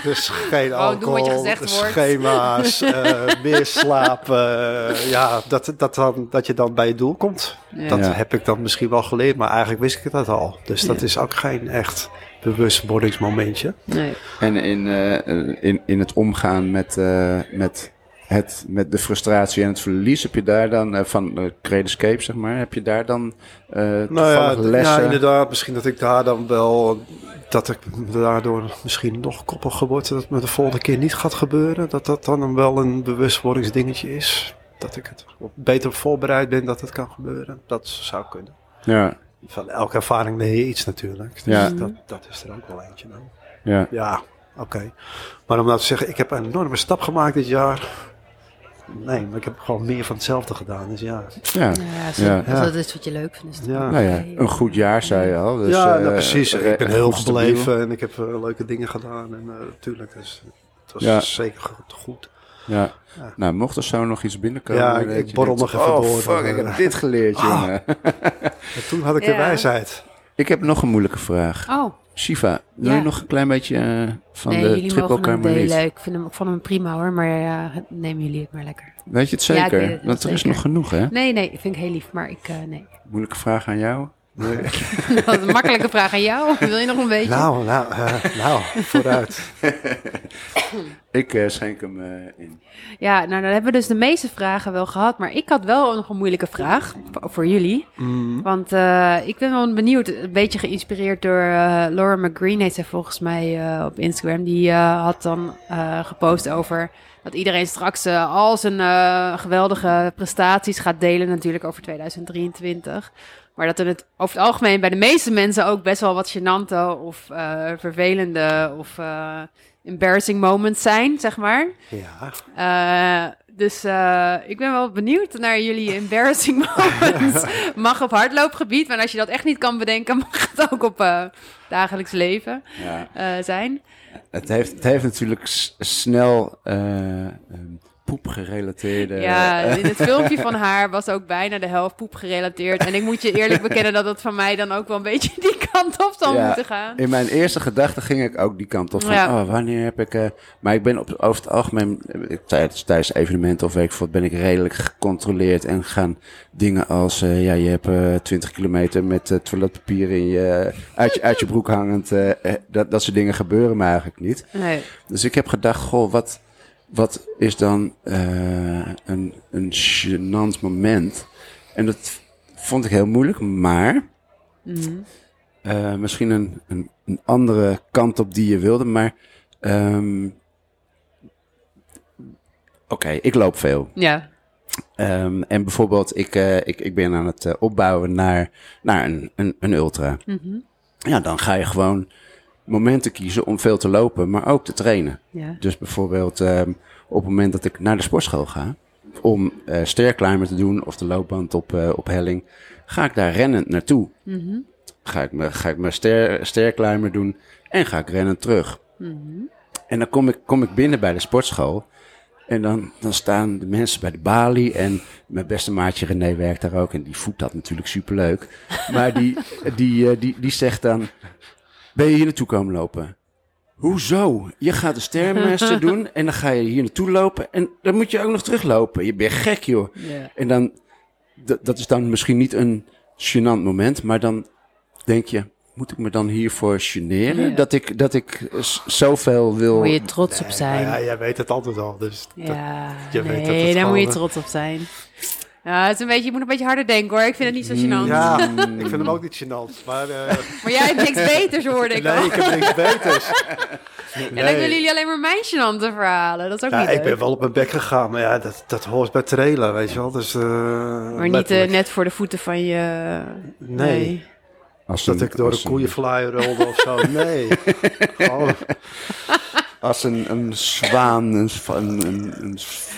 Speaker 2: dus geen
Speaker 3: Gewoon doen
Speaker 2: alcohol,
Speaker 3: wat je gezegd
Speaker 2: de
Speaker 3: wordt.
Speaker 2: schema's, eh, meer slapen. eh, ja, dat, dat, dan, dat je dan bij je doel komt.
Speaker 3: Ja.
Speaker 2: Dat
Speaker 1: Ja.
Speaker 2: heb ik dan misschien wel geleerd, maar eigenlijk wist ik dat al. Dus dat is ook geen echt bewustwordingsmomentje.
Speaker 3: Nee.
Speaker 1: En in, eh, in, in het omgaan met, eh, met, het, met de frustratie en het verlies, heb je daar dan eh, van eh Creed Escape, zeg maar, heb je daar dan eh
Speaker 2: Nou ja,
Speaker 1: toevallig lessen?
Speaker 2: ja, inderdaad. Misschien dat ik daar dan wel... Dat ik daardoor misschien nog koppiger word. Dat het me de volgende keer niet gaat gebeuren. Dat dat dan wel een bewustwordingsdingetje is. Dat ik het beter voorbereid ben dat het kan gebeuren. Dat zou kunnen.
Speaker 1: Ja,
Speaker 2: Van elke ervaring leer je iets natuurlijk. Dus
Speaker 1: Ja.
Speaker 2: dat, dat is er ook wel eentje dan.
Speaker 1: ja.
Speaker 2: Ja, oké. Maar om nou te zeggen, ik heb een enorme stap gemaakt dit jaar. Nee, maar ik heb gewoon meer van hetzelfde gedaan. Dus ja,
Speaker 1: ja.
Speaker 3: Nou ja, als,
Speaker 1: Ja.
Speaker 3: als dat is wat je leuk vindt. Is het
Speaker 2: Ja.
Speaker 1: Nou ja, een goed jaar zei je al. Dus,
Speaker 2: ja,
Speaker 1: eh,
Speaker 2: nou, precies.
Speaker 1: re-
Speaker 2: Ik ben heel
Speaker 1: goed stabiel.
Speaker 2: gebleven en ik heb eh, leuke dingen gedaan. En eh, natuurlijk, dus, het was
Speaker 1: Ja.
Speaker 2: zeker goed. goed.
Speaker 1: Ja.
Speaker 2: Ja.
Speaker 1: Nou, mocht er zo nog iets binnenkomen.
Speaker 2: Ja, ik-
Speaker 1: dat
Speaker 2: ik
Speaker 1: je
Speaker 2: borrel
Speaker 1: denkt,
Speaker 2: nog even
Speaker 1: oh,
Speaker 2: door,
Speaker 1: fuck,
Speaker 2: dan,
Speaker 1: ik heb
Speaker 2: eh.
Speaker 1: dit geleerd, jongen.
Speaker 2: En toen had ik
Speaker 3: Ja.
Speaker 2: de wijsheid.
Speaker 1: Ik heb nog een moeilijke vraag.
Speaker 3: Oh,
Speaker 1: Shiva, wil
Speaker 3: Ja.
Speaker 1: je nog een klein beetje eh, van
Speaker 3: nee,
Speaker 1: de
Speaker 3: jullie
Speaker 1: triple
Speaker 3: mogen hem delen.
Speaker 1: carmeliet?
Speaker 3: Ik, vind hem, ik vond hem prima hoor, maar eh, nemen jullie het maar lekker.
Speaker 1: Weet je het
Speaker 3: Ja, ik
Speaker 1: zeker?
Speaker 3: weet het
Speaker 1: Want er is
Speaker 3: zeker.
Speaker 1: nog genoeg, hè?
Speaker 3: Nee, nee, vind ik heel lief, maar ik, eh, nee. *laughs*
Speaker 1: Moeilijke vraag aan jou.
Speaker 3: Dat is een makkelijke vraag aan jou. Wil je nog een beetje?
Speaker 2: Nou, nou, eh, nou,
Speaker 1: *laughs*
Speaker 2: vooruit.
Speaker 1: Ik eh, schenk hem eh, in.
Speaker 3: Ja, nou, dan hebben we dus de meeste vragen wel gehad, maar ik had wel nog een moeilijke vraag voor- voor jullie. Want eh, ik ben wel benieuwd, een beetje geïnspireerd door eh, Laura McGreen, heet zij volgens mij eh, op Instagram. Die eh, had dan eh, gepost over dat iedereen straks eh, al zijn eh, geweldige prestaties gaat delen, natuurlijk over 2023. Maar dat er het over het algemeen bij de meeste mensen ook best wel wat gênante of eh, vervelende of eh, embarrassing moments zijn, zeg maar.
Speaker 2: Ja,
Speaker 3: Eh, dus eh, ik ben wel benieuwd naar
Speaker 2: *laughs*
Speaker 3: jullie embarrassing moments. Mag op hardloopgebied, maar als je dat echt niet kan bedenken, *laughs* mag het ook op eh, dagelijks leven
Speaker 1: Ja.
Speaker 3: eh, zijn.
Speaker 1: Het, heeft, het heeft natuurlijk s- snel eh, ehm, poepgerelateerde...
Speaker 3: ja,
Speaker 1: eh,
Speaker 3: in het filmpje van haar was ook bijna de helft poep gerelateerd. En ik moet je eerlijk bekennen dat dat van mij dan ook wel een beetje die kant op zal
Speaker 1: Ja.
Speaker 3: moeten gaan.
Speaker 1: In mijn eerste gedachte ging ik ook die kant op van,
Speaker 3: Ja.
Speaker 1: oh, wanneer heb ik... eh, maar ik ben op, over het algemeen, eh, tijdens, tijdens evenementen of weet ik veel, wat, ben ik redelijk gecontroleerd en gaan dingen als, eh, ja, je hebt eh 20 kilometer met eh, toiletpapier in je, uit, je, uit je broek hangend. eh, eh, dat, dat soort dingen gebeuren me eigenlijk niet.
Speaker 3: Nee.
Speaker 1: Dus ik heb gedacht, goh, wat, wat is dan eh, een, een gênant moment? En dat vond ik heel moeilijk, maar...
Speaker 3: Mhm.
Speaker 1: Eh, misschien een, een, een andere kant op die je wilde, maar. ehm, Oké, ik loop veel.
Speaker 3: Ja.
Speaker 1: Ehm, en bijvoorbeeld, ik, eh, ik, ik ben aan het eh, opbouwen naar, naar een, een, een ultra.
Speaker 3: Mhm.
Speaker 1: Ja, dan ga je gewoon momenten kiezen om veel te lopen, maar ook te trainen.
Speaker 3: ja.
Speaker 1: Dus bijvoorbeeld ehm, op het moment dat ik naar de sportschool ga om eh stairclimber te doen of de loopband op, eh, op helling, ga ik daar rennend naartoe.
Speaker 3: Mhm.
Speaker 1: Ga ik mijn, ga ik mijn stair, stairclimber doen en ga ik rennend terug.
Speaker 3: Mhm.
Speaker 1: En dan kom ik, kom ik binnen bij de sportschool. En dan, dan staan de mensen bij de balie. En mijn beste maatje René werkt daar ook. En die voedt dat natuurlijk superleuk. *laughs* Maar die, die, eh, die, die zegt dan... Ben je hier naartoe komen lopen? Hoezo? Je gaat de
Speaker 3: *laughs*
Speaker 1: sterrenmeester doen en dan ga je hier naartoe lopen. En dan moet je ook nog teruglopen. Je bent gek, joh.
Speaker 3: Ja.
Speaker 1: En dan, dat- dat is dan misschien niet een gênant moment, maar dan denk je, moet ik me dan hiervoor generen?
Speaker 3: Ja.
Speaker 1: Dat ik, dat ik eh, s- zoveel wil.
Speaker 3: Moet je trots op
Speaker 2: Nou ja,
Speaker 3: zijn.
Speaker 2: jij weet het altijd al. Dus dat-
Speaker 3: Ja,
Speaker 2: je weet dat
Speaker 3: nee,
Speaker 2: het
Speaker 3: daar moet je
Speaker 2: gewoon,
Speaker 3: trots op zijn. Ja, het is een beetje, je moet een beetje harder denken hoor. Ik vind het niet zo gênant.
Speaker 2: Mm, Ja, ik vind hem ook niet gênant. Maar eh,
Speaker 3: Maar jij hebt
Speaker 1: *laughs*
Speaker 3: niks beters, hoorde ik al.
Speaker 2: nee, ik heb niks beters.
Speaker 3: En dan
Speaker 2: Nee.
Speaker 3: willen jullie alleen maar mijn gênante verhalen. Dat is ook
Speaker 2: Ja,
Speaker 3: niet
Speaker 2: ik ben
Speaker 3: leuk.
Speaker 2: wel op mijn bek gegaan, maar ja, dat, dat hoort bij trailer, weet je wel. Dus, eh,
Speaker 3: Maar niet eh,
Speaker 2: letterlijk.
Speaker 3: net voor de voeten van je... eh,
Speaker 2: Nee.
Speaker 1: Als
Speaker 2: Dat
Speaker 1: een-
Speaker 2: ik door de
Speaker 1: als een-
Speaker 2: koeienfly rolde of
Speaker 3: *laughs*
Speaker 2: zo. Nee. Gewoon-
Speaker 1: Als een, een zwaan, een, zwa- een, een, een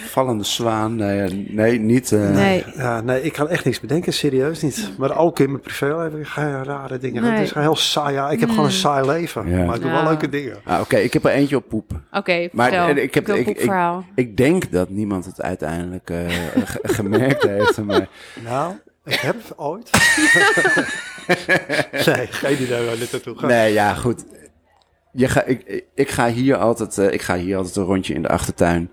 Speaker 1: vallende zwaan. Nee, nee niet. eh,
Speaker 3: Nee.
Speaker 2: ja, nee, ik kan echt niks bedenken, serieus niet. Maar ook in mijn privéleven ga je rare dingen. doen.
Speaker 3: Nee. Mm.
Speaker 2: Het is gewoon heel saai. Ja, ik heb gewoon een saai leven,
Speaker 1: Ja.
Speaker 2: maar ik doe
Speaker 3: Ja.
Speaker 2: wel leuke dingen.
Speaker 1: Ah, Oké, ik heb er eentje op poep.
Speaker 3: Oké,
Speaker 1: Maar
Speaker 3: vertel.
Speaker 1: eh, ik, heb,
Speaker 3: wil een
Speaker 1: ik, ik,
Speaker 3: poepverhaal.
Speaker 1: ik denk dat niemand het uiteindelijk eh, ge- *laughs* gemerkt heeft. Maar
Speaker 2: Nou, ik heb
Speaker 3: *laughs*
Speaker 2: ooit... nee, geen idee waar dit naartoe gaat.
Speaker 1: Nee, ja, goed. Je ga, ik- ik, ik, ga hier altijd, eh, ik ga hier altijd een rondje in de achtertuin.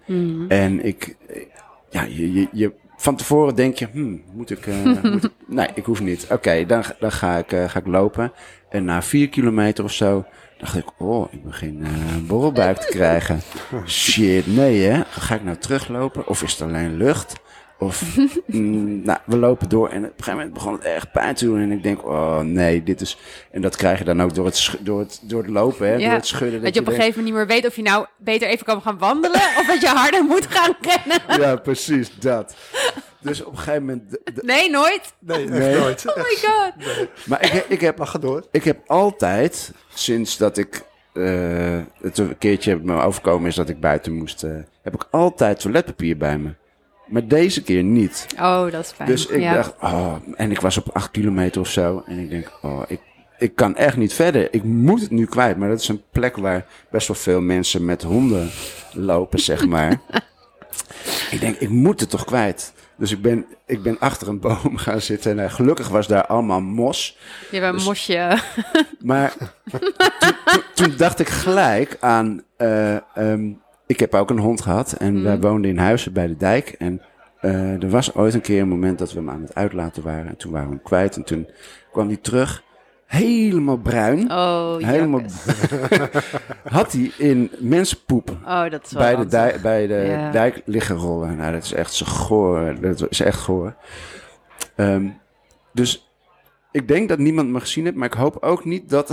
Speaker 1: En ik, eh, ja, je, je, je- van tevoren denk je, hmm, moet ik,
Speaker 3: *laughs*
Speaker 1: eh, moet ik- nee, ik hoef niet. Oké, dan, ga- dan ga, ik, eh, ga ik lopen. En na vier kilometer of zo dacht ik, oh, ik begin eh, een borrelbuik te
Speaker 3: *laughs*
Speaker 1: krijgen. Shit, nee hè, ga ik nou teruglopen of is het alleen lucht?
Speaker 3: *laughs*
Speaker 1: Of, mm, nou, we lopen door en op een gegeven moment begon het erg pijn te doen. En ik denk, oh nee, dit is... En dat krijg je dan ook door het, sch- door het, door het lopen, hè,
Speaker 3: Ja.
Speaker 1: door het schudden.
Speaker 3: Dat je op een
Speaker 1: denkt-
Speaker 3: gegeven moment niet meer weet of je nou beter even kan gaan wandelen...
Speaker 1: *laughs*
Speaker 3: of dat je harder moet gaan rennen.
Speaker 1: Ja, precies, dat. Dus op een gegeven moment... d- d-
Speaker 3: Nee, nooit.
Speaker 2: Nee, echt
Speaker 1: Nee.
Speaker 2: nooit.
Speaker 3: Oh my god.
Speaker 1: Maar ik, ik, heb,
Speaker 2: Maar ga door.
Speaker 1: ik heb altijd, sinds dat ik eh, het een keertje me overkomen is dat ik buiten moest... eh, heb ik altijd toiletpapier bij me. Maar deze keer niet.
Speaker 3: Oh, dat is fijn.
Speaker 1: Dus ik
Speaker 3: ja.
Speaker 1: dacht, oh, en ik was op acht kilometer of zo. En ik denk, oh, ik, ik kan echt niet verder. Ik moet het nu kwijt. Maar dat is een plek waar best wel veel mensen met honden lopen, zeg maar. ik denk, ik moet het toch kwijt. Dus ik ben, ik ben achter een boom *laughs* gaan zitten. En eh, gelukkig was daar allemaal mos.
Speaker 3: Je hebt een
Speaker 1: dus-
Speaker 3: mosje.
Speaker 1: Maar toen- toen- toen dacht ik gelijk aan. eh, ehm, ik heb ook een hond gehad en
Speaker 3: Mhm.
Speaker 1: wij woonden in huizen bij de dijk. En eh, er was ooit een keer een moment dat we hem aan het uitlaten waren. En toen waren we hem kwijt. En toen kwam hij terug, helemaal bruin.
Speaker 3: Oh,
Speaker 1: helemaal.
Speaker 3: jakkes.
Speaker 1: had hij in mensenpoep
Speaker 3: Oh, dat is wel
Speaker 1: bij de,
Speaker 3: ranzig.
Speaker 1: dijk, bij de
Speaker 3: Ja.
Speaker 1: dijk liggen rollen. Nou, dat is echt zo goor. Dat is echt goor. Ehm, dus ik denk dat niemand me gezien heeft, maar ik hoop ook niet dat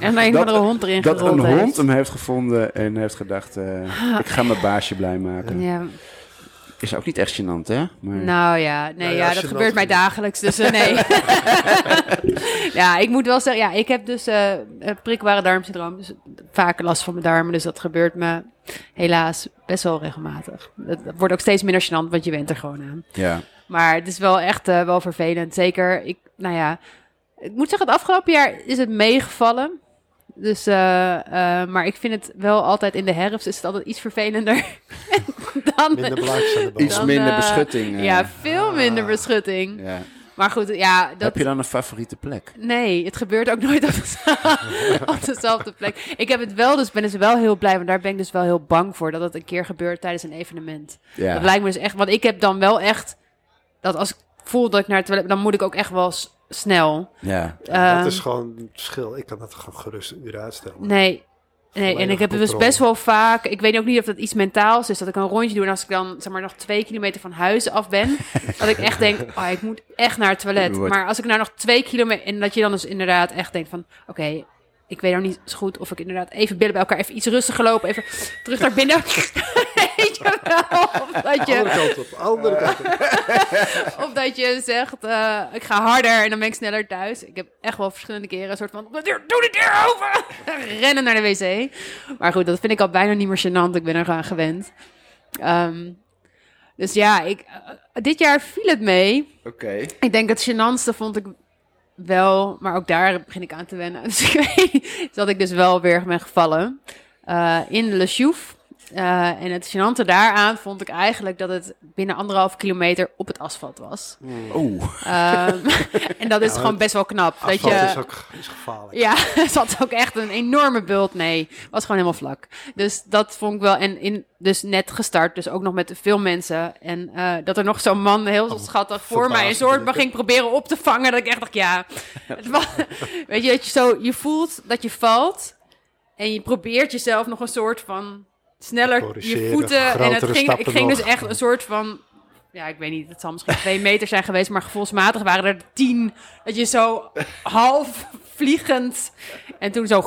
Speaker 3: En dan een
Speaker 1: dat-
Speaker 3: andere hond erin
Speaker 1: dat een
Speaker 3: gerold heeft.
Speaker 1: hond hem heeft gevonden en heeft gedacht, eh, ik ga mijn baasje blij maken.
Speaker 3: Ja,
Speaker 1: Is ook niet echt gênant, hè? Maar,
Speaker 3: nou ja, nee,
Speaker 2: Nou ja,
Speaker 3: ja,
Speaker 2: als
Speaker 3: dat
Speaker 2: je
Speaker 3: gebeurt
Speaker 2: dat-
Speaker 3: mij dagelijks, dus
Speaker 2: *laughs*
Speaker 3: eh, nee. *laughs* ja, ik moet wel zeggen, ja, ik heb dus eh, eh, prikbare darmsyndroom, dus vaker last van mijn darmen, dus dat gebeurt me helaas best wel regelmatig. Het wordt ook steeds minder gênant, want je went er gewoon aan.
Speaker 1: Ja.
Speaker 3: Maar het is wel echt eh, wel vervelend. Zeker, ik, nou ja, ik moet zeggen, het afgelopen jaar is het meegevallen. Dus, eh, eh, maar ik vind het wel altijd in de herfst is het altijd iets vervelender *laughs*
Speaker 2: *laughs*
Speaker 3: dan.
Speaker 2: Minder belangrijk zijn de
Speaker 1: Iets
Speaker 2: ballen.
Speaker 3: Dan,
Speaker 1: minder
Speaker 3: eh,
Speaker 1: beschutting. eh,
Speaker 3: Ja, veel minder beschutting.
Speaker 1: ja.
Speaker 3: Maar goed, ja, dat.
Speaker 1: Heb je dan een favoriete plek?
Speaker 3: Nee, het gebeurt ook nooit op, de- *laughs* op dezelfde plek. Ik heb het wel, dus ben dus wel heel blij. Want daar ben ik dus wel heel bang voor dat dat een keer gebeurt tijdens een evenement.
Speaker 1: Ja.
Speaker 3: Dat lijkt me dus echt. Want ik heb dan wel echt. Dat als ik voel dat ik naar het toilet. dan moet ik ook echt wel s- snel.
Speaker 1: ja.
Speaker 2: Ja, dat
Speaker 3: Ehm,
Speaker 2: is gewoon het verschil. Ik kan dat gewoon gerust een uur uitstellen.
Speaker 3: Nee. Nee, en ik
Speaker 2: Volledige
Speaker 3: heb het dus
Speaker 2: controle.
Speaker 3: best wel vaak. Ik weet ook niet of dat iets mentaals is. Dat ik een rondje doe. En als ik dan zeg maar nog twee kilometer van huis af ben. dat ik echt denk. Oh, ik moet echt naar het toilet.
Speaker 1: Wordt-
Speaker 3: Maar als ik nou nog twee kilometer. En dat je dan dus inderdaad echt denkt van. Oké, ik weet nou niet zo goed of ik inderdaad even billen bij elkaar. Even iets rustiger lopen. Even terug naar binnen. *laughs* weet je wel. Of dat je.
Speaker 2: Andere kant op, andere kant op.
Speaker 3: Of dat je zegt, eh, ik ga harder en dan ben ik sneller thuis. Ik heb echt wel verschillende keren een soort van, doe de deur open! *laughs* Rennen naar de wc. Maar goed, dat vind ik al bijna niet meer gênant. Ik ben er aan gewend. Ehm, dus ja, ik, eh, dit jaar viel het mee.
Speaker 1: Oké.
Speaker 3: Ik denk het gênantste vond ik wel, maar ook daar begin ik aan *laughs* te wennen. Dus ik weet dat ik dus wel weer ben gevallen. eh, in Le Chouf. Eh, en het gênante daaraan vond ik eigenlijk dat het binnen anderhalf kilometer op het asfalt was.
Speaker 1: Oh,
Speaker 3: Ehm, *laughs* en dat is
Speaker 2: Ja,
Speaker 3: gewoon best wel knap. Dat
Speaker 2: Asfalt
Speaker 3: je,
Speaker 2: is ook is gevaarlijk.
Speaker 3: Ja, *laughs* er zat ook echt een enorme bult. Nee, was gewoon helemaal vlak. Dus dat vond ik wel. En in, dus net gestart, dus ook nog met veel mensen. En eh, dat er nog zo'n man heel
Speaker 2: Oh,
Speaker 3: schattig voor mij een
Speaker 2: verbazend
Speaker 3: soort me
Speaker 2: lekker.
Speaker 3: ging proberen op te vangen. Dat ik echt dacht,
Speaker 2: *laughs*
Speaker 3: ja. Het was, weet je, dat je zo, je voelt dat je valt. En je probeert jezelf nog een soort van sneller je
Speaker 2: Corrigeren,
Speaker 3: voeten. En het
Speaker 2: grotere
Speaker 3: ging, ik
Speaker 2: stappen
Speaker 3: ging dus
Speaker 2: nog.
Speaker 3: echt een soort van. Ja, ik weet niet, het zal misschien twee meter zijn geweest, maar gevoelsmatig waren er tien. Dat je zo half vliegend en toen zo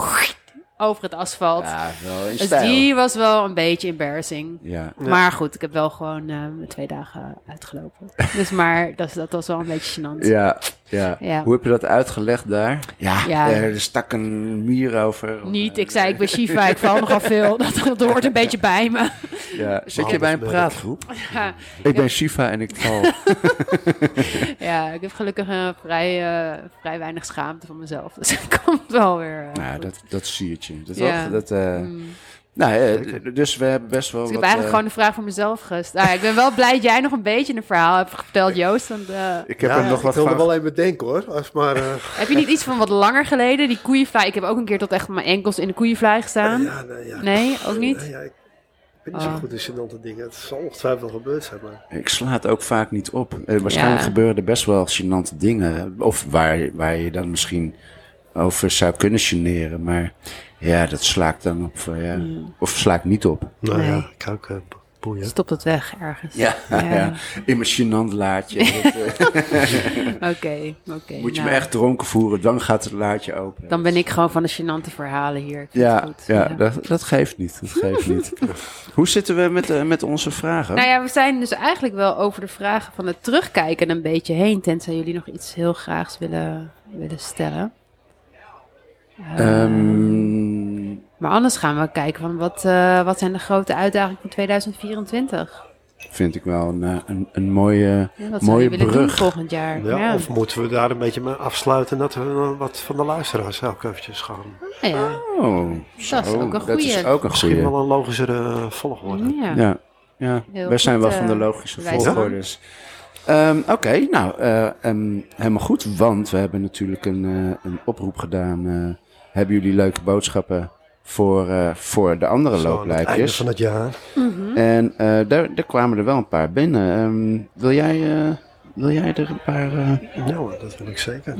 Speaker 3: over het asfalt.
Speaker 1: ja, wel in
Speaker 3: dus
Speaker 1: stijl.
Speaker 3: die was wel een beetje embarrassing.
Speaker 1: Ja,
Speaker 3: Maar goed, ik heb wel gewoon eh, mijn twee dagen uitgelopen. Dus maar dat, dat was wel een beetje gênant.
Speaker 1: ja, ja.
Speaker 3: Ja.
Speaker 1: Hoe heb je dat uitgelegd daar? Ja,
Speaker 3: Ja.
Speaker 1: eh, er stak een mier over.
Speaker 3: Niet, ik zei ik ben Shiva, ik val nogal veel. Dat, dat hoort een beetje bij me.
Speaker 1: Ja. Eh, Zit je bij een
Speaker 2: Handelsmerk.
Speaker 1: praatgroep?
Speaker 3: Ja.
Speaker 1: Ik ben Shiva en ik *laughs* val.
Speaker 3: Ja, ik heb gelukkig eh, vrij, eh, vrij weinig schaamte van mezelf. Dus dat komt wel weer. eh,
Speaker 1: nou,
Speaker 3: goed.
Speaker 1: dat, dat siertje. Dat,
Speaker 3: Ja.
Speaker 1: dat, eh,
Speaker 3: Mm.
Speaker 1: nou, eh, d- dus we hebben best wel
Speaker 3: Dus ik
Speaker 1: wat...
Speaker 3: heb eigenlijk
Speaker 1: eh,
Speaker 3: gewoon de vraag voor mezelf gesteld. Nou, ja, ik ben wel blij dat jij nog een beetje een verhaal hebt
Speaker 1: *laughs*
Speaker 3: verteld, Joost. Want, eh,
Speaker 1: Ik heb
Speaker 2: Ja,
Speaker 1: er nog wat
Speaker 2: Ik wil er
Speaker 1: van...
Speaker 2: wel even denken hoor. Als maar, eh,
Speaker 3: heb je niet iets van wat langer geleden? Die koeienvlaai. Ik heb ook een keer tot echt mijn enkels in de koeienvlaai gestaan.
Speaker 2: ja, nee, ja.
Speaker 3: Nee, ook
Speaker 2: Ja,
Speaker 3: niet?
Speaker 2: ja, ik ben niet zo
Speaker 3: Oh.
Speaker 2: goed in gênante dingen. Het zal ongetwijfeld wel gebeurd zijn, maar...
Speaker 1: Ik sla het ook vaak niet op. Eh, waarschijnlijk
Speaker 3: Ja.
Speaker 1: gebeuren er best wel gênante dingen. Of waar, waar je dan misschien over zou kunnen generen. Maar ja, dat sla ik dan op. eh, ja.
Speaker 3: Mm.
Speaker 1: Of sla ik niet op.
Speaker 2: Nou
Speaker 3: Nee.
Speaker 2: ja, ik hou ook eh, bo- boeien.
Speaker 3: Stop dat weg ergens.
Speaker 1: Ja, *laughs* ja. in mijn gênant
Speaker 3: *laughs*
Speaker 1: laadje. Dat, eh,
Speaker 3: Oké, oké.
Speaker 1: moet je
Speaker 3: nou,
Speaker 1: me echt dronken voeren, dan gaat het laadje open.
Speaker 3: Dan ben ik gewoon van de gênante verhalen hier. Ik vind het
Speaker 1: ja,
Speaker 3: goed.
Speaker 1: ja dat, dat geeft niet. Dat geeft
Speaker 3: *laughs*
Speaker 1: niet. Hoe zitten we met, eh, met onze vragen?
Speaker 3: Nou ja, we zijn dus eigenlijk wel over de vragen van het terugkijken een beetje heen. Tenzij jullie nog iets heel graags willen, willen stellen.
Speaker 1: Ehm,
Speaker 3: Maar anders gaan we kijken van wat, eh, wat zijn de grote uitdagingen van 2024?
Speaker 1: vind ik wel een, eh, een, een mooie,
Speaker 3: Ja, wat zou
Speaker 1: mooie
Speaker 3: je willen doen
Speaker 1: brug.
Speaker 3: volgend jaar?
Speaker 2: Ja, Of moeten we daar een beetje mee afsluiten dat we dan wat van de luisteraars ook eventjes gaan...
Speaker 3: Nou ja.
Speaker 1: Oh,
Speaker 3: Dat is ook een
Speaker 1: Dat is
Speaker 3: goeie.
Speaker 1: ook een
Speaker 2: Misschien
Speaker 1: goeie.
Speaker 2: wel een logischere eh, volgorde.
Speaker 3: Ja.
Speaker 1: Ja, ja.
Speaker 3: Heel
Speaker 1: wij zijn
Speaker 3: goed,
Speaker 1: wel
Speaker 3: eh,
Speaker 1: van de logische
Speaker 3: wijs van.
Speaker 1: volgordes. Ehm, Oké, nou, eh, ehm, helemaal goed. Want we hebben natuurlijk een, eh, een oproep gedaan. eh, hebben jullie leuke boodschappen voor, eh, voor de andere
Speaker 2: Zo aan het einde
Speaker 1: looplijpjes?
Speaker 2: van het jaar.
Speaker 1: En eh, daar, daar kwamen er wel een paar binnen. Ehm, wil, jij, eh, wil jij er een paar eh,
Speaker 2: Ja hoor, dat wil ik zeker.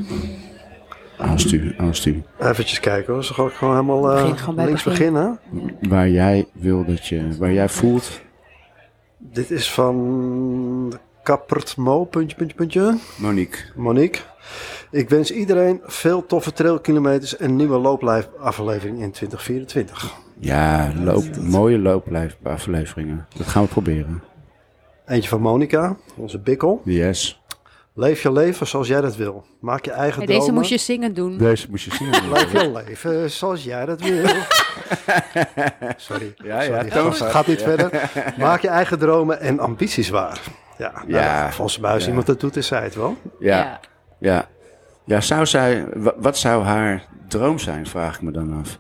Speaker 1: aansturen, aansturen?
Speaker 2: Eventjes kijken hoor. Zo ga ik gewoon helemaal eh,
Speaker 3: Begin gewoon bij
Speaker 2: links
Speaker 3: het begin.
Speaker 2: beginnen.
Speaker 1: Waar jij wil dat je, waar jij voelt.
Speaker 2: Dit is van Kappert Mo, puntje, puntje, puntje.
Speaker 1: Monique,
Speaker 2: Monique. Ik wens iedereen veel toffe trailkilometers en nieuwe looplijfaflevering in 2024.
Speaker 1: Ja, loop, mooie looplijfafleveringen. Dat gaan we proberen.
Speaker 2: Eentje van Monica, onze bikkel.
Speaker 1: Yes.
Speaker 2: Leef je leven zoals jij dat wil. Maak je eigen
Speaker 3: Hey,
Speaker 2: dromen.
Speaker 3: deze moest je zingen doen.
Speaker 1: Deze moest je *laughs* zien.
Speaker 2: Leef je leven zoals jij
Speaker 1: *laughs*
Speaker 2: dat wil. Sorry.
Speaker 1: Ja, ja,
Speaker 2: Sorry,
Speaker 1: dat
Speaker 2: het gaat niet
Speaker 1: *laughs*
Speaker 2: verder. Maak je eigen dromen en ambities waar. Ja, nou,
Speaker 1: Ja.
Speaker 2: volgens mij als
Speaker 1: Ja.
Speaker 2: iemand dat doet, is zij het wel.
Speaker 1: ja, ja. Ja, zou zij, wa- wat zou haar droom zijn, vraag ik me dan af.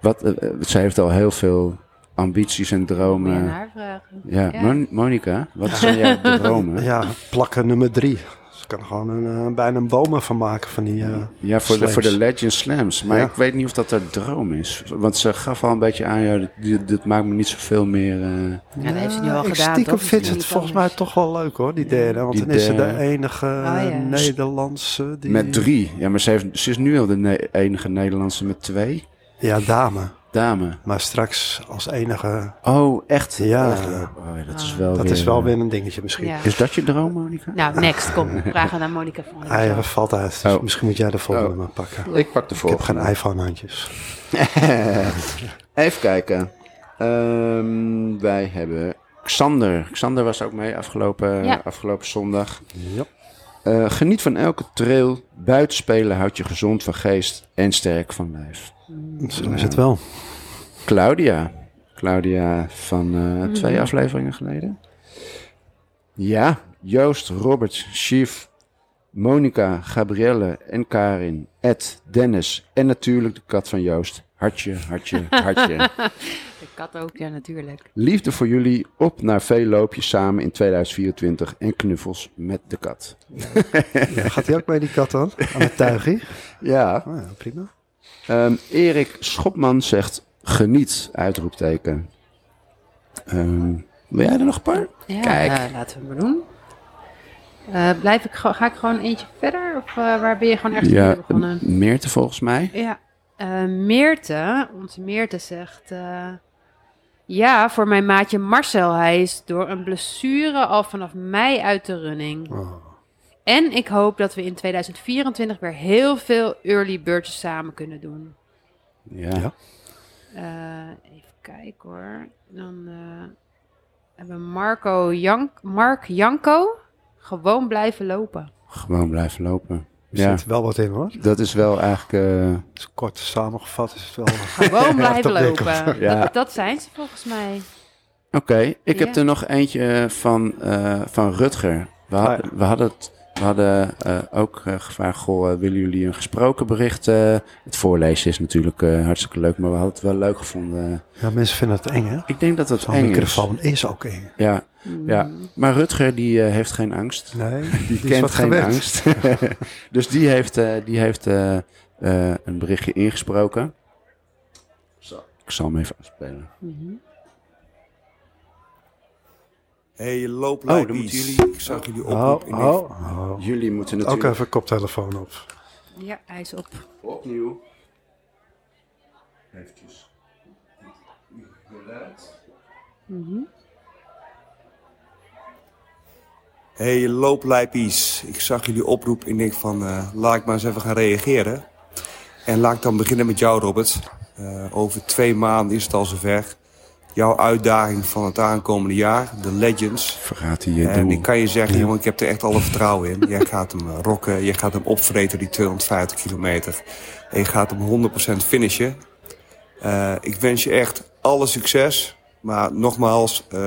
Speaker 1: Wat, eh, eh, zij heeft al heel veel ambities en
Speaker 3: Moet je eh, aan
Speaker 1: dromen.
Speaker 3: haar vragen.
Speaker 1: Ja,
Speaker 3: Ja.
Speaker 1: Mon- Monica, wat zijn jouw *laughs* dromen?
Speaker 2: Ja, plakken nummer drie. Ze kan er gewoon een, eh, bijna een bomen van maken van die... eh,
Speaker 1: Ja, voor de,
Speaker 2: slams.
Speaker 1: voor de Legend Slams. Maar
Speaker 2: Ja.
Speaker 1: ik weet niet of dat haar droom is. Want ze gaf al een beetje aan, ja, dit, dit maakt me niet zoveel meer... eh,
Speaker 3: Ja, dat heeft ze nu al
Speaker 2: Ah, ik
Speaker 3: gedaan.
Speaker 2: Stiekem vindt
Speaker 3: toch?
Speaker 2: ze
Speaker 3: Misschien
Speaker 2: het
Speaker 3: iets
Speaker 2: volgens mij
Speaker 3: anders.
Speaker 2: toch wel leuk hoor, die derde. Want
Speaker 1: Die
Speaker 2: dan is ze de
Speaker 1: derde.
Speaker 2: enige
Speaker 3: Ah,
Speaker 2: eh,
Speaker 3: ja.
Speaker 2: Nederlandse die...
Speaker 1: Met drie. Ja, maar ze, heeft, ze is nu al de ne- enige Nederlandse met twee.
Speaker 2: Ja, dame.
Speaker 1: Dame.
Speaker 2: Maar straks als enige...
Speaker 1: Oh, echt?
Speaker 2: Ja.
Speaker 1: Echt? Oh, ja, dat is wel
Speaker 2: Dat
Speaker 1: weer,
Speaker 2: is wel weer een dingetje misschien.
Speaker 3: Ja.
Speaker 1: Is dat je droom, Monica?
Speaker 3: Nou, next,
Speaker 1: *laughs*
Speaker 3: kom. Vragen aan Monica van. der
Speaker 2: Ah, ja,
Speaker 3: Zalm.
Speaker 2: dat valt uit. Dus
Speaker 1: Oh.
Speaker 2: Misschien moet jij de volgende
Speaker 1: Oh.
Speaker 2: maar pakken.
Speaker 1: Ik pak de
Speaker 2: Ik heb
Speaker 1: volgende.
Speaker 2: geen iPhone-handjes.
Speaker 1: Even kijken. Ehm, wij hebben Xander. Xander was ook mee afgelopen,
Speaker 3: Ja.
Speaker 1: afgelopen zondag.
Speaker 2: Ja.
Speaker 1: Eh, geniet van elke trail. Buitenspelen houdt je gezond van geest en sterk van lijf.
Speaker 2: Zo is het wel.
Speaker 1: Claudia. Claudia van eh, twee afleveringen geleden. Ja, Joost, Robert, Chief, Monica, Gabrielle en Karin, Ed, Dennis en natuurlijk de kat van Joost, Hartje, hartje, hartje.
Speaker 3: De kat ook, ja, natuurlijk.
Speaker 1: Liefde voor jullie. Op naar veel loopjes samen in 2024. En knuffels met de kat.
Speaker 2: Gaat hij ook mee, die kat dan? Aan
Speaker 1: *laughs*
Speaker 2: het tuigje?
Speaker 1: Ja.
Speaker 2: Ah, ja, prima.
Speaker 1: Ehm, Erik Schopman zegt: geniet, uitroepteken. Ehm, wil jij er nog een paar?
Speaker 3: Ja,
Speaker 1: Kijk.
Speaker 3: eh, laten we het maar doen. Eh, blijf ik, ge- ga ik gewoon eentje verder? Of eh, waar ben je gewoon echt mee
Speaker 1: Ja,
Speaker 3: begonnen?
Speaker 1: Meerte volgens mij.
Speaker 3: Ja, eh, Meerte, onze Meerte zegt... eh, ja, voor mijn maatje Marcel. Hij is door een blessure al vanaf mei uit de running.
Speaker 2: Oh.
Speaker 3: En ik hoop dat we in 2024 weer heel veel early birdjes samen kunnen doen.
Speaker 1: Ja.
Speaker 2: Ja.
Speaker 3: Eh, even kijken hoor. Dan eh, hebben we Marco Jan Mark Janko. Gewoon blijven lopen.
Speaker 1: Gewoon blijven lopen.
Speaker 2: Er
Speaker 1: Ja,
Speaker 2: zit wel wat in hoor.
Speaker 1: dat is wel eigenlijk. eh,
Speaker 2: Dus kort samengevat is het wel. *laughs*
Speaker 3: Gewoon blijven
Speaker 2: dat denk ik
Speaker 3: lopen.
Speaker 1: Ja.
Speaker 3: Dat, dat zijn ze volgens mij.
Speaker 1: Oké, ik heb
Speaker 3: Ja.
Speaker 1: er nog eentje eh, van, eh, van Rutger. We, had-
Speaker 2: Ah,
Speaker 1: we hadden, het, we hadden eh, ook eh, gevraagd, goh, eh, willen jullie een gesproken bericht? eh? het voorlezen is natuurlijk eh, hartstikke leuk, maar we hadden het wel leuk gevonden.
Speaker 2: Ja, mensen vinden het eng hè.
Speaker 1: Ik denk dat het
Speaker 2: Zo'n
Speaker 1: eng is.
Speaker 2: microfoon is ook eng.
Speaker 1: Ja, ja.
Speaker 3: Mm.
Speaker 1: Maar Rutger die eh, heeft geen angst.
Speaker 2: *laughs* Nee,
Speaker 1: Die, kent geen angst. *laughs* dus die heeft, eh, die heeft eh, eh, een berichtje ingesproken. Zo, Ik zal hem even afspelen.
Speaker 3: Mhm.
Speaker 4: hey, loop
Speaker 1: dan
Speaker 4: oh,
Speaker 1: moeten jullie-
Speaker 4: jullie. Ik zag jullie oproep
Speaker 2: Oh,
Speaker 4: in één-
Speaker 2: oh, oh.
Speaker 1: Jullie moeten
Speaker 2: Ook
Speaker 1: natuurlijk
Speaker 2: even koptelefoon op.
Speaker 3: Ja, hij is op.
Speaker 1: Opnieuw. Eventjes. Geluid.
Speaker 4: hey, looplijpies. Ik zag jullie oproep en ik van, eh, laat ik maar eens even gaan reageren. En laat ik dan beginnen met jou, Robert. Eh, over twee maanden is het al zover. Jouw uitdaging van het aankomende jaar, de Legends.
Speaker 1: Verraadt hij je
Speaker 4: En
Speaker 1: doel.
Speaker 4: ik kan je zeggen, jongen, ik heb er echt alle vertrouwen in. Jij gaat hem eh, rocken, je gaat hem opvreten, die 250 kilometer. En je gaat hem 100% finishen. Eh, ik wens je echt alle succes. Maar nogmaals, eh,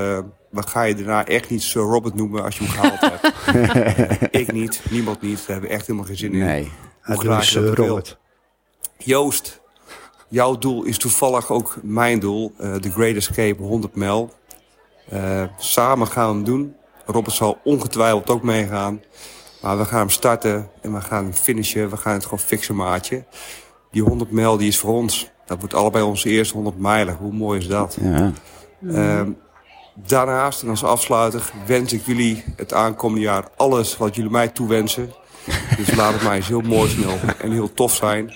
Speaker 4: we gaan je daarna echt niet Sir Robert noemen als je hem gehaald hebt.
Speaker 1: *laughs*
Speaker 4: ik niet, niemand niet. Daar hebben we echt helemaal geen zin in.
Speaker 1: Nee.
Speaker 4: Hoe
Speaker 2: Hij
Speaker 4: graag
Speaker 2: doet
Speaker 4: je dat
Speaker 2: eh,
Speaker 4: ook wil.
Speaker 2: Robert.
Speaker 4: Joost, jouw doel is toevallig ook mijn doel. eh, The Great Escape 100 mijl. Eh, samen gaan we hem doen. Robert zal ongetwijfeld ook meegaan. Maar we gaan hem starten en we gaan hem finishen. We gaan het gewoon fixen, maatje. Die 100 mijl die is voor ons. Dat wordt allebei onze eerste 100 mijlen. Hoe mooi is dat?
Speaker 1: Ja.
Speaker 4: Ehm, daarnaast, en als afsluiter, wens ik jullie het aankomende jaar alles wat jullie mij toewensen. Dus laat het mij eens heel mooi, snel en heel tof zijn.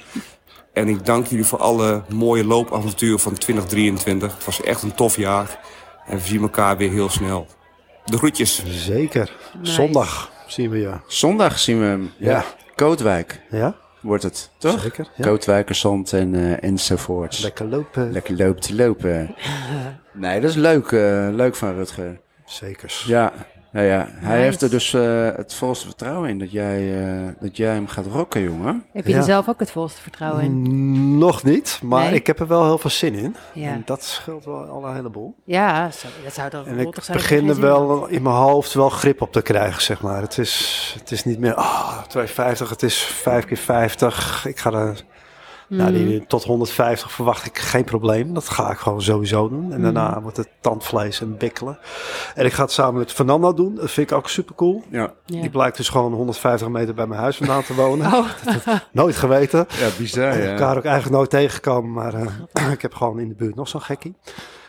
Speaker 4: En ik dank jullie voor alle mooie loopavonturen van 2023. Het was echt een tof jaar. En we zien elkaar weer heel snel. De groetjes.
Speaker 2: Zeker.
Speaker 3: Nice.
Speaker 2: Zondag zien we je.
Speaker 1: Zondag zien we hem.
Speaker 2: Ja.
Speaker 1: Kootwijk
Speaker 2: Ja?
Speaker 1: wordt het, toch?
Speaker 2: Zeker, ja.
Speaker 1: Kootwijkersand en, eh enzovoorts.
Speaker 2: Lekker lopen.
Speaker 1: Lekker loopt die
Speaker 2: *laughs*
Speaker 1: lopen. Nee, dat is leuk. eh, leuk van Rutger.
Speaker 2: Zekers.
Speaker 1: Ja. Ja, ja. Hij
Speaker 3: Nice.
Speaker 1: heeft er dus eh, het volste vertrouwen in dat jij, eh, dat jij hem gaat rocken, jongen.
Speaker 3: Heb je
Speaker 2: Ja.
Speaker 3: er zelf ook het volste vertrouwen in?
Speaker 2: Mm, Nog niet, maar
Speaker 3: Nee?
Speaker 2: ik heb er wel heel veel zin in.
Speaker 3: Ja.
Speaker 2: En dat scheelt wel al een heleboel.
Speaker 3: Ja, zo- dat zou toch
Speaker 2: En
Speaker 3: rottig
Speaker 2: ik
Speaker 3: zijn. als je
Speaker 2: begin er
Speaker 3: geen zin
Speaker 2: wel
Speaker 3: had.
Speaker 2: in mijn hoofd wel grip op te krijgen, zeg maar. Het is, het is niet meer, ah, 250, het is 5 keer 50. Ik ga er, nou, die,
Speaker 3: Mm.
Speaker 2: tot 150 verwacht ik geen probleem. Dat ga ik gewoon sowieso doen. En
Speaker 3: Mm.
Speaker 2: daarna wordt het tandvlees en bikkelen. En ik ga het samen met Fernanda doen. Dat vind ik ook super cool.
Speaker 1: Ja,
Speaker 3: Ja.
Speaker 2: Die blijkt dus gewoon 150 meter bij mijn huis vandaan te wonen.
Speaker 3: *laughs* Oh,
Speaker 2: Nooit geweten.
Speaker 1: ja bizar.
Speaker 2: Ik heb Oh, elkaar ook eigenlijk nooit tegengekomen, maar eh, *clears throat* ik heb gewoon in de buurt nog zo'n gekkie.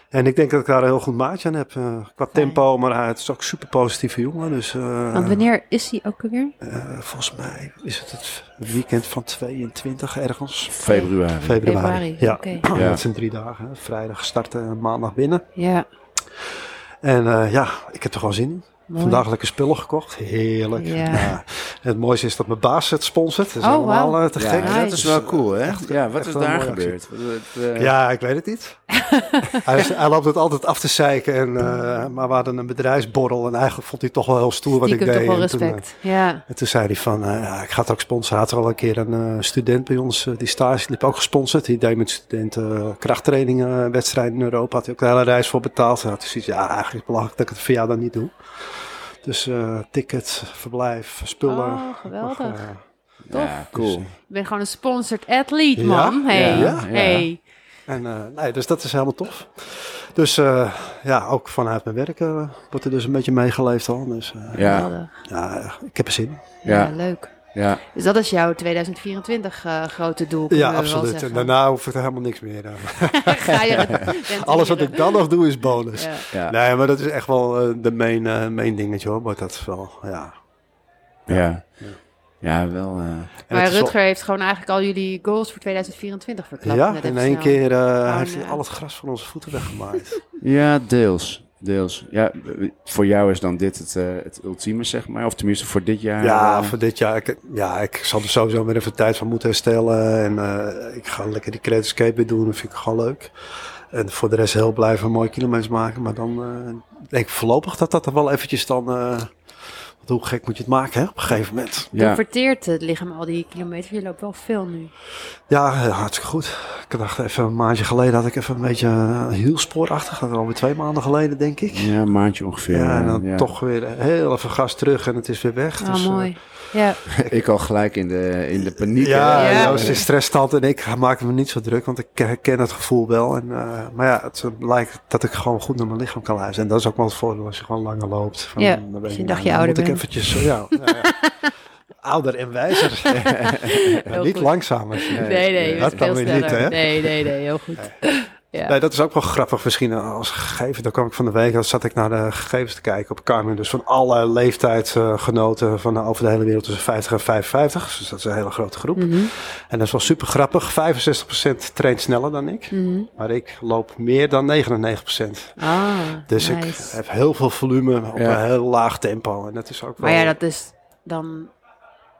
Speaker 2: En ik denk dat ik daar een heel goed maatje aan heb. eh, qua tempo, maar hij het is ook super positieve jongen. Dus eh,
Speaker 3: want wanneer is hij ook alweer?
Speaker 2: eh, volgens mij is het het weekend van 22 ergens.
Speaker 1: Februari.
Speaker 2: Februari.
Speaker 3: Februari,
Speaker 2: Ja.
Speaker 3: oké.
Speaker 2: *clears throat*
Speaker 1: Ja.
Speaker 2: dat zijn drie dagen. hè. Vrijdag starten en maandag binnen.
Speaker 3: Ja,
Speaker 2: En eh, ja, ik heb er gewoon zin in.
Speaker 3: mooi.
Speaker 2: Vandaag lekker spullen gekocht. Heerlijk.
Speaker 3: Ja.
Speaker 2: Nou, het mooiste is dat mijn baas het sponsort. Dat is
Speaker 3: Oh,
Speaker 2: allemaal
Speaker 3: wauw.
Speaker 2: eh, te
Speaker 1: Ja,
Speaker 2: gek.
Speaker 1: dat is
Speaker 2: Dus,
Speaker 1: wel cool, hè? ja, wat
Speaker 2: echt
Speaker 1: is
Speaker 2: wel een
Speaker 1: daar
Speaker 2: mooie actie.
Speaker 1: gebeurd? Wat- wat, eh,
Speaker 2: Ja, ik weet het
Speaker 3: *laughs*
Speaker 2: niet. hij, is- hij loopt het altijd af te zeiken. En, eh, maar we hadden een bedrijfsborrel. En eigenlijk vond hij het toch wel heel stoer wat
Speaker 3: Die ik
Speaker 2: ik
Speaker 3: heb
Speaker 2: deed.
Speaker 3: toch wel
Speaker 2: En toen, eh,
Speaker 3: respect. ja.
Speaker 2: en toen zei hij van, eh, ja, ik ga het ook sponsoren. Had er al een keer een eh, student bij ons, eh, die stage liep ook gesponsord. Die deed met studenten eh, krachttrainingen, eh, wedstrijden in Europa. Had hij ook de hele reis voor betaald. En had hij zoiets, ja, eigenlijk is het belachelijk dat ik het voor jou dan niet doe. Dus eh, tickets, verblijf, spullen.
Speaker 3: Oh, geweldig.
Speaker 2: Nog, eh,
Speaker 1: ja, cool.
Speaker 2: Dus,
Speaker 3: Ik ben gewoon een sponsored athlete, man.
Speaker 2: Ja?
Speaker 3: Hey.
Speaker 1: Ja, ja.
Speaker 3: Hey.
Speaker 2: En, eh, nee, dus dat is helemaal tof. Dus eh, ja, ook vanuit mijn werk eh, wordt er dus een beetje meegeleefd al. Dus eh,
Speaker 1: Ja,
Speaker 3: Geweldig.
Speaker 2: ja, ik heb er zin in.
Speaker 3: Ja.
Speaker 1: ja,
Speaker 3: leuk.
Speaker 1: ja.
Speaker 3: Dus dat is jouw 2024 eh, grote doel. kunnen
Speaker 2: Ja,
Speaker 3: we wel
Speaker 2: absoluut. En
Speaker 3: zeggen.
Speaker 2: daarna hoef ik er helemaal niks meer aan.
Speaker 3: *laughs* Ga je rentenieren.
Speaker 2: *laughs* Alles wat ik dan nog doe is bonus.
Speaker 3: Ja.
Speaker 1: ja.
Speaker 2: Nee, maar dat is echt wel eh, de main, eh, main dingetje hoor. Wordt dat wel, ja.
Speaker 1: Ja, ja wel. eh,
Speaker 2: En
Speaker 3: Maar
Speaker 2: het is wel-
Speaker 3: Rutger heeft gewoon eigenlijk al jullie goals voor 2024 verklapt.
Speaker 2: Ja,
Speaker 3: net
Speaker 2: in
Speaker 3: even
Speaker 2: één
Speaker 3: snel.
Speaker 2: keer eh,
Speaker 3: Oh,
Speaker 2: heeft hij
Speaker 3: nou.
Speaker 2: al het gras van onze voeten weggemaakt.
Speaker 1: ja, deels. Deels. Ja, voor jou is dan dit het, eh, het ultieme, zeg maar. Of tenminste voor dit jaar.
Speaker 2: ja,
Speaker 1: eh,
Speaker 2: voor dit jaar. Ik, ja, ik zal er sowieso weer even tijd van moeten herstellen. En eh, ik ga lekker die createscape weer doen. Dat vind ik gewoon leuk. En voor de rest heel blijven mooie kilometers maken. Maar dan eh, denk ik voorlopig dat dat er wel eventjes dan... eh, want hoe gek moet je het maken, hè? Op een gegeven moment.
Speaker 3: Dan
Speaker 1: ja.
Speaker 3: verteert het lichaam al die kilometers. Je loopt wel veel nu.
Speaker 2: Ja, eh, hartstikke goed. Ik dacht even een maandje geleden had ik even een beetje eh, heel spoorachtig. Dat is alweer twee maanden geleden, denk ik.
Speaker 1: ja, een maandje ongeveer. eh,
Speaker 2: Ja, en dan
Speaker 1: ja.
Speaker 2: toch weer heel even gas terug en het is weer weg.
Speaker 3: Ah,
Speaker 2: Dus, eh,
Speaker 3: mooi. Ja.
Speaker 1: Ik al gelijk in de, in de paniek.
Speaker 2: ja,
Speaker 1: hè.
Speaker 3: Ja.
Speaker 2: Joost is stressstand en ik maak me niet zo druk, want ik herken het gevoel wel. En, eh, maar ja, het lijkt dat ik gewoon goed naar mijn lichaam kan luisteren. En dat is ook wel het voordeel als je gewoon langer loopt. Van,
Speaker 3: Ja,
Speaker 2: dan ben
Speaker 3: als je
Speaker 2: je,
Speaker 3: een
Speaker 2: nou,
Speaker 3: dagje
Speaker 2: dan
Speaker 3: ouder
Speaker 2: moet ik
Speaker 3: bent.
Speaker 2: eventjes, eh, ja, ja,
Speaker 3: *laughs*
Speaker 2: ja. ouder en wijzer. Maar *laughs* niet
Speaker 3: goed.
Speaker 2: langzamer.
Speaker 3: Nee, nee.
Speaker 2: dat
Speaker 3: veel
Speaker 2: kan weer niet,
Speaker 3: sneller.
Speaker 2: hè?
Speaker 3: Nee, nee, nee. Heel goed. Ja.
Speaker 2: Nee, dat is ook wel grappig misschien als gegeven. Daar kwam ik van de week, dan zat ik naar de gegevens te kijken op Carmen. Dus van alle leeftijdsgenoten van eh, over de hele wereld tussen 50 en 55. Dus dat is een hele grote groep.
Speaker 3: Mhm,
Speaker 2: En dat is wel super grappig. 65% traint sneller dan ik.
Speaker 3: mhm.
Speaker 2: Maar ik loop meer dan 99%.
Speaker 3: Ah,
Speaker 2: Dus ik
Speaker 3: nice.
Speaker 2: heb heel veel volume op
Speaker 1: Ja.
Speaker 2: een heel laag tempo. En dat is ook wel...
Speaker 3: Maar ja, dat is dan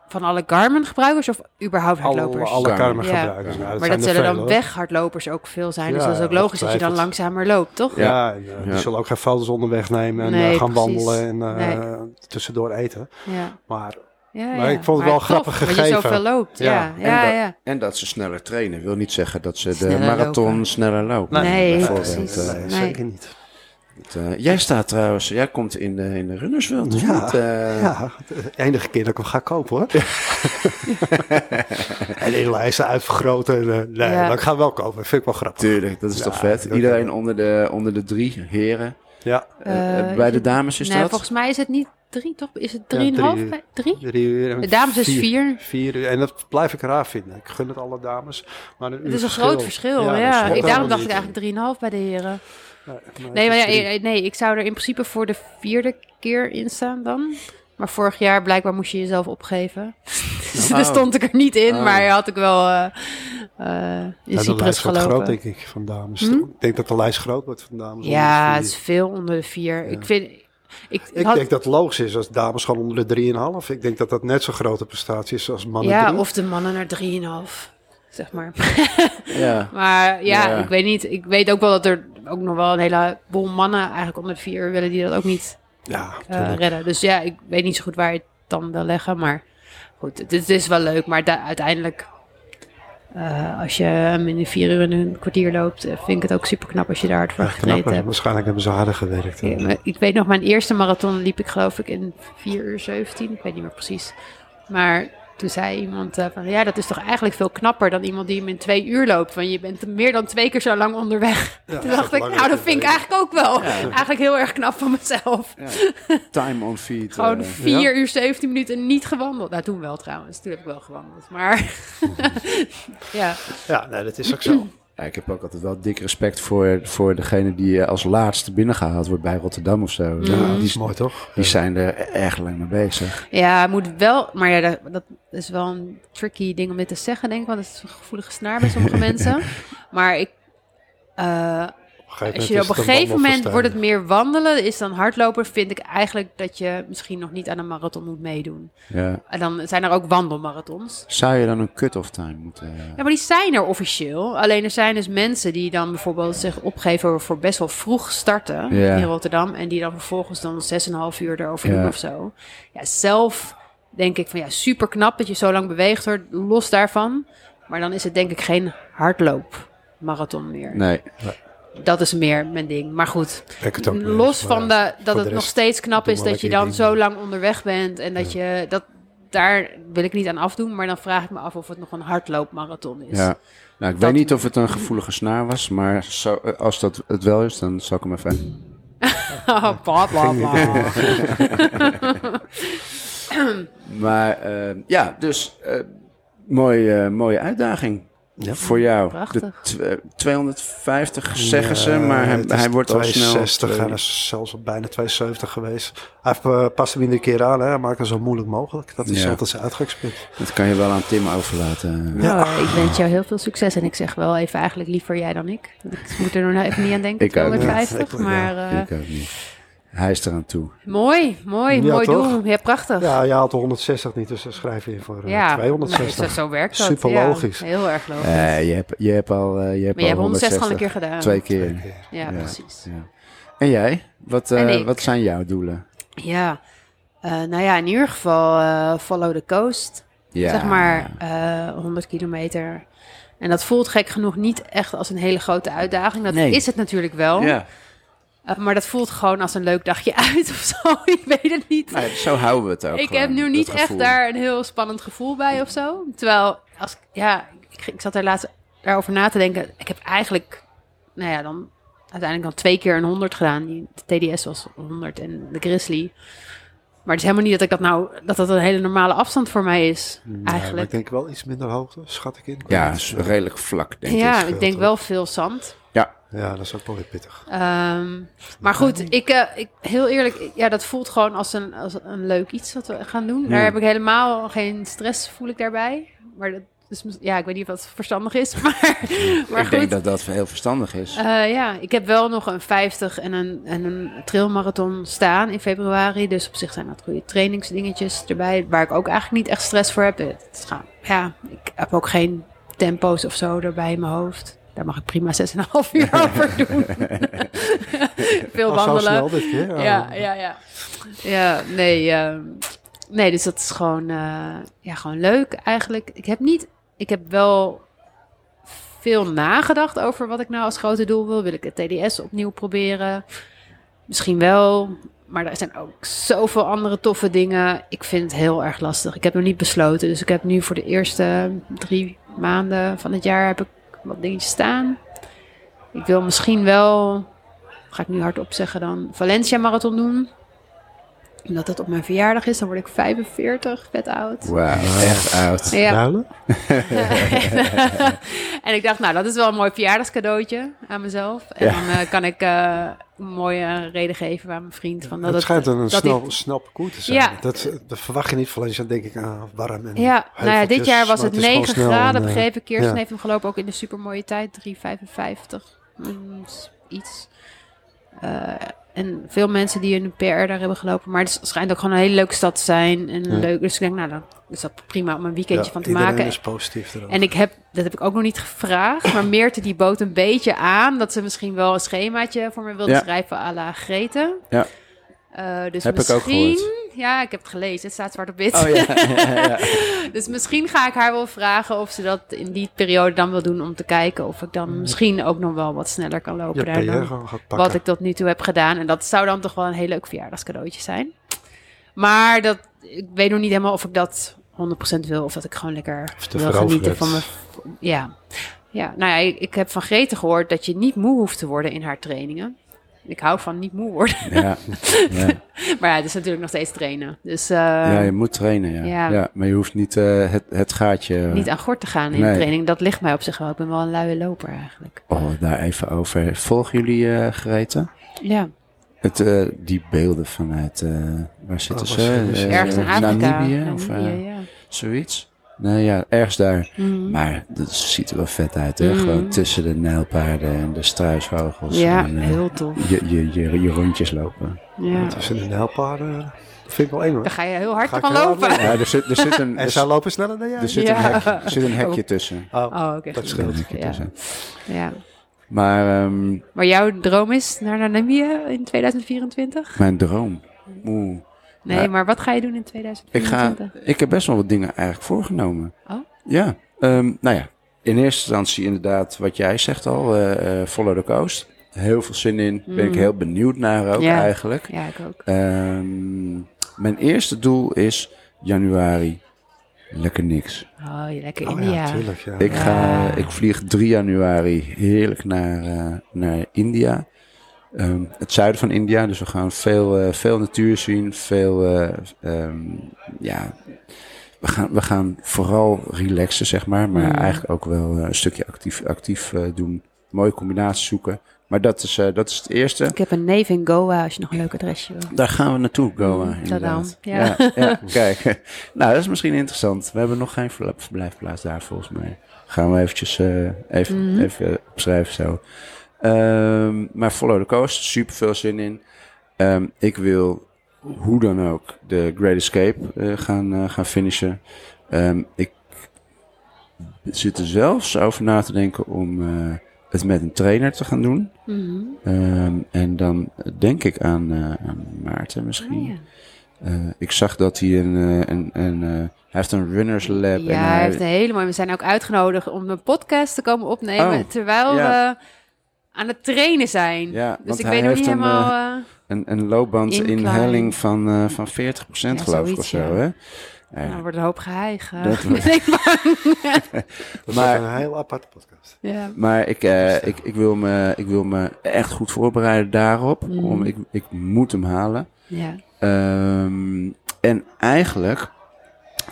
Speaker 3: van alle Garmin-gebruikers of überhaupt
Speaker 2: alle,
Speaker 3: hardlopers?
Speaker 2: alle Carmen
Speaker 3: Ja.
Speaker 2: gebruikers. Nou,
Speaker 3: maar
Speaker 2: zijn
Speaker 3: dat
Speaker 2: er
Speaker 3: zullen dan
Speaker 2: veel, hoor.
Speaker 3: weghardlopers ook veel zijn. dus
Speaker 2: Ja,
Speaker 3: dat is ook logisch dat je dan
Speaker 2: ongetwijfeld.
Speaker 3: langzamer loopt, toch?
Speaker 1: Ja.
Speaker 2: Ja, ja, die
Speaker 1: Ja.
Speaker 2: zullen ook geen foto's onderweg nemen en
Speaker 3: Nee,
Speaker 2: eh, gaan
Speaker 3: precies.
Speaker 2: wandelen en eh, tussendoor eten.
Speaker 3: Ja.
Speaker 2: Maar
Speaker 3: Ja,
Speaker 2: Maar
Speaker 3: ja.
Speaker 2: ik vond het wel
Speaker 3: Maar tof,
Speaker 2: grappig
Speaker 3: Dat je
Speaker 2: gegeven.
Speaker 3: zoveel loopt,
Speaker 2: Ja.
Speaker 3: ja.
Speaker 1: En
Speaker 3: Ja,
Speaker 1: dat-
Speaker 3: ja.
Speaker 1: En dat ze sneller trainen. Wil niet zeggen dat ze de
Speaker 3: Sneller
Speaker 1: marathon
Speaker 3: lopen.
Speaker 1: sneller lopen.
Speaker 3: Nee, Nee,
Speaker 1: bijvoorbeeld.
Speaker 3: precies.
Speaker 1: Eh,
Speaker 2: Nee,
Speaker 3: Nee.
Speaker 2: zeker niet.
Speaker 1: het, eh, jij staat trouwens, jij komt in de, in de runnerswereld. of
Speaker 2: Ja.
Speaker 1: niet? Eh,
Speaker 2: Ja, de enige keer dat ik hem ga kopen hoor. *laughs* en in lijsten uitvergroten. en, eh, nee,
Speaker 3: Ja.
Speaker 2: maar ik ga hem wel kopen. Vind ik wel grappig.
Speaker 1: Tuurlijk, dat is
Speaker 2: Ja,
Speaker 1: toch vet.
Speaker 2: dat-
Speaker 1: Iedereen onder de, onder de drie heren.
Speaker 2: Ja,
Speaker 1: Eh,
Speaker 3: Eh,
Speaker 1: bij
Speaker 3: is
Speaker 1: de
Speaker 3: het-
Speaker 1: dames is
Speaker 3: nee,
Speaker 1: dat?
Speaker 3: volgens mij is het niet drie, toch? Is het
Speaker 2: Ja,
Speaker 3: drieënhalf?
Speaker 2: drie.
Speaker 3: bij- drie?
Speaker 2: drie uur. en
Speaker 3: De dames is vier.
Speaker 2: Vier uur. En dat blijf ik raar vinden. Ik gun het alle dames. Maar
Speaker 3: Het is een groot verschil, ja.
Speaker 2: dat
Speaker 3: Ik,
Speaker 2: klopt
Speaker 3: daarom
Speaker 2: helemaal
Speaker 3: dacht ik
Speaker 2: niet.
Speaker 3: eigenlijk drieënhalf bij de heren.
Speaker 2: maar
Speaker 3: Nee,
Speaker 2: het
Speaker 3: maar
Speaker 2: is
Speaker 3: ja,
Speaker 2: drie.
Speaker 3: eh, nee, ik zou er in principe voor de vierde keer in staan dan. Maar vorig jaar blijkbaar moest je jezelf opgeven. *laughs* dus daar
Speaker 1: Oh.
Speaker 3: stond ik er niet in,
Speaker 1: Oh.
Speaker 3: maar had ik wel eh, eh, in
Speaker 2: Ja, de
Speaker 3: Cyprus
Speaker 2: lijst wordt
Speaker 3: gelopen.
Speaker 2: groot, denk ik, van dames. Ik denk dat de lijst groot wordt van dames.
Speaker 3: Hm? ja,
Speaker 2: onder
Speaker 3: het
Speaker 2: de
Speaker 3: is
Speaker 2: vier.
Speaker 3: veel onder de vier. Ik vind... Ik,
Speaker 2: Ik
Speaker 3: had,
Speaker 2: denk dat het logisch is als dames gewoon onder de 3,5. Ik denk dat dat net zo'n grote prestatie is als mannen.
Speaker 3: ja,
Speaker 2: drie.
Speaker 3: of de mannen naar drieënhalf, zeg maar.
Speaker 1: Ja.
Speaker 3: Maar ja,
Speaker 1: Ja.
Speaker 3: ik weet niet. Ik weet ook wel dat er ook nog wel een heleboel mannen eigenlijk onder de vier willen die dat ook niet
Speaker 2: ja,
Speaker 3: eh,
Speaker 2: tuurlijk.
Speaker 3: redden. Dus ja, ik weet niet zo goed waar je het dan wil leggen. Maar goed, het, het is wel leuk. Maar da- uiteindelijk, eh, als je hem in de vier uur en een kwartier loopt, eh, vind ik het ook super knap als je daar hard voor
Speaker 2: Ja,
Speaker 3: getreden
Speaker 2: knapper.
Speaker 3: hebt.
Speaker 2: Waarschijnlijk hebben ze harder gewerkt.
Speaker 3: Ja, maar Ik weet nog, mijn eerste marathon liep ik geloof ik in 4 uur 17. Ik weet niet meer precies. Maar toen zei iemand eh, van... Ja, dat is toch eigenlijk veel knapper dan iemand die hem in twee uur loopt. Want je bent meer dan twee keer zo lang onderweg. toen dacht ik, nou dat vind ik eigenlijk ook wel. Eigenlijk heel erg knap van mezelf.
Speaker 1: *laughs* Time on feet.
Speaker 3: Gewoon
Speaker 1: eh.
Speaker 3: 4 uur 17 minuten niet gewandeld. Nou, toen wel trouwens. Toen heb ik wel gewandeld. Maar *laughs* ja,
Speaker 2: Ja, nee, dat is ook zo.
Speaker 1: Ja, ik heb ook altijd wel dik respect voor, voor degene die eh, als laatste binnengehaald wordt bij Rotterdam of
Speaker 3: Mm.
Speaker 1: zo.
Speaker 2: Ja,
Speaker 1: Die,
Speaker 2: die is
Speaker 1: die,
Speaker 2: mooi toch?
Speaker 1: zijn er erg lang mee bezig.
Speaker 3: ja moet wel... Maar ja, dat, dat is wel een tricky ding om dit te zeggen, denk ik. Want het is een gevoelige snaar bij sommige mensen. Maar ik... eh, Als je op een gegeven moment wordt het meer wandelen, is dan hardlopen, vind ik eigenlijk dat je misschien nog niet aan een marathon moet meedoen.
Speaker 1: Ja.
Speaker 3: En dan zijn er ook wandelmarathons.
Speaker 1: Zou je dan een cut-off time moeten... eh,
Speaker 3: Ja, maar die zijn er officieel. Alleen er zijn dus mensen die dan bijvoorbeeld zich opgeven voor best wel vroeg starten
Speaker 1: Ja.
Speaker 3: in Rotterdam. En die dan vervolgens dan 6,5 uur erover
Speaker 1: Ja.
Speaker 3: doen of zo. Ja, zelf denk ik van ja, super knap dat je zo lang beweegt hoor, los daarvan. Maar dan is het denk ik geen hardloopmarathon meer.
Speaker 1: Nee.
Speaker 3: Dat is meer mijn ding. Maar goed,
Speaker 2: het ook mee eens,
Speaker 3: Los
Speaker 2: maar
Speaker 3: van de, dat
Speaker 2: voor de
Speaker 3: het nog
Speaker 2: rest,
Speaker 3: steeds knap
Speaker 2: doe
Speaker 3: is
Speaker 2: maar
Speaker 3: dat je
Speaker 2: lekker je
Speaker 3: dan
Speaker 2: ding.
Speaker 3: zo lang onderweg bent en dat je dat daar wil ik niet aan afdoen, maar dan vraag ik me af of het nog een hardloopmarathon is.
Speaker 1: Ja. Nou, ik
Speaker 3: Dus Dat-
Speaker 1: weet niet of het een gevoelige snaar was, maar zo, eh, als dat het wel is, dan zal ik hem even...
Speaker 2: *laughs*
Speaker 3: bla bla *laughs* bla.
Speaker 1: Maar eh, ja, dus eh, mooie, eh, mooie uitdaging voor jou.
Speaker 3: Prachtig.
Speaker 1: De tw- eh, 250 zeggen ze, maar hij, hij wordt al snel...
Speaker 2: 60 en
Speaker 1: eh,
Speaker 2: hij is zelfs al bijna 270 geweest. Hij heeft, eh, past hem iedere keer aan. Hè. Hij maakt het zo moeilijk mogelijk. Dat is
Speaker 1: Ja.
Speaker 2: altijd zijn uitgangspunt.
Speaker 1: dat kan je wel aan Tim overlaten. eh,
Speaker 3: Nou, ik wens jou heel veel succes. En ik zeg wel even eigenlijk liever jij dan ik. Ik moet er nog nou even niet aan denken.
Speaker 1: Ik ook niet.
Speaker 3: 250,
Speaker 2: Ik ook niet.
Speaker 3: maar eh,
Speaker 1: Ik ook niet. Hij is eraan toe.
Speaker 3: mooi, mooi,
Speaker 2: Ja,
Speaker 3: mooi
Speaker 2: toch?
Speaker 3: doel. Ja, prachtig.
Speaker 2: Ja, je haalt de 160 niet, dus dan schrijf je in voor eh,
Speaker 3: Ja, nee,
Speaker 2: 260.
Speaker 3: zo, zo werkt dat.
Speaker 2: Super
Speaker 3: ja.
Speaker 2: logisch.
Speaker 3: heel erg logisch.
Speaker 1: Eh, je, hebt, je hebt al, eh, je hebt
Speaker 3: maar je
Speaker 1: al
Speaker 3: hebt 160 al
Speaker 1: 160.
Speaker 3: een keer gedaan.
Speaker 1: Twee keer.
Speaker 3: Ja,
Speaker 1: Ja.
Speaker 3: precies.
Speaker 1: Ja. En jij? Wat, eh,
Speaker 3: En ik.
Speaker 1: wat zijn jouw doelen?
Speaker 3: Ja, Eh, nou ja, in ieder geval eh, follow the coast.
Speaker 1: Ja.
Speaker 3: Zeg maar eh, 100 kilometer. En dat voelt gek genoeg niet echt als een hele grote uitdaging. Dat
Speaker 1: Nee.
Speaker 3: is het natuurlijk wel.
Speaker 1: Ja.
Speaker 3: Eh, maar dat voelt gewoon als een leuk dagje *laughs* uit of zo. Ik weet het niet.
Speaker 1: Nou ja, zo houden we het ook.
Speaker 3: ik
Speaker 1: gewoon,
Speaker 3: heb nu
Speaker 1: dat
Speaker 3: niet echt
Speaker 1: gevoel.
Speaker 3: daar een heel spannend gevoel bij of zo. Terwijl, als, ik- ja, ik, ik zat daar laatst daarover na te denken. Ik heb eigenlijk, nou ja, dan uiteindelijk dan twee keer een 100 gedaan. Die, de TDS was 100 en de Grizzly. Maar het is helemaal niet dat ik dat nou, dat dat een hele normale afstand voor mij is.
Speaker 2: Ja, maar
Speaker 3: eigenlijk.
Speaker 2: ik denk wel iets minder hoogte, schat ik in.
Speaker 1: Ja, is redelijk vlak, denk ik.
Speaker 3: ja,
Speaker 2: scheelt
Speaker 3: ik denk
Speaker 2: ook.
Speaker 3: wel veel zand.
Speaker 2: ja, dat is ook wel weer pittig.
Speaker 3: Ehm, maar goed, ik, eh, ik, heel eerlijk, ik- ja, dat voelt gewoon als een, als een leuk iets wat we gaan doen. Daar heb ik helemaal geen stress, voel ik daarbij. Maar dat is, mis- ja, ik weet niet of dat verstandig is, *laughs* maar, maar
Speaker 1: ik
Speaker 3: goed.
Speaker 1: denk dat dat heel verstandig is.
Speaker 3: Eh, ja, ik heb wel nog een 50 en een, en een trailmarathon staan in februari. Dus op zich zijn dat goede trainingsdingetjes erbij. Waar ik ook eigenlijk niet echt stress voor heb. Het gaat, ja, ik heb ook geen tempo's of zo erbij in mijn hoofd. Daar mag ik prima 6,5 uur over doen. Veel
Speaker 2: Oh, zo
Speaker 3: wandelen.
Speaker 2: snel dit keer. Oh.
Speaker 3: Ja, ja, ja. Ja, nee. ehm, nee, dus dat is gewoon, eh, ja, gewoon leuk eigenlijk. Ik heb niet... Ik heb wel veel nagedacht over wat ik nou als grote doel wil. Wil ik het TDS opnieuw proberen? Misschien wel. Maar er zijn ook zoveel andere toffe dingen. Ik vind het heel erg lastig. Ik heb nog niet besloten. Dus ik heb nu voor de eerste drie maanden van het jaar... heb ik wat dingetjes staan. Ik wil misschien wel ga ik nu hardop zeggen dan, Valencia Marathon doen. Omdat dat op mijn verjaardag is, dan word ik 45, vet oud.
Speaker 1: Wauw, echt
Speaker 3: *laughs*
Speaker 1: oud.
Speaker 3: Ja. Nou,
Speaker 2: Huilen?
Speaker 3: en ik dacht, nou, dat is wel een mooi verjaardagscadeautje aan mezelf. En
Speaker 1: Ja.
Speaker 3: dan eh, kan ik eh, een mooie reden geven aan mijn vriend. Van dat
Speaker 2: het schijnt een
Speaker 3: dat
Speaker 2: snel,
Speaker 3: die-
Speaker 2: snel parcours te zijn.
Speaker 3: Ja.
Speaker 2: Dat, eh, dat verwacht je niet. Valencia denk ik aan warm en
Speaker 3: Ja, nou ja, dit
Speaker 2: heuveltjes,
Speaker 3: jaar was
Speaker 2: maar
Speaker 3: het
Speaker 2: is gewoon
Speaker 3: 9
Speaker 2: snel
Speaker 3: graden,
Speaker 2: en, eh,
Speaker 3: begreep ik. Kirsten
Speaker 2: ja.
Speaker 3: heeft hem gelopen ook in de supermooie tijd, 3,55. mm, s- iets. Eh, en veel mensen die een PR daar hebben gelopen. Maar het schijnt ook gewoon een hele leuke stad te zijn. En leuk, dus ik denk, nou, dan is dat prima om een weekendje
Speaker 2: Ja,
Speaker 3: van te
Speaker 2: iedereen
Speaker 3: maken.
Speaker 2: is positief erover.
Speaker 3: En ik heb, dat heb ik ook nog niet gevraagd, maar Meerte die bood een beetje aan dat ze misschien wel een schemaatje voor me wilde
Speaker 1: Ja.
Speaker 3: schrijven à la Greten.
Speaker 1: Ja.
Speaker 3: Eh, dus
Speaker 1: Heb ik ook
Speaker 3: misschien,
Speaker 1: gehoord.
Speaker 3: ja, ik heb het gelezen, het staat zwart op wit. *laughs*
Speaker 1: Oh ja. *laughs*
Speaker 3: Dus misschien ga ik haar wel vragen of ze dat in die periode dan wil doen om te kijken of ik dan misschien ook nog wel wat sneller kan
Speaker 2: Mm. je
Speaker 3: lopen daar
Speaker 2: PR
Speaker 3: dan
Speaker 2: gewoon gaat pakken.
Speaker 3: wat ik tot nu toe heb gedaan. En dat zou dan toch wel een heel leuk verjaardagscadeautje zijn. Maar dat, ik weet nog niet helemaal of ik dat 100% wil of dat ik gewoon lekker
Speaker 2: Of te
Speaker 3: wil
Speaker 2: veroverd.
Speaker 3: genieten van mijn... Ja. ja, nou ja, ik heb van Grete gehoord dat je niet moe hoeft te worden in haar trainingen. Ik hou van niet moe worden. *laughs*
Speaker 1: Ja. Ja.
Speaker 3: Maar ja, het is natuurlijk nog steeds trainen. Dus eh, *laughs*
Speaker 1: ja, je moet trainen, ja.
Speaker 3: Ja.
Speaker 1: ja. maar je hoeft niet eh, het, het gaatje...
Speaker 3: niet aan gort te gaan in
Speaker 1: Nee.
Speaker 3: de training. Dat ligt mij op zich wel. Ik ben wel een luie loper eigenlijk.
Speaker 1: Oh, daar even over. Volgen jullie eh Greta?
Speaker 3: Ja,
Speaker 1: Het, eh, die beelden vanuit... eh, waar zitten
Speaker 2: Oh,
Speaker 1: ze?
Speaker 2: waar zitten ze?
Speaker 1: Eh,
Speaker 3: ergens in Afrika.
Speaker 1: Namibië? Of, eh,
Speaker 3: Namibië, ja.
Speaker 1: Zoiets? Nou ja, ergens daar.
Speaker 3: Mhm.
Speaker 1: Maar dat ziet er wel vet uit, hè?
Speaker 3: Mhm.
Speaker 1: Gewoon tussen de nijlpaarden en de struisvogels.
Speaker 3: ja,
Speaker 1: en, eh,
Speaker 3: heel tof.
Speaker 1: je, je, je, je rondjes lopen.
Speaker 3: Ja.
Speaker 2: Tussen de nijlpaarden. eh, Dat vind ik wel eng hoor.
Speaker 3: Dan eh, ga dus je heel hard
Speaker 2: Ga ik
Speaker 3: van
Speaker 2: heel
Speaker 3: lopen.
Speaker 2: hard
Speaker 1: Ja, er zit, er zit een,
Speaker 2: *laughs* En
Speaker 1: er,
Speaker 2: zij
Speaker 1: zit-
Speaker 2: lopen sneller dan jij?
Speaker 1: er zit
Speaker 3: Ja.
Speaker 1: een, hekje, er zit een hekje tussen.
Speaker 2: Oh,
Speaker 3: dus- *laughs* Oh, oké.
Speaker 2: dat
Speaker 3: goed.
Speaker 1: Er zit
Speaker 2: scheelt.
Speaker 1: een hekje
Speaker 3: Ja.
Speaker 1: tussen.
Speaker 3: Ja.
Speaker 1: Maar ehm,
Speaker 3: Maar jouw droom is naar Namibië in 2024?
Speaker 1: mijn droom. Oeh.
Speaker 3: Nee,
Speaker 1: Ja.
Speaker 3: maar wat ga je doen in
Speaker 1: Ik, ga,
Speaker 3: 2024?
Speaker 1: ik heb best wel wat dingen eigenlijk voorgenomen.
Speaker 3: Oh?
Speaker 1: Ja. ehm, nou ja, in eerste instantie inderdaad wat jij zegt al, eh, eh, Follow the Coast. Heel veel zin in. Ben ik
Speaker 3: Mm.
Speaker 1: heel benieuwd naar ook
Speaker 3: Ja.
Speaker 1: eigenlijk.
Speaker 3: Ja, ik ook.
Speaker 1: Ehm, mijn eerste doel is januari lekker niks.
Speaker 3: Oh, je lekker
Speaker 2: Oh
Speaker 3: India.
Speaker 2: ja, tuurlijk. Ja.
Speaker 1: Ik, ga,
Speaker 3: Ja.
Speaker 1: ik vlieg 3 januari heerlijk naar, eh, naar India. Ehm, het zuiden van India. Dus we gaan veel, eh, veel natuur zien. Veel, eh, ehm, ja, we gaan, we gaan vooral relaxen, zeg maar. Maar
Speaker 3: Mm.
Speaker 1: eigenlijk ook wel eh, een stukje actief, actief eh, doen. Mooie combinaties zoeken. Maar dat is, eh, dat is het eerste.
Speaker 3: Ik heb een neef in Goa, als je nog een leuk adresje wil.
Speaker 1: Daar gaan we naartoe, Goa.
Speaker 3: Mm,
Speaker 1: inderdaad.
Speaker 3: tadam. Ja.
Speaker 1: Ja,
Speaker 3: *laughs*
Speaker 1: ja, kijk. Nou, dat is misschien interessant. We hebben nog geen verla- verblijfplaats daar, volgens mij. Gaan we eventjes eh, even,
Speaker 3: Mhm.
Speaker 1: even eh, opschrijven zo. Ehm, maar Follow the Coast, super veel zin in. Ehm, ik wil hoe dan ook de Great Escape eh, gaan, eh, gaan finishen. Ehm, ik zit er zelfs over na te denken om eh, het met een trainer te gaan doen.
Speaker 3: Mhm.
Speaker 1: Ehm, en dan denk ik aan, eh, aan Maarten misschien.
Speaker 3: Oh, ja.
Speaker 1: Eh, ik zag dat hij een, eh, een, een eh, hij heeft een runners lab.
Speaker 3: Ja,
Speaker 1: en eh,
Speaker 3: hij
Speaker 1: hij-
Speaker 3: heeft een hele mooie. We zijn ook uitgenodigd om een podcast te komen opnemen
Speaker 1: Oh,
Speaker 3: terwijl
Speaker 1: ja.
Speaker 3: we aan het trainen zijn.
Speaker 1: Ja,
Speaker 3: dus
Speaker 1: want
Speaker 3: ik
Speaker 1: hij
Speaker 3: weet nog
Speaker 1: heeft
Speaker 3: niet
Speaker 1: een,
Speaker 3: helemaal. eh,
Speaker 1: een, een loopband in
Speaker 3: Incline.
Speaker 1: helling van, eh, van 40%
Speaker 3: Ja,
Speaker 1: geloof ik
Speaker 3: zoiets,
Speaker 1: of zo.
Speaker 3: ja.
Speaker 1: Hè? Ja,
Speaker 3: nou, er wordt een hoop geheig. eh.
Speaker 1: Dat wordt-
Speaker 3: Ik *laughs* denk maar-
Speaker 2: Dat
Speaker 1: Maar-
Speaker 2: is een heel aparte podcast.
Speaker 3: ja.
Speaker 1: Maar ik, eh, ik, ik, wil me, ik wil me echt goed voorbereiden daarop.
Speaker 3: Mm.
Speaker 1: Om, ik, ik moet hem halen.
Speaker 3: Ja.
Speaker 1: Ehm, en eigenlijk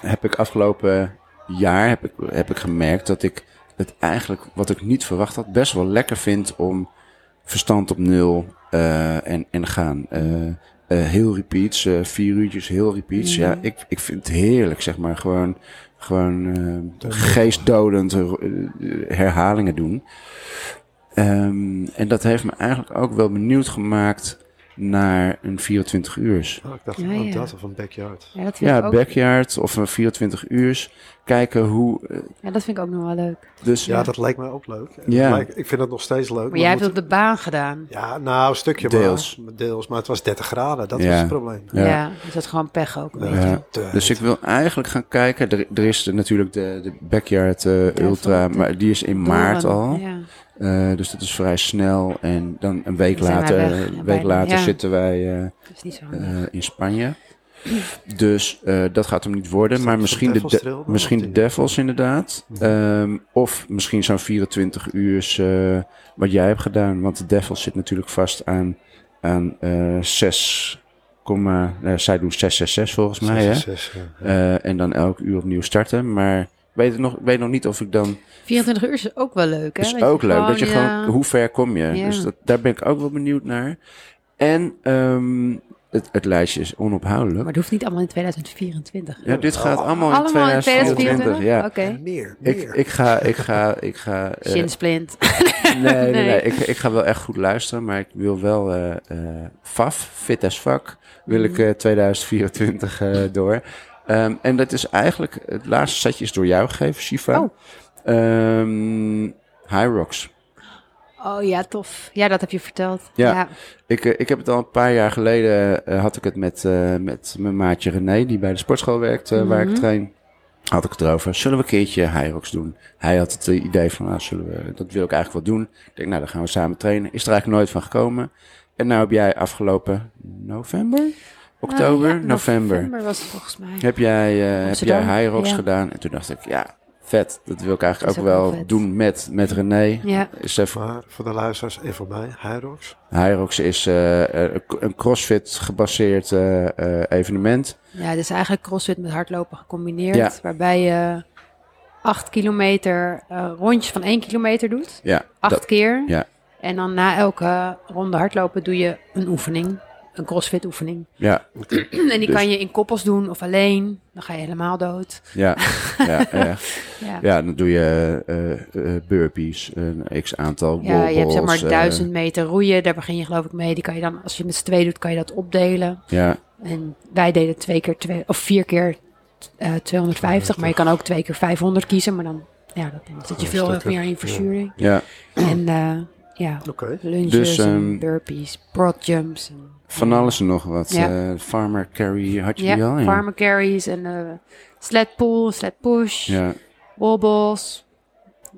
Speaker 1: heb ik afgelopen jaar heb ik, heb ik gemerkt dat ik het eigenlijk, wat ik niet verwacht had, best wel lekker vind om verstand op nul eh, en, en gaan. Eh, eh, heel repeats, eh, vier uurtjes heel repeats.
Speaker 3: Mhm.
Speaker 1: Ja, ik, ik vind het heerlijk, zeg maar. Gewoon, gewoon eh, geestdodend eh, herhalingen doen. Ehm, en dat heeft me eigenlijk ook wel benieuwd gemaakt naar een 24 uurs.
Speaker 2: Oh, ik dacht,
Speaker 3: Ja,
Speaker 2: oh,
Speaker 3: ja.
Speaker 2: dat of een backyard.
Speaker 3: Ja, dat vind ik
Speaker 1: Ja,
Speaker 3: ook,
Speaker 1: backyard of een 24 uurs. Kijken hoe... eh,
Speaker 3: ja, dat vind ik ook nog wel leuk.
Speaker 1: Dus
Speaker 2: Ja, dat lijkt mij ook leuk.
Speaker 1: Ja.
Speaker 2: Maar ik, ik vind dat nog steeds leuk.
Speaker 3: Maar jij hebt
Speaker 2: moet-
Speaker 3: het op de baan gedaan.
Speaker 2: Ja, nou, een stukje
Speaker 1: Deels.
Speaker 2: maar. Deels. Maar het was 30 graden. Dat
Speaker 1: Ja.
Speaker 2: was het probleem.
Speaker 1: Ja.
Speaker 3: Ja. dus dat is gewoon pech ook. een
Speaker 2: Ja.
Speaker 3: beetje.
Speaker 2: te-
Speaker 1: Dus ik wil eigenlijk gaan kijken. Er, er is de- natuurlijk de, de Backyard eh, Ultra,
Speaker 3: van de-
Speaker 1: maar die is in
Speaker 3: Doorn,
Speaker 1: maart al.
Speaker 3: Ja.
Speaker 1: Eh, dus dat is vrij snel. En dan een week
Speaker 3: Dan zijn wij
Speaker 1: later,
Speaker 3: weg, ja,
Speaker 1: een week
Speaker 3: bijna.
Speaker 1: later
Speaker 3: Ja.
Speaker 1: zitten wij eh,
Speaker 3: Dat is niet zo handig.
Speaker 1: eh, in Spanje. Dus eh, dat gaat hem niet worden.
Speaker 2: Is
Speaker 1: Maar
Speaker 2: dat
Speaker 1: misschien
Speaker 2: zo'n
Speaker 1: de,
Speaker 2: Devil's
Speaker 1: de-
Speaker 2: Trail dan,
Speaker 1: misschien
Speaker 2: of
Speaker 1: de
Speaker 2: die- Mhm.
Speaker 1: Devils inderdaad. Ehm, of misschien zo'n 24 uur wat jij hebt gedaan. Want de Devils zit natuurlijk vast aan, aan eh 6, zij doen 666 volgens mij. Hè?
Speaker 2: Zes, zes, ja.
Speaker 1: Eh, en dan elk uur opnieuw starten. Maar ik weet het nog, ik weet nog niet of ik dan...
Speaker 3: 24 uur is ook wel leuk, hè?
Speaker 1: Het is
Speaker 3: Dat je eh,
Speaker 1: ook leuk, dat je
Speaker 3: ja,
Speaker 1: gewoon... Hoe ver kom je?
Speaker 3: Ja.
Speaker 1: Dus dat, daar ben ik ook wel benieuwd naar. En ehm, het, het lijstje is onophoudelijk.
Speaker 3: Maar het hoeft niet allemaal in 2024.
Speaker 1: Ja, dit gaat allemaal,
Speaker 3: Oh, allemaal in
Speaker 1: 2024.
Speaker 3: 2024?
Speaker 1: Oh, Ja.
Speaker 3: Oké.
Speaker 2: En meer, meer.
Speaker 1: Ik, ik ga, ik ga, ik
Speaker 3: *laughs*
Speaker 1: ga. eh,
Speaker 3: Zinsplint.
Speaker 1: nee, nee, nee,
Speaker 3: Nee.
Speaker 1: Ik, ik ga wel echt goed luisteren, maar ik wil wel eh eh, faf, fit as fuck, wil
Speaker 3: Mhm.
Speaker 1: ik eh, 2024 eh, door. Ehm, en dat is eigenlijk het laatste setje is door jou gegeven, Shiva.
Speaker 3: Oh.
Speaker 1: Ehm, High Rocks.
Speaker 3: Oh ja, tof. Ja, dat heb je verteld.
Speaker 1: Ja.
Speaker 3: ja.
Speaker 1: Ik, eh, ik heb het al een paar jaar geleden, eh, had ik het met, eh, met mijn maatje René, die bij de sportschool werkt, eh, waar ik
Speaker 3: Mhm.
Speaker 1: train. Had ik het erover, zullen we een keertje Hyrox doen? Hij had het eh, idee van, nou, zullen we, dat wil ik eigenlijk wel doen. Ik denk, nou, dan gaan we samen trainen. Is er eigenlijk nooit van gekomen. En nou heb jij afgelopen november? Oktober?
Speaker 3: Ah, ja,
Speaker 1: november.
Speaker 3: was het volgens mij.
Speaker 1: Heb jij, eh heb
Speaker 3: Amsterdam,
Speaker 1: jij Hyrox
Speaker 3: ja.
Speaker 1: gedaan? En toen dacht ik, ja, vet. Dat wil ik eigenlijk
Speaker 3: Is
Speaker 1: ook
Speaker 3: ook wel
Speaker 1: wel
Speaker 3: vet.
Speaker 1: doen met, met René.
Speaker 3: Ja.
Speaker 1: Is even
Speaker 2: Maar voor de luisteraars en voor mij, Hyrox.
Speaker 1: Hyrox is eh, eh, een CrossFit-gebaseerd eh, eh, evenement.
Speaker 3: Ja, het is eigenlijk crossfit met hardlopen gecombineerd.
Speaker 1: Ja.
Speaker 3: Waarbij je acht kilometer eh rondjes van één kilometer doet.
Speaker 1: Ja,
Speaker 3: Acht
Speaker 1: dat-
Speaker 3: keer.
Speaker 1: ja.
Speaker 3: En dan na elke ronde hardlopen doe je een oefening. Een crossfit oefening. *clears throat*
Speaker 1: ja,
Speaker 3: En die
Speaker 1: Dus-
Speaker 3: kan je in koppels doen of alleen. Dan ga je helemaal dood.
Speaker 1: ja, ja, ja.
Speaker 3: Ja,
Speaker 1: Ja, dan doe je eh, eh, burpees, een x aantal
Speaker 3: ja je hebt zeg
Speaker 1: wallballs,
Speaker 3: maar
Speaker 1: eh,
Speaker 3: duizend meter roeien. Daar begin je geloof ik mee. Die kan je dan, als je met z'n twee doet, kan je dat opdelen.
Speaker 1: eh, ja,
Speaker 3: En wij deden twee keer twee, of vier keer eh 250, maar je kan ook twee keer 500 kiezen, maar dan, ja, dat- dan zit je
Speaker 2: Oh,
Speaker 3: veel
Speaker 2: stukken.
Speaker 3: meer in verzuring.
Speaker 1: ja.
Speaker 3: En eh, ja,
Speaker 2: Oké.
Speaker 3: lunges
Speaker 1: Dus, ehm,
Speaker 3: en burpees, broad jumps. En,
Speaker 1: Van alles en nog wat.
Speaker 3: Ja.
Speaker 1: Eh, farmer carry had je
Speaker 3: Ja,
Speaker 1: die al?
Speaker 3: farmer carries en eh sled pull, sled push,
Speaker 1: Ja.
Speaker 3: wobbles.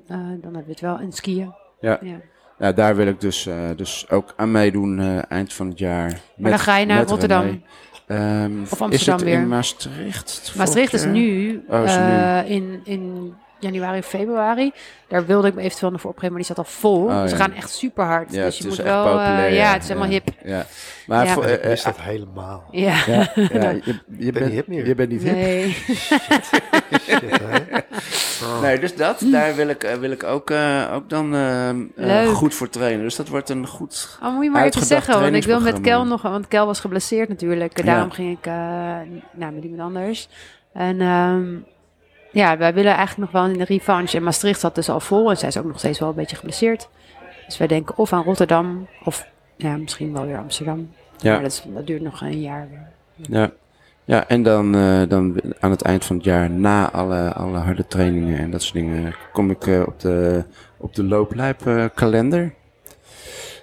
Speaker 3: Eh, dan heb je het wel, en skiën.
Speaker 1: Ja.
Speaker 3: ja.
Speaker 1: ja, Nou, daar wil ik dus, eh, dus ook aan meedoen eh, eind van het jaar.
Speaker 3: Maar dan ga je naar Rotterdam.
Speaker 1: Ehm,
Speaker 3: Of Amsterdam
Speaker 1: is het
Speaker 3: weer.
Speaker 1: in Maastricht?
Speaker 3: Maastricht is
Speaker 1: vorig jaar?
Speaker 3: nu,
Speaker 1: Oh, is nu.
Speaker 3: eh, in, in januari, februari. Daar wilde ik me eventueel nog voor opgeven, maar die zat al vol.
Speaker 1: Oh,
Speaker 3: Ze
Speaker 1: ja.
Speaker 3: gaan echt super hard.
Speaker 1: Ja,
Speaker 3: dus
Speaker 1: het
Speaker 3: je
Speaker 1: is
Speaker 3: moet
Speaker 1: echt
Speaker 3: wel. eh,
Speaker 1: populair.
Speaker 3: ja, het is helemaal hip.
Speaker 1: Ja. Maar
Speaker 3: Ja.
Speaker 1: Voor,
Speaker 2: Ik
Speaker 1: eh, eh,
Speaker 2: mis dat
Speaker 1: *laughs*
Speaker 2: helemaal.
Speaker 3: Ja. *laughs*
Speaker 1: ja, ja, je, je,
Speaker 2: niet hip
Speaker 1: bent,
Speaker 2: meer.
Speaker 1: je bent niet hip.
Speaker 3: Nee.
Speaker 2: Shit, hè?
Speaker 1: Nee, dus dat, daar wil ik, eh, wil ik ook, eh, ook dan eh, eh,
Speaker 3: Leuk.
Speaker 1: goed voor trainen. Dus dat wordt een goed...
Speaker 3: Oh, moet je maar even
Speaker 1: Uitgedacht
Speaker 3: zeggen, want ik wil met Kel
Speaker 1: trainingsprogramma.
Speaker 3: nog, want Kel was geblesseerd natuurlijk.
Speaker 1: Ja.
Speaker 3: Daarom ging ik eh, nou, met iemand anders. En ehm, ja, wij willen eigenlijk nog wel in de revanche. En Maastricht zat dus al vol en zij is ook nog steeds wel een beetje geblesseerd. Dus wij denken of aan Rotterdam of ja, misschien wel weer Amsterdam.
Speaker 1: Ja.
Speaker 3: Maar dat, is- dat duurt nog een jaar weer.
Speaker 1: Ja, ja en dan, eh, dan aan het eind van het jaar, na alle, alle harde trainingen en dat soort dingen, kom ik eh, op de, op de looplijpkalender. kalender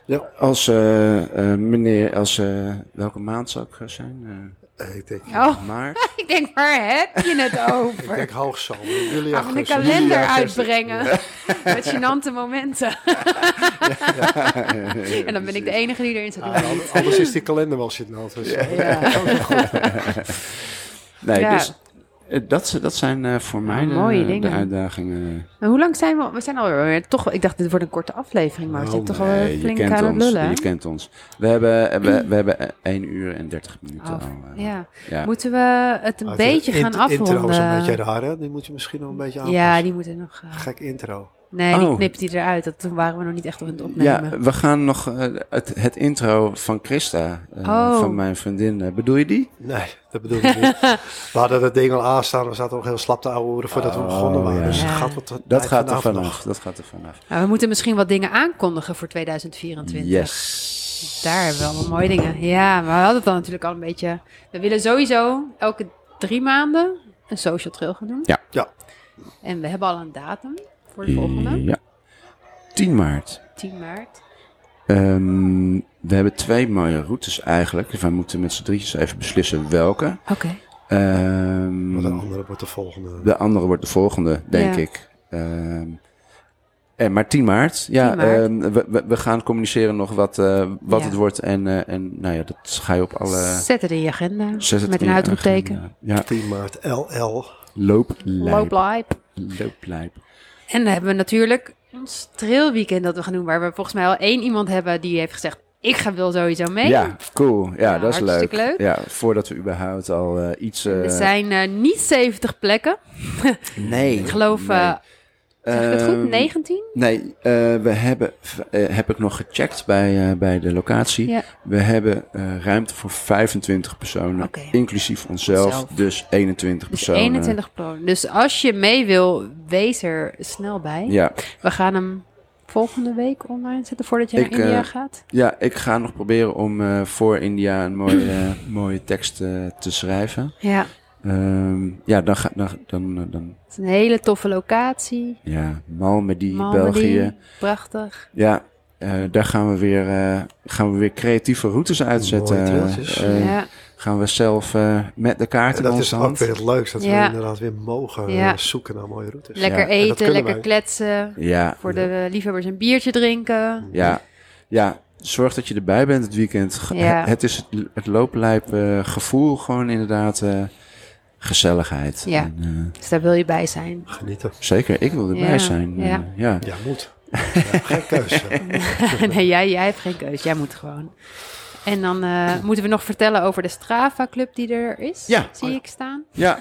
Speaker 2: Ja.
Speaker 1: Als eh, eh, meneer, als eh, welke maand zou ik gaan zijn? Eh,
Speaker 2: Eh, Ik denk,
Speaker 3: Oh, *laughs*
Speaker 1: Maart.
Speaker 3: ik denk, waar heb je het
Speaker 2: ik
Speaker 1: *laughs*
Speaker 3: over?
Speaker 2: denk hoogzomer. Juli,
Speaker 3: Gaan we een
Speaker 2: augustus.
Speaker 3: Ah, kalender
Speaker 2: Juli, augustus.
Speaker 3: uitbrengen *laughs* met gênante
Speaker 1: *laughs*
Speaker 3: momenten. en dan ben ik de enige die erin zit.
Speaker 1: Ah.
Speaker 2: Ja, an- Anders is die kalender wel shit nou. Dus, eh,
Speaker 3: Ja.
Speaker 1: Nee,
Speaker 3: Ja.
Speaker 1: dus eh, dat, dat zijn eh, voor mij de,
Speaker 3: mooie
Speaker 1: de
Speaker 3: dingen.
Speaker 1: uitdagingen.
Speaker 3: Maar hoe lang zijn we? We zijn alweer toch. Ik dacht, dit wordt een korte aflevering, maar we
Speaker 2: Oh,
Speaker 3: zitten toch wel
Speaker 1: Nee, je
Speaker 3: flink
Speaker 1: kent
Speaker 3: aan het
Speaker 1: ons.
Speaker 3: lullen. hè?
Speaker 1: Je kent ons. We hebben, eh, we, we hebben 1 uur en 30 minuten
Speaker 3: Af-
Speaker 1: al. eh.
Speaker 3: ja.
Speaker 1: ja.
Speaker 3: Moeten we het een
Speaker 2: maar
Speaker 3: beetje
Speaker 2: het int-
Speaker 3: gaan
Speaker 2: Intro is een
Speaker 3: afronden?
Speaker 2: beetje raar, hè? Die moet je misschien nog een beetje aanpassen.
Speaker 3: ja, die moeten nog. eh,
Speaker 2: Gek intro.
Speaker 3: nee, die
Speaker 1: Oh.
Speaker 3: knipt hij eruit. Dat, toen waren we nog niet echt op het opnemen.
Speaker 1: Ja, we gaan nog eh, het, het intro van Christa, eh,
Speaker 3: Oh.
Speaker 1: van mijn vriendin. eh, bedoel je die?
Speaker 2: Nee, dat bedoel ik
Speaker 3: *laughs*
Speaker 2: niet. We hadden dat ding al aanstaan. We zaten nog heel slap te ouwen voordat we
Speaker 1: Oh,
Speaker 2: begonnen waren.
Speaker 1: ja.
Speaker 2: Dus dat
Speaker 3: Ja.
Speaker 2: gaat wat
Speaker 1: Dat
Speaker 2: tijd
Speaker 1: gaat er
Speaker 2: vanaf
Speaker 1: vanaf.
Speaker 2: nog.
Speaker 1: Dat gaat er vanaf.
Speaker 3: Nou, we moeten misschien wat dingen aankondigen voor 2024.
Speaker 1: Yes.
Speaker 3: Daar hebben we allemaal mooie dingen. Ja, maar we hadden het dan natuurlijk al een beetje. We willen sowieso elke drie maanden een social trail gaan doen.
Speaker 1: Ja.
Speaker 2: Ja.
Speaker 3: En we hebben al een datum voor de volgende,
Speaker 1: Ja. 10 maart.
Speaker 3: 10 maart.
Speaker 1: Ehm, we hebben twee mooie routes eigenlijk. Wij moeten met z'n drietjes even beslissen welke.
Speaker 3: Oké.
Speaker 1: Ehm,
Speaker 2: Maar de andere wordt de volgende.
Speaker 1: de andere wordt de volgende, denk
Speaker 3: Ja.
Speaker 1: ik. Ehm, en, maar 10 maart. Ja,
Speaker 3: 10 maart.
Speaker 1: ehm, we, we, we gaan communiceren nog wat, eh, wat
Speaker 3: Ja.
Speaker 1: het wordt. En, eh, en nou ja, dat ga je op alle...
Speaker 3: Zet het in je agenda.
Speaker 1: eh, Zet het
Speaker 3: met
Speaker 1: in
Speaker 3: een
Speaker 1: je
Speaker 3: uitroepteken.
Speaker 1: agenda. eh, Ja,
Speaker 2: 10 maart LL.
Speaker 1: looplijp.
Speaker 3: Looplijp.
Speaker 1: Looplijp.
Speaker 3: En dan hebben we natuurlijk ons trailweekend dat we gaan doen. Waar we volgens mij al één iemand hebben die heeft gezegd... ik ga wel sowieso mee.
Speaker 1: Ja, cool. Ja,
Speaker 3: Ja,
Speaker 1: dat is leuk.
Speaker 3: Nou, hartstikke leuk.
Speaker 1: Ja, voordat we überhaupt al eh, iets... eh,
Speaker 3: Er zijn eh, niet 70 plekken.
Speaker 1: nee. Ehm,
Speaker 3: Ik geloof, eh, zeg ik het goed, 19?
Speaker 1: Nee, eh, we hebben, v- eh, heb ik nog gecheckt bij, eh, bij de locatie.
Speaker 3: Ja.
Speaker 1: We hebben eh, ruimte voor 25 personen,
Speaker 3: Oké.
Speaker 1: inclusief onszelf.
Speaker 3: Zelf.
Speaker 1: Dus 21
Speaker 3: Dus
Speaker 1: personen.
Speaker 3: 21 personen. Dus als je mee wil, wees er snel bij.
Speaker 1: Ja.
Speaker 3: We gaan hem volgende week online zetten voordat je
Speaker 1: Ik,
Speaker 3: naar India
Speaker 1: eh,
Speaker 3: gaat.
Speaker 1: ja, ik ga nog proberen om eh, voor India een mooie,
Speaker 3: *clears throat*
Speaker 1: eh, mooie tekst eh, te schrijven.
Speaker 3: Ja,
Speaker 1: Ehm, ja, dan, ga, dan, dan, eh, dan
Speaker 3: het is een hele toffe locatie.
Speaker 1: Ja, Malmedy,
Speaker 3: Malmedy,
Speaker 1: België.
Speaker 3: Prachtig.
Speaker 1: Ja, eh, daar gaan we, weer, eh, gaan we weer creatieve routes uitzetten.
Speaker 2: Mooie trailtjes.
Speaker 1: Eh,
Speaker 3: ja.
Speaker 1: Gaan we zelf eh, met de kaart
Speaker 2: En
Speaker 1: in
Speaker 2: dat
Speaker 1: onze
Speaker 2: is ook
Speaker 1: hand.
Speaker 2: weer het leukste. Dat
Speaker 3: Ja.
Speaker 2: we inderdaad weer mogen eh,
Speaker 3: Ja.
Speaker 2: zoeken naar mooie routes.
Speaker 3: Lekker
Speaker 1: Ja,
Speaker 2: en dat
Speaker 3: eten,
Speaker 2: kunnen
Speaker 3: lekker
Speaker 2: wij.
Speaker 3: kletsen.
Speaker 1: Ja,
Speaker 3: Voor de eh, liefhebbers een biertje drinken.
Speaker 1: ja, ja. Zorg dat je erbij bent het weekend. Ge-
Speaker 3: Ja.
Speaker 1: Het is het, het looplijp eh, gevoel gewoon inderdaad eh, gezelligheid.
Speaker 3: Ja.
Speaker 1: En, eh,
Speaker 3: Dus daar wil je bij zijn.
Speaker 2: Genieten.
Speaker 1: zeker, ik wil erbij
Speaker 3: Ja,
Speaker 1: zijn.
Speaker 3: ja.
Speaker 1: Eh, ja.
Speaker 2: Ja, moet. Ja, geen
Speaker 1: *laughs*
Speaker 2: keuze.
Speaker 3: *laughs* nee, jij, jij hebt geen keus. Jij moet gewoon. En dan eh, moeten we nog vertellen over de Strava-club die er is.
Speaker 1: Ja.
Speaker 3: Zie ik staan.
Speaker 1: ja,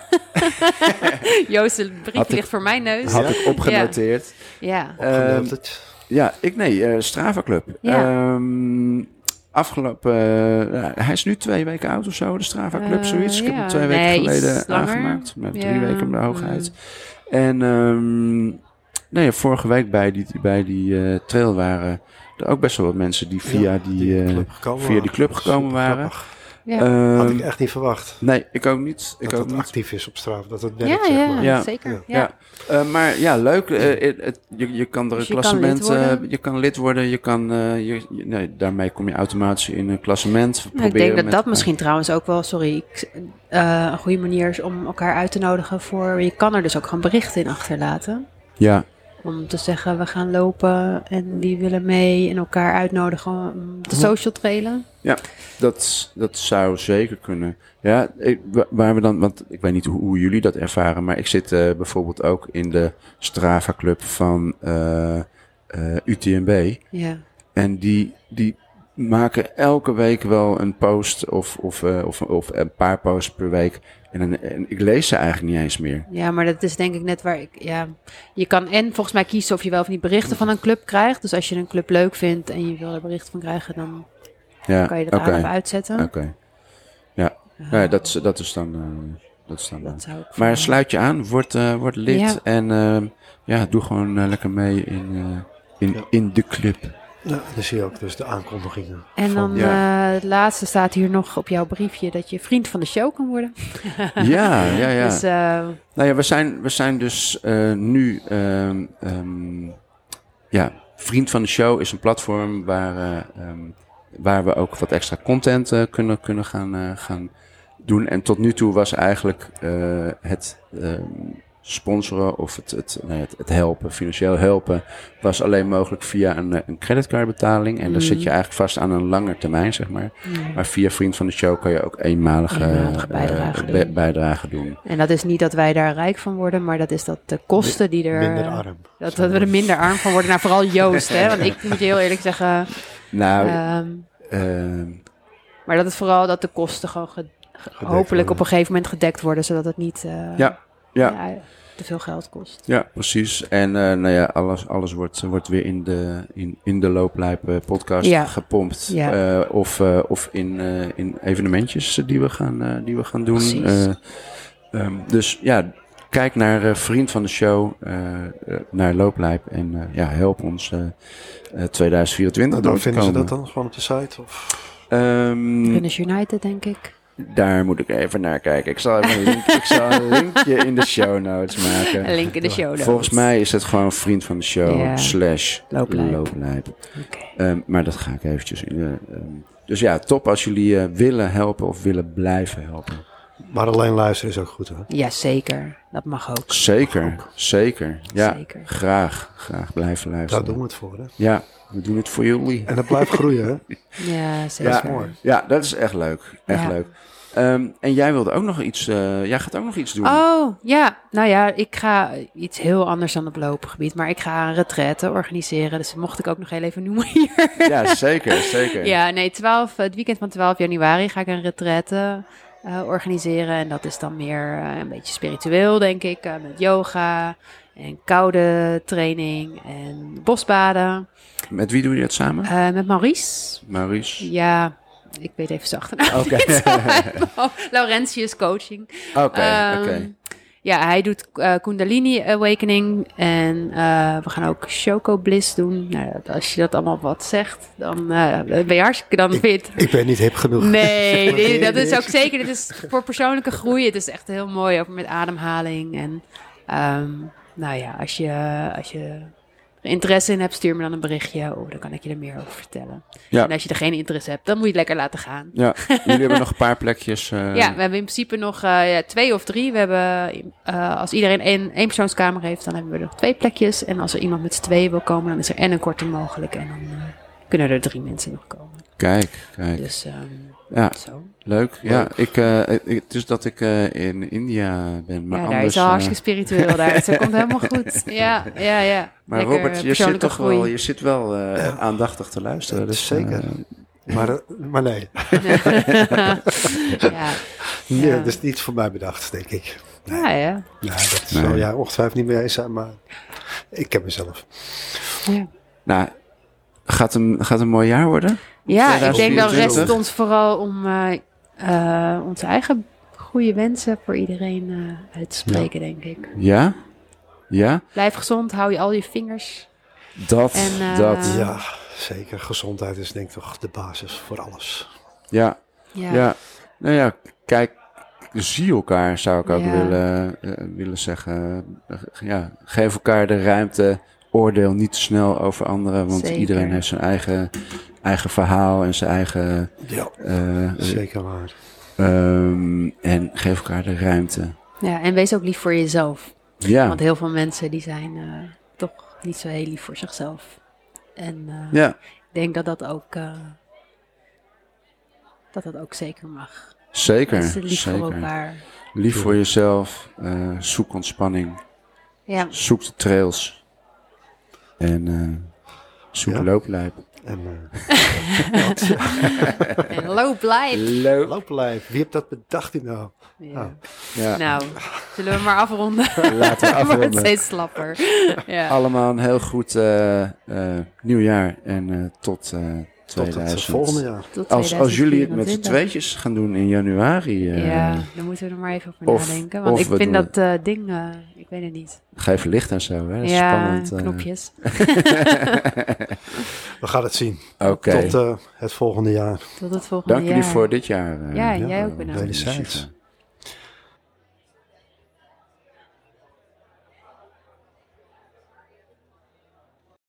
Speaker 3: Joost, de brief
Speaker 1: Had ik-
Speaker 3: ligt voor mijn neus.
Speaker 1: had ik opgenoteerd.
Speaker 3: Ja.
Speaker 1: Ehm,
Speaker 2: Opgenoteerd.
Speaker 1: Ja, ik nee, eh Strava Club.
Speaker 3: Ja.
Speaker 1: Ehm, afgelopen, eh, ja, hij is nu twee weken oud of zo, de Strava Club,
Speaker 3: Eh,
Speaker 1: zoiets. Ik heb hem
Speaker 3: ja.
Speaker 1: twee
Speaker 3: Nee,
Speaker 1: weken
Speaker 3: iets
Speaker 1: geleden
Speaker 3: langer.
Speaker 1: aangemaakt, met
Speaker 3: Ja,
Speaker 1: drie weken op de hoogheid.
Speaker 3: mm.
Speaker 1: En ehm, nee, vorige week bij die, bij die eh, trail waren er ook best wel wat mensen die via
Speaker 2: Ja,
Speaker 1: die, eh,
Speaker 2: club gekomen
Speaker 1: via die club
Speaker 2: waren.
Speaker 1: gekomen waren.
Speaker 2: Supergrappig.
Speaker 3: Ja.
Speaker 1: ehm,
Speaker 2: Had ik echt niet verwacht.
Speaker 1: nee, ik ook niet. Ik
Speaker 2: dat
Speaker 1: ook
Speaker 2: het
Speaker 1: niet.
Speaker 2: actief is op straat. Dat het
Speaker 3: Ja,
Speaker 2: werkt, zeg
Speaker 3: ja,
Speaker 2: maar.
Speaker 1: Ja.
Speaker 3: zeker. Ja.
Speaker 1: Ja. Eh, maar ja, leuk. Eh, het- het- je, je kan er
Speaker 3: Dus
Speaker 1: een
Speaker 3: je kan lid
Speaker 1: klassement. eh,
Speaker 3: worden.
Speaker 1: je kan lid worden. Je kan, eh, je, je- nee, daarmee kom je automatisch in een klassement. We
Speaker 3: Nou, ik
Speaker 1: proberen
Speaker 3: denk dat
Speaker 1: met
Speaker 3: dat
Speaker 1: elkaar-
Speaker 3: misschien trouwens ook wel, sorry, ik- eh, een goede manier is om elkaar uit te nodigen voor. Je kan er dus ook gewoon berichten in achterlaten.
Speaker 1: Ja,
Speaker 3: Om te zeggen, we gaan lopen en die willen mee en elkaar uitnodigen om te social trailen.
Speaker 1: Dat, dat zou zeker kunnen. Ja, ik, wa- waar we dan, want ik weet niet hoe, hoe jullie dat ervaren, maar ik zit eh, bijvoorbeeld ook in de Strava Club van eh, eh, UTMB.
Speaker 3: Ja.
Speaker 1: En die, die maken elke week wel een post of, of, eh, of, of een paar posts per week. En, dan- en ik lees ze eigenlijk niet eens meer.
Speaker 3: ja, maar dat is denk ik net waar ik... Ja. Je kan en volgens mij kiezen of je wel of niet berichten van een club krijgt. Dus als je een club leuk vindt en je wil er berichten van krijgen, dan
Speaker 1: Ja,
Speaker 3: kan je dat
Speaker 1: oké,
Speaker 3: aan of uitzetten.
Speaker 1: Oké. Ja, Nou ja, dat, is- dat is dan. eh, dat is dan eh.
Speaker 3: Dat zou ik
Speaker 1: Maar
Speaker 3: voor-
Speaker 1: sluit je aan, word, eh, word lid
Speaker 3: Ja.
Speaker 1: en eh, ja, doe gewoon eh, lekker mee in, eh, in, in de club.
Speaker 2: Nou, dan zie je ook dus de aankondigingen.
Speaker 3: En
Speaker 2: van-
Speaker 3: dan
Speaker 1: ja.
Speaker 3: eh, het laatste staat hier nog op jouw briefje dat je vriend van de show kan worden.
Speaker 1: Ja, ja, ja.
Speaker 3: *laughs* Dus eh,
Speaker 1: Nou ja, we zijn, we zijn dus eh, nu. ehm, ehm, ja, Vriend van de Show is een platform waar, eh, ehm, waar we ook wat extra content eh, kunnen, kunnen gaan, eh, gaan doen. En tot nu toe was eigenlijk eh, het ehm, sponsoren of het, het, nou ja, het, het helpen, financieel helpen, was alleen mogelijk via een, eh, een creditcardbetaling. En dan
Speaker 3: Mhm.
Speaker 1: zit je eigenlijk vast aan een langer termijn, zeg maar.
Speaker 3: ja.
Speaker 1: Maar via Vriend van de Show kan je ook eenmalige,
Speaker 3: Mm. Eenmalige
Speaker 1: eh,
Speaker 3: bijdrage
Speaker 1: be-
Speaker 3: doen.
Speaker 1: bijdrage doen.
Speaker 3: En dat is niet dat wij daar rijk van worden, maar dat is dat de kosten die er...
Speaker 2: Minder
Speaker 3: eh,
Speaker 2: arm.
Speaker 3: Dat, dat we er minder arm van worden. Nou, vooral Joost, hè. Want
Speaker 1: *laughs*
Speaker 3: ik moet je heel eerlijk zeggen...
Speaker 1: Nou,
Speaker 3: ehm,
Speaker 1: Ehm,
Speaker 3: maar dat het vooral dat de kosten gewoon ge- hopelijk op een gegeven moment gedekt worden. Zodat het niet eh,
Speaker 1: Ja, ja.
Speaker 3: ja, te veel geld kost.
Speaker 1: ja, precies. En eh, nou ja, alles, alles wordt, wordt weer in de, in, in de looplijp eh, podcast
Speaker 3: Ja.
Speaker 1: gepompt.
Speaker 3: Ja.
Speaker 1: Eh, of eh, of in, eh, in evenementjes die we gaan, eh, die we gaan doen.
Speaker 3: Precies.
Speaker 1: Eh, ehm, dus ja, kijk naar eh, Vriend van de Show, eh, eh, naar Looplijp. En eh, ja, help ons eh, eh, 2024
Speaker 2: Nou, dan
Speaker 1: door te
Speaker 2: vinden ze dat
Speaker 1: komen.
Speaker 2: dan gewoon op de site? Of?
Speaker 1: Ehm,
Speaker 3: Gunners United, denk ik.
Speaker 1: daar moet ik even naar kijken. Ik zal even een, link, ik zal een linkje in de show notes
Speaker 3: *laughs*
Speaker 1: maken.
Speaker 3: Een link in de show notes.
Speaker 1: Volgens mij is het gewoon vriend van de show
Speaker 3: Oh, Ja.
Speaker 1: slash
Speaker 3: Looplijp.
Speaker 1: looplijp. Ehm, maar dat ga ik eventjes in. de- ehm, dus ja, top als jullie eh, willen helpen of willen blijven helpen.
Speaker 2: Maar alleen luisteren is ook goed hoor.
Speaker 3: Ja, zeker. Dat mag ook.
Speaker 1: Zeker, zeker. Ja,
Speaker 3: Zeker.
Speaker 1: graag, graag blijven
Speaker 2: Daar
Speaker 1: luisteren.
Speaker 2: doen we het voor. Hè?
Speaker 1: Ja, we doen het voor jullie.
Speaker 2: En dat blijft groeien. Hè?
Speaker 1: *laughs*
Speaker 3: Ja, zeker.
Speaker 1: Ja,
Speaker 2: mooi.
Speaker 1: ja, dat is echt leuk, echt
Speaker 3: Ja.
Speaker 1: leuk. Ehm, en jij wilde ook nog iets. eh, jij gaat ook nog iets doen.
Speaker 3: Oh, ja. Nou ja, ik ga iets heel anders dan op loopgebied. Maar ik ga een retraite organiseren. Dus dat mocht ik ook nog heel even noemen hier.
Speaker 1: *laughs* Ja, zeker, zeker.
Speaker 3: *laughs* Ja, nee, 12, het weekend van 12 januari ga ik een retraite eh, organiseren. En dat is dan meer eh, een beetje spiritueel, denk ik. eh, met yoga en koude training en bosbaden.
Speaker 1: Met wie doe je het samen?
Speaker 3: Eh, met Maurice.
Speaker 1: Maurice.
Speaker 3: Ja, ik weet even zijn achternaam.
Speaker 1: Oké.
Speaker 3: niet *laughs* uit mijn
Speaker 1: *laughs*
Speaker 3: hoofd. Laurentius Coaching.
Speaker 1: Oké,
Speaker 3: Ehm,
Speaker 1: oké.
Speaker 3: Ja, hij doet eh, Kundalini Awakening. En eh, we gaan ook Choco Bliss doen. Nou, dat- als je dat allemaal wat zegt, dan eh, ben je hartstikke dan fit.
Speaker 1: *laughs*
Speaker 2: Ik ben niet hip genoeg.
Speaker 3: Nee, dit- dat is
Speaker 2: niks.
Speaker 3: ook zeker. Dit is voor persoonlijke groei. Het is echt heel mooi, ook met ademhaling. En ehm, nou ja, als je, als je er interesse in hebt, stuur me dan een berichtje. Oh, dan kan ik je er meer over vertellen.
Speaker 1: Ja.
Speaker 3: En als je er geen interesse hebt, dan moet je het lekker laten gaan.
Speaker 1: Ja, jullie hebben nog een paar
Speaker 3: *laughs*
Speaker 1: plekjes. eh,
Speaker 3: Ja, we hebben in principe nog eh, ja, twee of drie. We hebben, eh, als iedereen één, één persoonskamer heeft, dan hebben we nog twee plekjes. En als er iemand met z'n tweeën wil komen, dan is er en een korting mogelijk. En dan eh, kunnen er drie mensen nog komen.
Speaker 1: Kijk, kijk.
Speaker 3: Dus ehm,
Speaker 1: Ja,
Speaker 3: zo.
Speaker 1: leuk. Ja, ik, eh, ik- het is dat ik eh, in India ben, maar
Speaker 3: ja, daar
Speaker 1: anders...
Speaker 3: is al
Speaker 1: eh,
Speaker 3: hartstikke spiritueel daar. Het komt
Speaker 1: *laughs*
Speaker 3: helemaal goed. Ja, ja, ja.
Speaker 1: maar
Speaker 3: Lekker eh,
Speaker 1: Robert, je zit
Speaker 3: persoonlijke
Speaker 1: toch
Speaker 3: groei.
Speaker 1: wel, je zit wel eh, aandachtig te luisteren.
Speaker 2: Dat
Speaker 1: Dus,
Speaker 2: zeker.
Speaker 1: eh,
Speaker 2: Maar, eh, maar
Speaker 1: *laughs*
Speaker 2: nee.
Speaker 3: *laughs* ja.
Speaker 2: nee,
Speaker 3: Ja.
Speaker 2: dat is niet voor mij bedacht, denk ik.
Speaker 3: Ja, ja.
Speaker 2: Ja, dat
Speaker 1: Nee.
Speaker 2: zou jij ongetwijfeld niet mee eens zijn, maar ik ken mezelf.
Speaker 3: ja.
Speaker 1: nou, gaat een, gaat een mooi jaar worden?
Speaker 3: Ja, ik denk dan
Speaker 1: 2024.
Speaker 3: rest het ons vooral om eh, eh, onze eigen goede wensen voor iedereen eh, uit te spreken, denk ik.
Speaker 1: Ja? Ja?
Speaker 3: Blijf gezond, hou je al je vingers.
Speaker 1: Dat,
Speaker 3: En, eh,
Speaker 1: dat.
Speaker 3: Ja.
Speaker 2: Ja, zeker. Gezondheid is denk ik toch de basis voor alles.
Speaker 1: Ja,
Speaker 3: Ja,
Speaker 1: ja. Nou ja, kijk, zie elkaar zou ik ook
Speaker 3: Ja.
Speaker 1: willen, eh, willen zeggen. Ja, geef elkaar de ruimte. Oordeel niet te snel over anderen, want
Speaker 3: Zeker.
Speaker 1: iedereen heeft zijn eigen, eigen verhaal en zijn eigen...
Speaker 2: Ja,
Speaker 1: eh,
Speaker 2: zeker waar.
Speaker 1: Ehm, en geef elkaar de ruimte.
Speaker 3: Ja, en wees ook lief voor jezelf.
Speaker 1: Ja,
Speaker 3: Want heel veel mensen die zijn eh, toch niet zo heel lief voor zichzelf. En eh,
Speaker 1: ja,
Speaker 3: ik denk dat dat ook eh, dat dat ook zeker mag.
Speaker 1: Zeker,
Speaker 3: Mensen lief voor
Speaker 1: zeker.
Speaker 3: elkaar.
Speaker 1: Lief voor jezelf. eh, zoek ontspanning.
Speaker 3: Ja,
Speaker 1: Zoek de trails. En eh, zoek
Speaker 2: Ja.
Speaker 1: looplijp.
Speaker 2: En eh
Speaker 3: en loop live.
Speaker 1: Loop.
Speaker 2: looplijf, wie heeft dat bedacht die nou?
Speaker 3: Ja.
Speaker 1: Ja,
Speaker 3: Nou, zullen we maar afronden?
Speaker 1: *laughs*
Speaker 3: *laughs*
Speaker 1: laten we
Speaker 3: Het wordt
Speaker 1: afronden.
Speaker 3: steeds slapper. Ja.
Speaker 1: Allemaal een heel goed eh, eh, nieuwjaar. En eh, tot eh
Speaker 2: Tot het
Speaker 1: 2000.
Speaker 2: eh, volgende jaar.
Speaker 3: Tot
Speaker 1: Als, als jullie het met z'n
Speaker 3: 2024.
Speaker 1: tweetjes gaan doen in januari, eh
Speaker 3: Ja, daar moeten we er maar even over
Speaker 1: Of-
Speaker 3: nadenken. Want
Speaker 1: of
Speaker 3: ik
Speaker 1: we
Speaker 3: vind
Speaker 1: doen
Speaker 3: dat eh, ding, eh, ik weet het niet.
Speaker 1: ga even licht en zo. Hè? Dat is
Speaker 3: ja,
Speaker 1: spannend. eh.
Speaker 3: knopjes.
Speaker 2: We gaan het zien.
Speaker 1: *laughs* Oké,
Speaker 2: Tot eh, het volgende jaar.
Speaker 3: Tot het volgende
Speaker 1: dank
Speaker 3: jaar.
Speaker 1: jullie voor dit jaar. eh,
Speaker 3: Ja, en jij
Speaker 1: eh,
Speaker 3: ook bedankt.
Speaker 1: initiatief.
Speaker 2: Wederzijds.